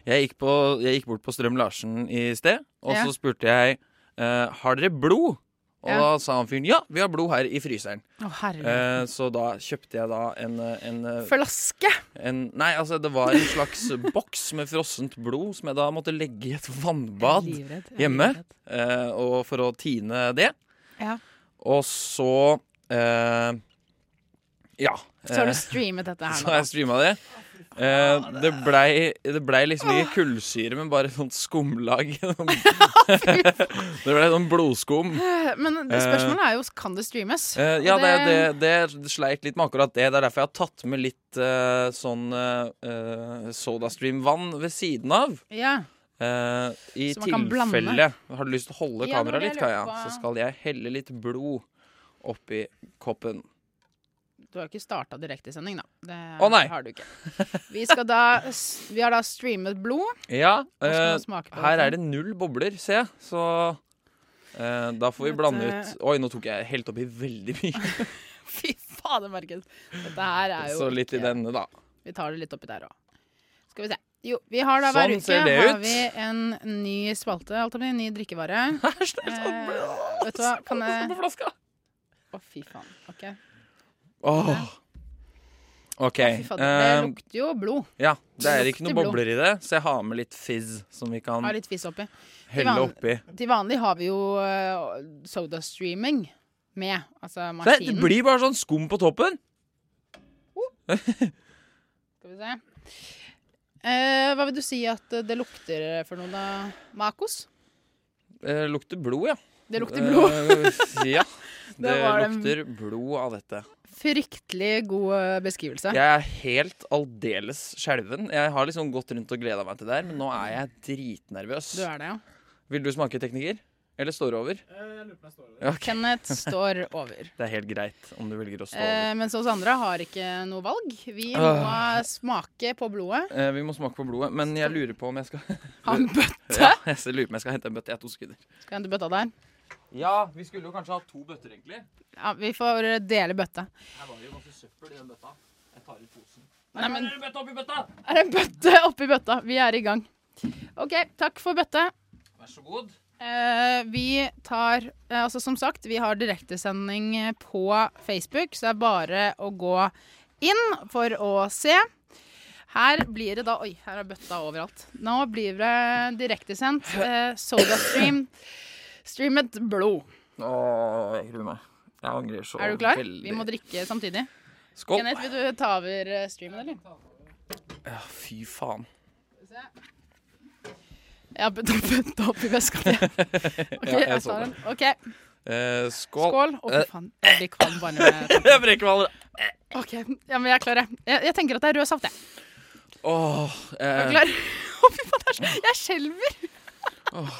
[SPEAKER 3] jeg, gikk *laughs* på, jeg gikk bort på Strøm Larsen i sted, og
[SPEAKER 1] Ja.
[SPEAKER 3] så spurte jeg eh, Har dere blod. Og
[SPEAKER 1] Ja.
[SPEAKER 3] da sa han fyren ja, vi har blod her i fryseren.
[SPEAKER 1] Å, herregud.
[SPEAKER 3] Eh, så da kjøpte jeg da en, eh, en, eh,
[SPEAKER 1] Flaske!
[SPEAKER 3] en Nei, altså det var en slags boks med frossent blod som jeg da måtte legge i et vannbad.
[SPEAKER 1] Jeg er livredd, jeg er
[SPEAKER 3] hjemme.
[SPEAKER 1] livredd.
[SPEAKER 3] eh, og for å tine det.
[SPEAKER 1] Ja.
[SPEAKER 3] Og så eh, Ja.
[SPEAKER 1] Så har
[SPEAKER 3] eh,
[SPEAKER 1] du streamet dette
[SPEAKER 3] *laughs* så har
[SPEAKER 1] her
[SPEAKER 3] jeg streama det. Eh, det, blei, det blei liksom ikke kullsyre, men bare sånt skumlag. *laughs* det blei sånn blodskum.
[SPEAKER 1] nå. Eh, Men det spørsmålet er jo kan det streames.
[SPEAKER 3] Eh, ja,
[SPEAKER 1] Og
[SPEAKER 3] det, det, det sleit litt med akkurat det. Det er derfor jeg har tatt med litt eh, sånn eh, SodaStream-vann ved siden av.
[SPEAKER 1] ja.
[SPEAKER 3] Eh, I
[SPEAKER 1] Så man kan
[SPEAKER 3] tilfelle Har du lyst til å holde
[SPEAKER 1] Ja, det var
[SPEAKER 3] kameraet
[SPEAKER 1] det
[SPEAKER 3] litt,
[SPEAKER 1] jeg
[SPEAKER 3] Kaja,
[SPEAKER 1] lurte på.
[SPEAKER 3] så skal jeg helle litt blod oppi koppen.
[SPEAKER 1] Du har ikke starta direktesending, da. Det
[SPEAKER 3] Å, nei.
[SPEAKER 1] har du ikke. Vi, skal da, vi har da streamet blod.
[SPEAKER 3] Ja,
[SPEAKER 1] Nå skal
[SPEAKER 3] eh,
[SPEAKER 1] man smake på
[SPEAKER 3] Her
[SPEAKER 1] dette.
[SPEAKER 3] er det null bobler, ser jeg. Så eh, da får vi
[SPEAKER 1] Dette-
[SPEAKER 3] blande ut Oi, nå tok jeg helt oppi veldig mye.
[SPEAKER 1] *laughs* Fy fader, Markus. Dette her er jo
[SPEAKER 3] *laughs* Så litt i
[SPEAKER 1] ikke-
[SPEAKER 3] denne, da.
[SPEAKER 1] Vi tar det litt oppi der òg. Skal vi se. Jo, vi har da
[SPEAKER 3] Sånn
[SPEAKER 1] hver uke
[SPEAKER 3] ser det
[SPEAKER 1] har
[SPEAKER 3] ut.
[SPEAKER 1] vi en ny spalte, alt om en ny drikkevare.
[SPEAKER 3] Æsj, det er sånn
[SPEAKER 1] Eh, vet du hva, kan
[SPEAKER 3] Sånn
[SPEAKER 1] jeg
[SPEAKER 3] *laughs* på flaska.
[SPEAKER 1] Å, fy faen. OK.
[SPEAKER 3] Åh. OK.
[SPEAKER 1] Fy fader, det
[SPEAKER 3] eh,
[SPEAKER 1] lukter jo blod.
[SPEAKER 3] ja, det
[SPEAKER 1] det
[SPEAKER 3] er ikke noen
[SPEAKER 1] lukter blod.
[SPEAKER 3] bobler i det, så jeg har med litt fizz som vi kan
[SPEAKER 1] Har litt fiss oppi.
[SPEAKER 3] helle
[SPEAKER 1] vann.
[SPEAKER 3] oppi.
[SPEAKER 1] Til vanlig har vi jo eh, sodastreaming med, altså
[SPEAKER 3] Så det
[SPEAKER 1] maskinen.
[SPEAKER 3] blir bare sånn skum på toppen.
[SPEAKER 1] Skal vi se. Eh, hva vil du si at eh, det lukter for noe, da? Makos?
[SPEAKER 3] Eh, lukter blod, ja.
[SPEAKER 1] Det lukter blod.
[SPEAKER 3] Eh,
[SPEAKER 1] *laughs*
[SPEAKER 3] ja. Det
[SPEAKER 1] var det-
[SPEAKER 3] lukter blod av dette.
[SPEAKER 1] Fryktelig god eh, beskrivelse.
[SPEAKER 3] Jeg er helt aldeles skjelven. Jeg har liksom gått rundt og gleda meg til det her, men nå er jeg dritnervøs.
[SPEAKER 1] Du er det, ja.
[SPEAKER 3] Vil du smake teknikker? Eller står det over? Ja, ok.
[SPEAKER 1] Kenneth står over.
[SPEAKER 3] Det er helt greit om du velger å stå over.
[SPEAKER 1] Eh, mens oss andre har ikke noe valg. Vi må
[SPEAKER 3] Øh.
[SPEAKER 1] smake på blodet.
[SPEAKER 3] Eh, vi må smake på blodet, men jeg lurer på om jeg skal
[SPEAKER 1] Ha en bøtte.
[SPEAKER 3] *laughs* ja, Jeg lurer på om jeg skal hente en bøtte. Jeg har to sekunder.
[SPEAKER 1] Skal jeg hente bøtta der?
[SPEAKER 3] Ja, vi skulle jo kanskje ha to bøtter, egentlig.
[SPEAKER 1] Ja, vi får dele bøtta.
[SPEAKER 3] Her var det jo masse søppel i den bøtta. Jeg tar ut posen.
[SPEAKER 1] Nei, men
[SPEAKER 3] er det bøtte oppi bøtta!
[SPEAKER 1] er det en bøtte oppi bøtta? Vi er i gang. OK, takk for bøtte.
[SPEAKER 3] Vær så god.
[SPEAKER 1] Eh, vi tar eh, Altså, som sagt, vi har direktesending på Facebook, så det er bare å gå inn for å se. Her blir det da Oi, her er bøtta overalt. Nå blir det direktesendt eh, SodaStream. Streamet blod.
[SPEAKER 3] Åh, jeg gruer meg. Jeg angrer så
[SPEAKER 1] Er du klar?
[SPEAKER 3] veldig.
[SPEAKER 1] Vi må drikke samtidig.
[SPEAKER 3] Skål.
[SPEAKER 1] Kenneth, vil du ta over eh, streamen, eller?
[SPEAKER 3] Ja, fy faen.
[SPEAKER 1] *laughs* Jeg har putta bøtta oppi veska
[SPEAKER 3] *laughs*
[SPEAKER 1] di. OK,
[SPEAKER 3] Ja, jeg
[SPEAKER 1] jeg
[SPEAKER 3] så
[SPEAKER 1] tar den.
[SPEAKER 3] det.
[SPEAKER 1] OK,
[SPEAKER 3] Eh, skål.
[SPEAKER 1] skål. Å, fy faen. Jeg blir kvalm bare med
[SPEAKER 3] *laughs* Jeg brekker meg allerede.
[SPEAKER 1] OK, ja, men jeg er klar, jeg. Jeg, jeg tenker at det er rød saft, jeg.
[SPEAKER 3] Åh,
[SPEAKER 1] Er du
[SPEAKER 3] eh,
[SPEAKER 1] klar? *laughs* Å, fy faen, det er så- jeg skjelver! *laughs*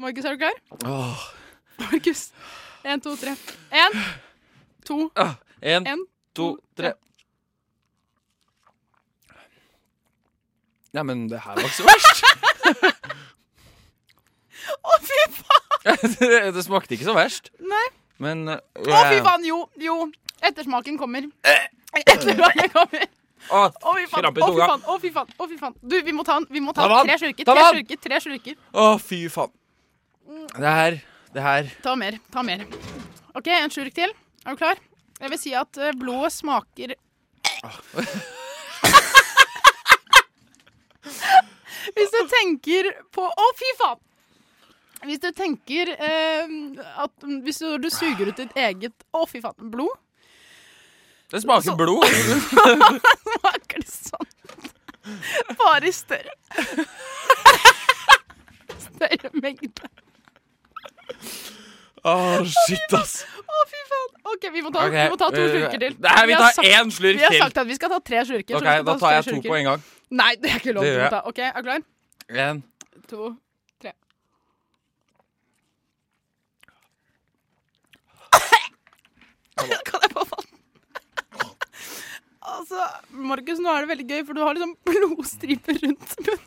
[SPEAKER 1] Markus, er du klar?
[SPEAKER 3] åh.
[SPEAKER 1] Markus. Én, to, tre. Én, to,
[SPEAKER 3] Ah, En,
[SPEAKER 1] En,
[SPEAKER 3] to,
[SPEAKER 1] to,
[SPEAKER 3] tre.
[SPEAKER 1] tre.
[SPEAKER 3] Nei, men det her var ikke så verst. *laughs*
[SPEAKER 1] Å, fy faen!
[SPEAKER 3] det, det smakte ikke så verst.
[SPEAKER 1] Nei.
[SPEAKER 3] Men eh,
[SPEAKER 1] Å, fy faen! Jo, jo. Ettersmaken kommer. *laughs* Ettersmaken kommer.
[SPEAKER 3] Åh,
[SPEAKER 1] Å, fy faen. Å,
[SPEAKER 3] Krampe
[SPEAKER 1] fy
[SPEAKER 3] i tunga.
[SPEAKER 1] faen. Å, fy faen. Å, fy faen. Du, vi må ta den. Vi må ta
[SPEAKER 3] Ta
[SPEAKER 1] den.
[SPEAKER 3] vann.
[SPEAKER 1] Tre slurker.
[SPEAKER 3] Ta
[SPEAKER 1] Tre
[SPEAKER 3] vann.
[SPEAKER 1] slurker. Tre slurker.
[SPEAKER 3] åh, fy faen. Det her, det her
[SPEAKER 1] Ta mer. Ta mer. OK, en slurk til. Er du klar? Jeg vil si at eh, blodet smaker Hvis du tenker på Å, fy faen! Hvis du tenker eh, at Hvis du, du suger ut ditt eget Å, fy faen. Blod.
[SPEAKER 3] Det smaker
[SPEAKER 1] Så-
[SPEAKER 3] *laughs* blod.
[SPEAKER 1] Smaker det sånn? Bare i større Større mengde.
[SPEAKER 3] Å, shit,
[SPEAKER 1] *laughs*
[SPEAKER 3] ass.
[SPEAKER 1] Å, fy faen. OK, vi må ta, vi må ta to
[SPEAKER 3] eh,
[SPEAKER 1] slurker til.
[SPEAKER 3] Nei, vi
[SPEAKER 1] har
[SPEAKER 3] tar
[SPEAKER 1] sagt-
[SPEAKER 3] én slurk
[SPEAKER 1] Vi har
[SPEAKER 3] til.
[SPEAKER 1] sagt at vi skal ta tre slurker. så
[SPEAKER 3] Ok,
[SPEAKER 1] vi skal
[SPEAKER 3] Da
[SPEAKER 1] ta
[SPEAKER 3] tar jeg
[SPEAKER 1] tre
[SPEAKER 3] to
[SPEAKER 1] slurker.
[SPEAKER 3] på en gang.
[SPEAKER 1] Nei, det er ikke lov
[SPEAKER 3] Det
[SPEAKER 1] til
[SPEAKER 3] gjør
[SPEAKER 1] å ta. OK, er du klar?
[SPEAKER 3] En.
[SPEAKER 1] To. Kan jeg få vann? altså, Markus, nå er det veldig gøy, for du har liksom blodstriper rundt munnen.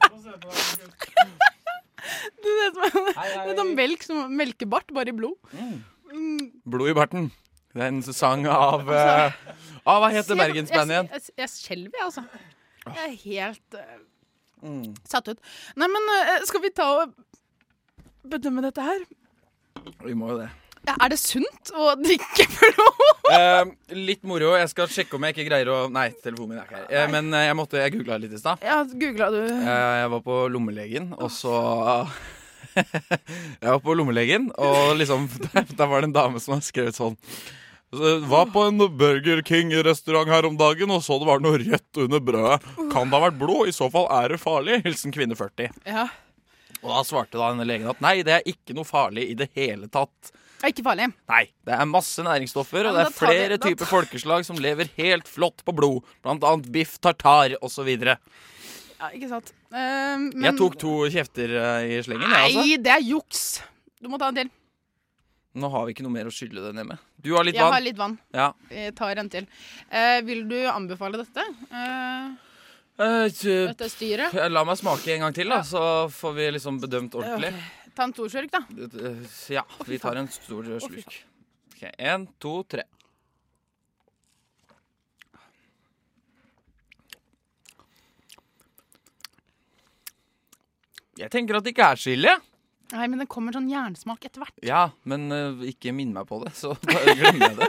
[SPEAKER 1] Du ser ut som det er sånn melk som melkebart, bare i blod. Mm,
[SPEAKER 3] Blod i barten. Det er en sang
[SPEAKER 1] *laughs*
[SPEAKER 3] av eh, ah,
[SPEAKER 1] Altså-
[SPEAKER 3] Hva
[SPEAKER 1] ser-
[SPEAKER 3] heter Bergensbandet igjen?
[SPEAKER 1] Jeg, jeg, jeg skjelver, jeg, altså. Jeg er helt eh,
[SPEAKER 3] Mm.
[SPEAKER 1] satt ut. Nei, men eh, skal vi ta og bedømme dette her?
[SPEAKER 3] Vi må jo det.
[SPEAKER 1] Ja, Er det sunt å drikke blod?
[SPEAKER 3] Eh, litt moro. Jeg skal sjekke om jeg ikke greier å Nei, telefonen min er ikke her. Eh, men eh, jeg måtte, jeg googla litt i stad.
[SPEAKER 1] *laughs* Ja, googla du
[SPEAKER 3] Eh, jeg var på lommelegen, og så *laughs* Jeg var på lommelegen, og liksom *laughs* Der var det en dame som hadde skrevet sånn «Så var på en Burger King-restaurant her om dagen og så det var noe rødt under brødet. Kan det ha vært blod? I så fall er det farlig. Hilsen kvinne 40.
[SPEAKER 1] Ja.
[SPEAKER 3] Og da svarte da denne legen at nei, det er ikke noe farlig i det hele tatt.
[SPEAKER 1] Det er Ikke farlig.
[SPEAKER 3] Nei, det er masse næringsstoffer,
[SPEAKER 1] Ja,
[SPEAKER 3] og
[SPEAKER 1] men da
[SPEAKER 3] det er
[SPEAKER 1] tar vi-
[SPEAKER 3] flere
[SPEAKER 1] da
[SPEAKER 3] typer folkeslag som lever helt flott på blod. Blant annet biff tartar osv.
[SPEAKER 1] Ja, ikke sant. Eh, men
[SPEAKER 3] Jeg tok to kjefter eh, i slengen, jeg, altså.
[SPEAKER 1] Nei, det er juks! Du må ta en til.
[SPEAKER 3] Nå har vi ikke noe mer å skylle det ned med. Du har litt
[SPEAKER 1] Jeg har
[SPEAKER 3] vann.
[SPEAKER 1] litt vann.
[SPEAKER 3] Ja.
[SPEAKER 1] Jeg tar en til. Eh, vil du anbefale dette? Eh,
[SPEAKER 3] Eh, t-
[SPEAKER 1] dette styret?
[SPEAKER 3] La meg smake en gang til, da, så får vi liksom bedømt ordentlig.
[SPEAKER 1] Ta en stor slurk, da.
[SPEAKER 3] Eh, Ja, vi tar en stor eh, slurk. Ok, En, to, tre. Jeg tenker at det ikke er så ille.
[SPEAKER 1] Nei, men det kommer sånn jernsmak etter hvert.
[SPEAKER 3] Ja, men eh, ikke minn meg på det, så *laughs* bare glemmer jeg det.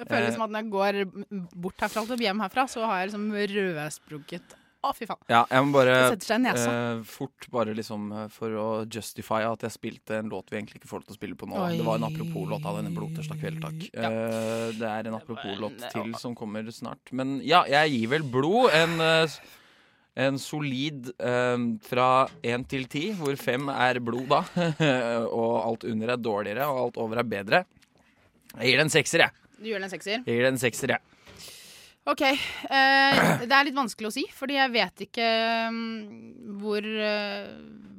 [SPEAKER 1] Det føles
[SPEAKER 3] Eh.
[SPEAKER 1] som at når jeg går bort herfra og hjem herfra, så har jeg liksom rødsprunket Å, fy faen.
[SPEAKER 3] Ja, jeg må bare
[SPEAKER 1] Det setter seg i nesa.
[SPEAKER 3] eh, fort bare liksom eh, for å justify at jeg spilte en låt vi egentlig ikke får lov til å spille på nå.
[SPEAKER 1] Oi.
[SPEAKER 3] Det var en apropos-låt av denne blodtørsdag kveld, takk.
[SPEAKER 1] Ja.
[SPEAKER 3] Eh, det er en apropos-låt
[SPEAKER 1] Men-
[SPEAKER 3] til som kommer snart. Men ja, jeg gir vel blod en, eh, s- en solid eh, fra én til ti, hvor fem er blod da. *laughs* og alt under er dårligere, og alt over er bedre. Jeg gir det en sekser, jeg.
[SPEAKER 1] Du gjør den sekser.
[SPEAKER 3] Jeg gir det en sekser, jeg.
[SPEAKER 1] OK. Eh, det er litt vanskelig å si, fordi jeg vet ikke mm, hvor eh,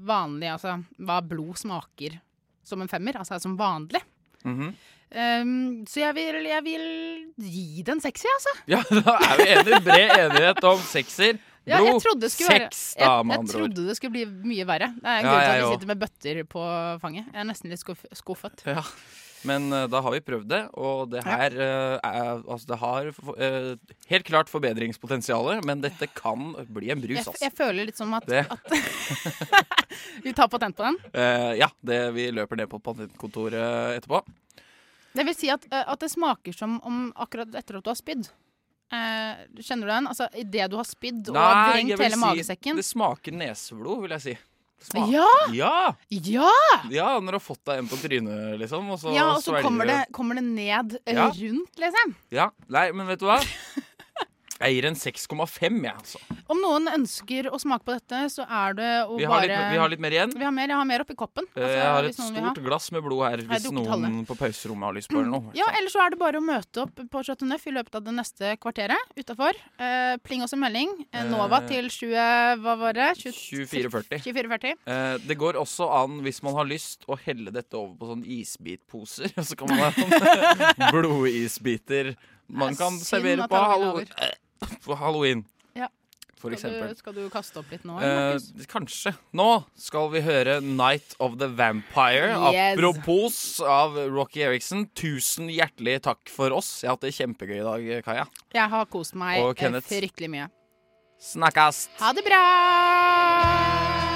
[SPEAKER 1] vanlig Altså hva blod smaker som en femmer. Altså som vanlig.
[SPEAKER 3] Mhm.
[SPEAKER 1] Ehm, så jeg vil, jeg vil gi den sexy, altså.
[SPEAKER 3] Ja, *laughs* da er vi enige. Bred enighet om sekser.
[SPEAKER 1] Ja, jeg
[SPEAKER 3] Blod,
[SPEAKER 1] trodde det skulle være-
[SPEAKER 3] seks, da,
[SPEAKER 1] jeg,
[SPEAKER 3] med
[SPEAKER 1] jeg
[SPEAKER 3] andre ord.
[SPEAKER 1] trodde det skulle bli mye verre. Det er en
[SPEAKER 3] Ja,
[SPEAKER 1] grunn til
[SPEAKER 3] jeg
[SPEAKER 1] at vi
[SPEAKER 3] òg.
[SPEAKER 1] sitter med bøtter på fanget. Jeg er nesten litt skuff skuffet.
[SPEAKER 3] Ja. Men eh, da har vi prøvd det, og det her eh, er, altså, Det har eh, helt klart forbedringspotensialet, men dette kan bli en brus,
[SPEAKER 1] Jeg,
[SPEAKER 3] altså.
[SPEAKER 1] jeg føler litt som at,
[SPEAKER 3] Det-
[SPEAKER 1] at *laughs* Vi tar patent på den.
[SPEAKER 3] Eh, ja, det, vi løper ned på patentkontoret etterpå.
[SPEAKER 1] Det vil si at, eh, at det smaker som om akkurat etter at du har spydd. Eh, kjenner du den? Altså, Idet du har spydd og har
[SPEAKER 3] jeg
[SPEAKER 1] vrengt
[SPEAKER 3] vil
[SPEAKER 1] hele magesekken.
[SPEAKER 3] det smaker neseblod, vil jeg si. Det smaker-
[SPEAKER 1] Ja!
[SPEAKER 3] Ja!
[SPEAKER 1] Ja!
[SPEAKER 3] ja! Når du har fått deg en på trynet, liksom. Og så,
[SPEAKER 1] ja og så
[SPEAKER 3] svelger
[SPEAKER 1] kommer
[SPEAKER 3] du-
[SPEAKER 1] det, kommer det ned eh,
[SPEAKER 3] Ja.
[SPEAKER 1] rundt, liksom.
[SPEAKER 3] Ja, Nei, men vet du hva? Jeg gir en 6,5, jeg, altså.
[SPEAKER 1] Om noen ønsker å smake på dette, så er det å
[SPEAKER 3] Vi har,
[SPEAKER 1] bare
[SPEAKER 3] litt, vi har litt mer igjen.
[SPEAKER 1] Vi har mer. Jeg har mer oppi koppen.
[SPEAKER 3] Eh,
[SPEAKER 1] altså,
[SPEAKER 3] jeg har
[SPEAKER 1] hvis
[SPEAKER 3] et
[SPEAKER 1] noen vil
[SPEAKER 3] stort glass med blod her hvis
[SPEAKER 1] drukket
[SPEAKER 3] noen
[SPEAKER 1] halve.
[SPEAKER 3] på pauserommet har lyst på det eller noe.
[SPEAKER 1] Ja, eller så er det bare å møte opp på Chateau Neuf i løpet av det neste kvarteret utafor. Eh, pling oss en melding. Eh, Nova
[SPEAKER 3] Eh,
[SPEAKER 1] til 20... Hva var det? 20
[SPEAKER 3] 24,40.
[SPEAKER 1] 24.40.
[SPEAKER 3] Eh, det går også an, hvis man har lyst, å helle dette over på sånn isbitposer. *laughs* Og så kan man ha sånn *laughs* blodisbiter man
[SPEAKER 1] Det er
[SPEAKER 3] kan
[SPEAKER 1] synd
[SPEAKER 3] servere
[SPEAKER 1] at
[SPEAKER 3] på
[SPEAKER 1] Halloween
[SPEAKER 3] hallo- *laughs* på halloween.
[SPEAKER 1] Ja.
[SPEAKER 3] For
[SPEAKER 1] Skal du,
[SPEAKER 3] eksempel.
[SPEAKER 1] skal du kaste opp litt nå?
[SPEAKER 3] Eh,
[SPEAKER 1] Markus?
[SPEAKER 3] kanskje. Nå skal vi høre 'Night of the Vampire'.
[SPEAKER 1] Yes.
[SPEAKER 3] Apropos av Rocky Eriksen, tusen hjertelig takk for oss. Jeg har hatt det kjempegøy i dag, Kaja.
[SPEAKER 1] Jeg har kost meg
[SPEAKER 3] Og
[SPEAKER 1] eh,
[SPEAKER 3] Kenneth.
[SPEAKER 1] fryktelig mye.
[SPEAKER 3] Snakkast!
[SPEAKER 1] Ha det bra!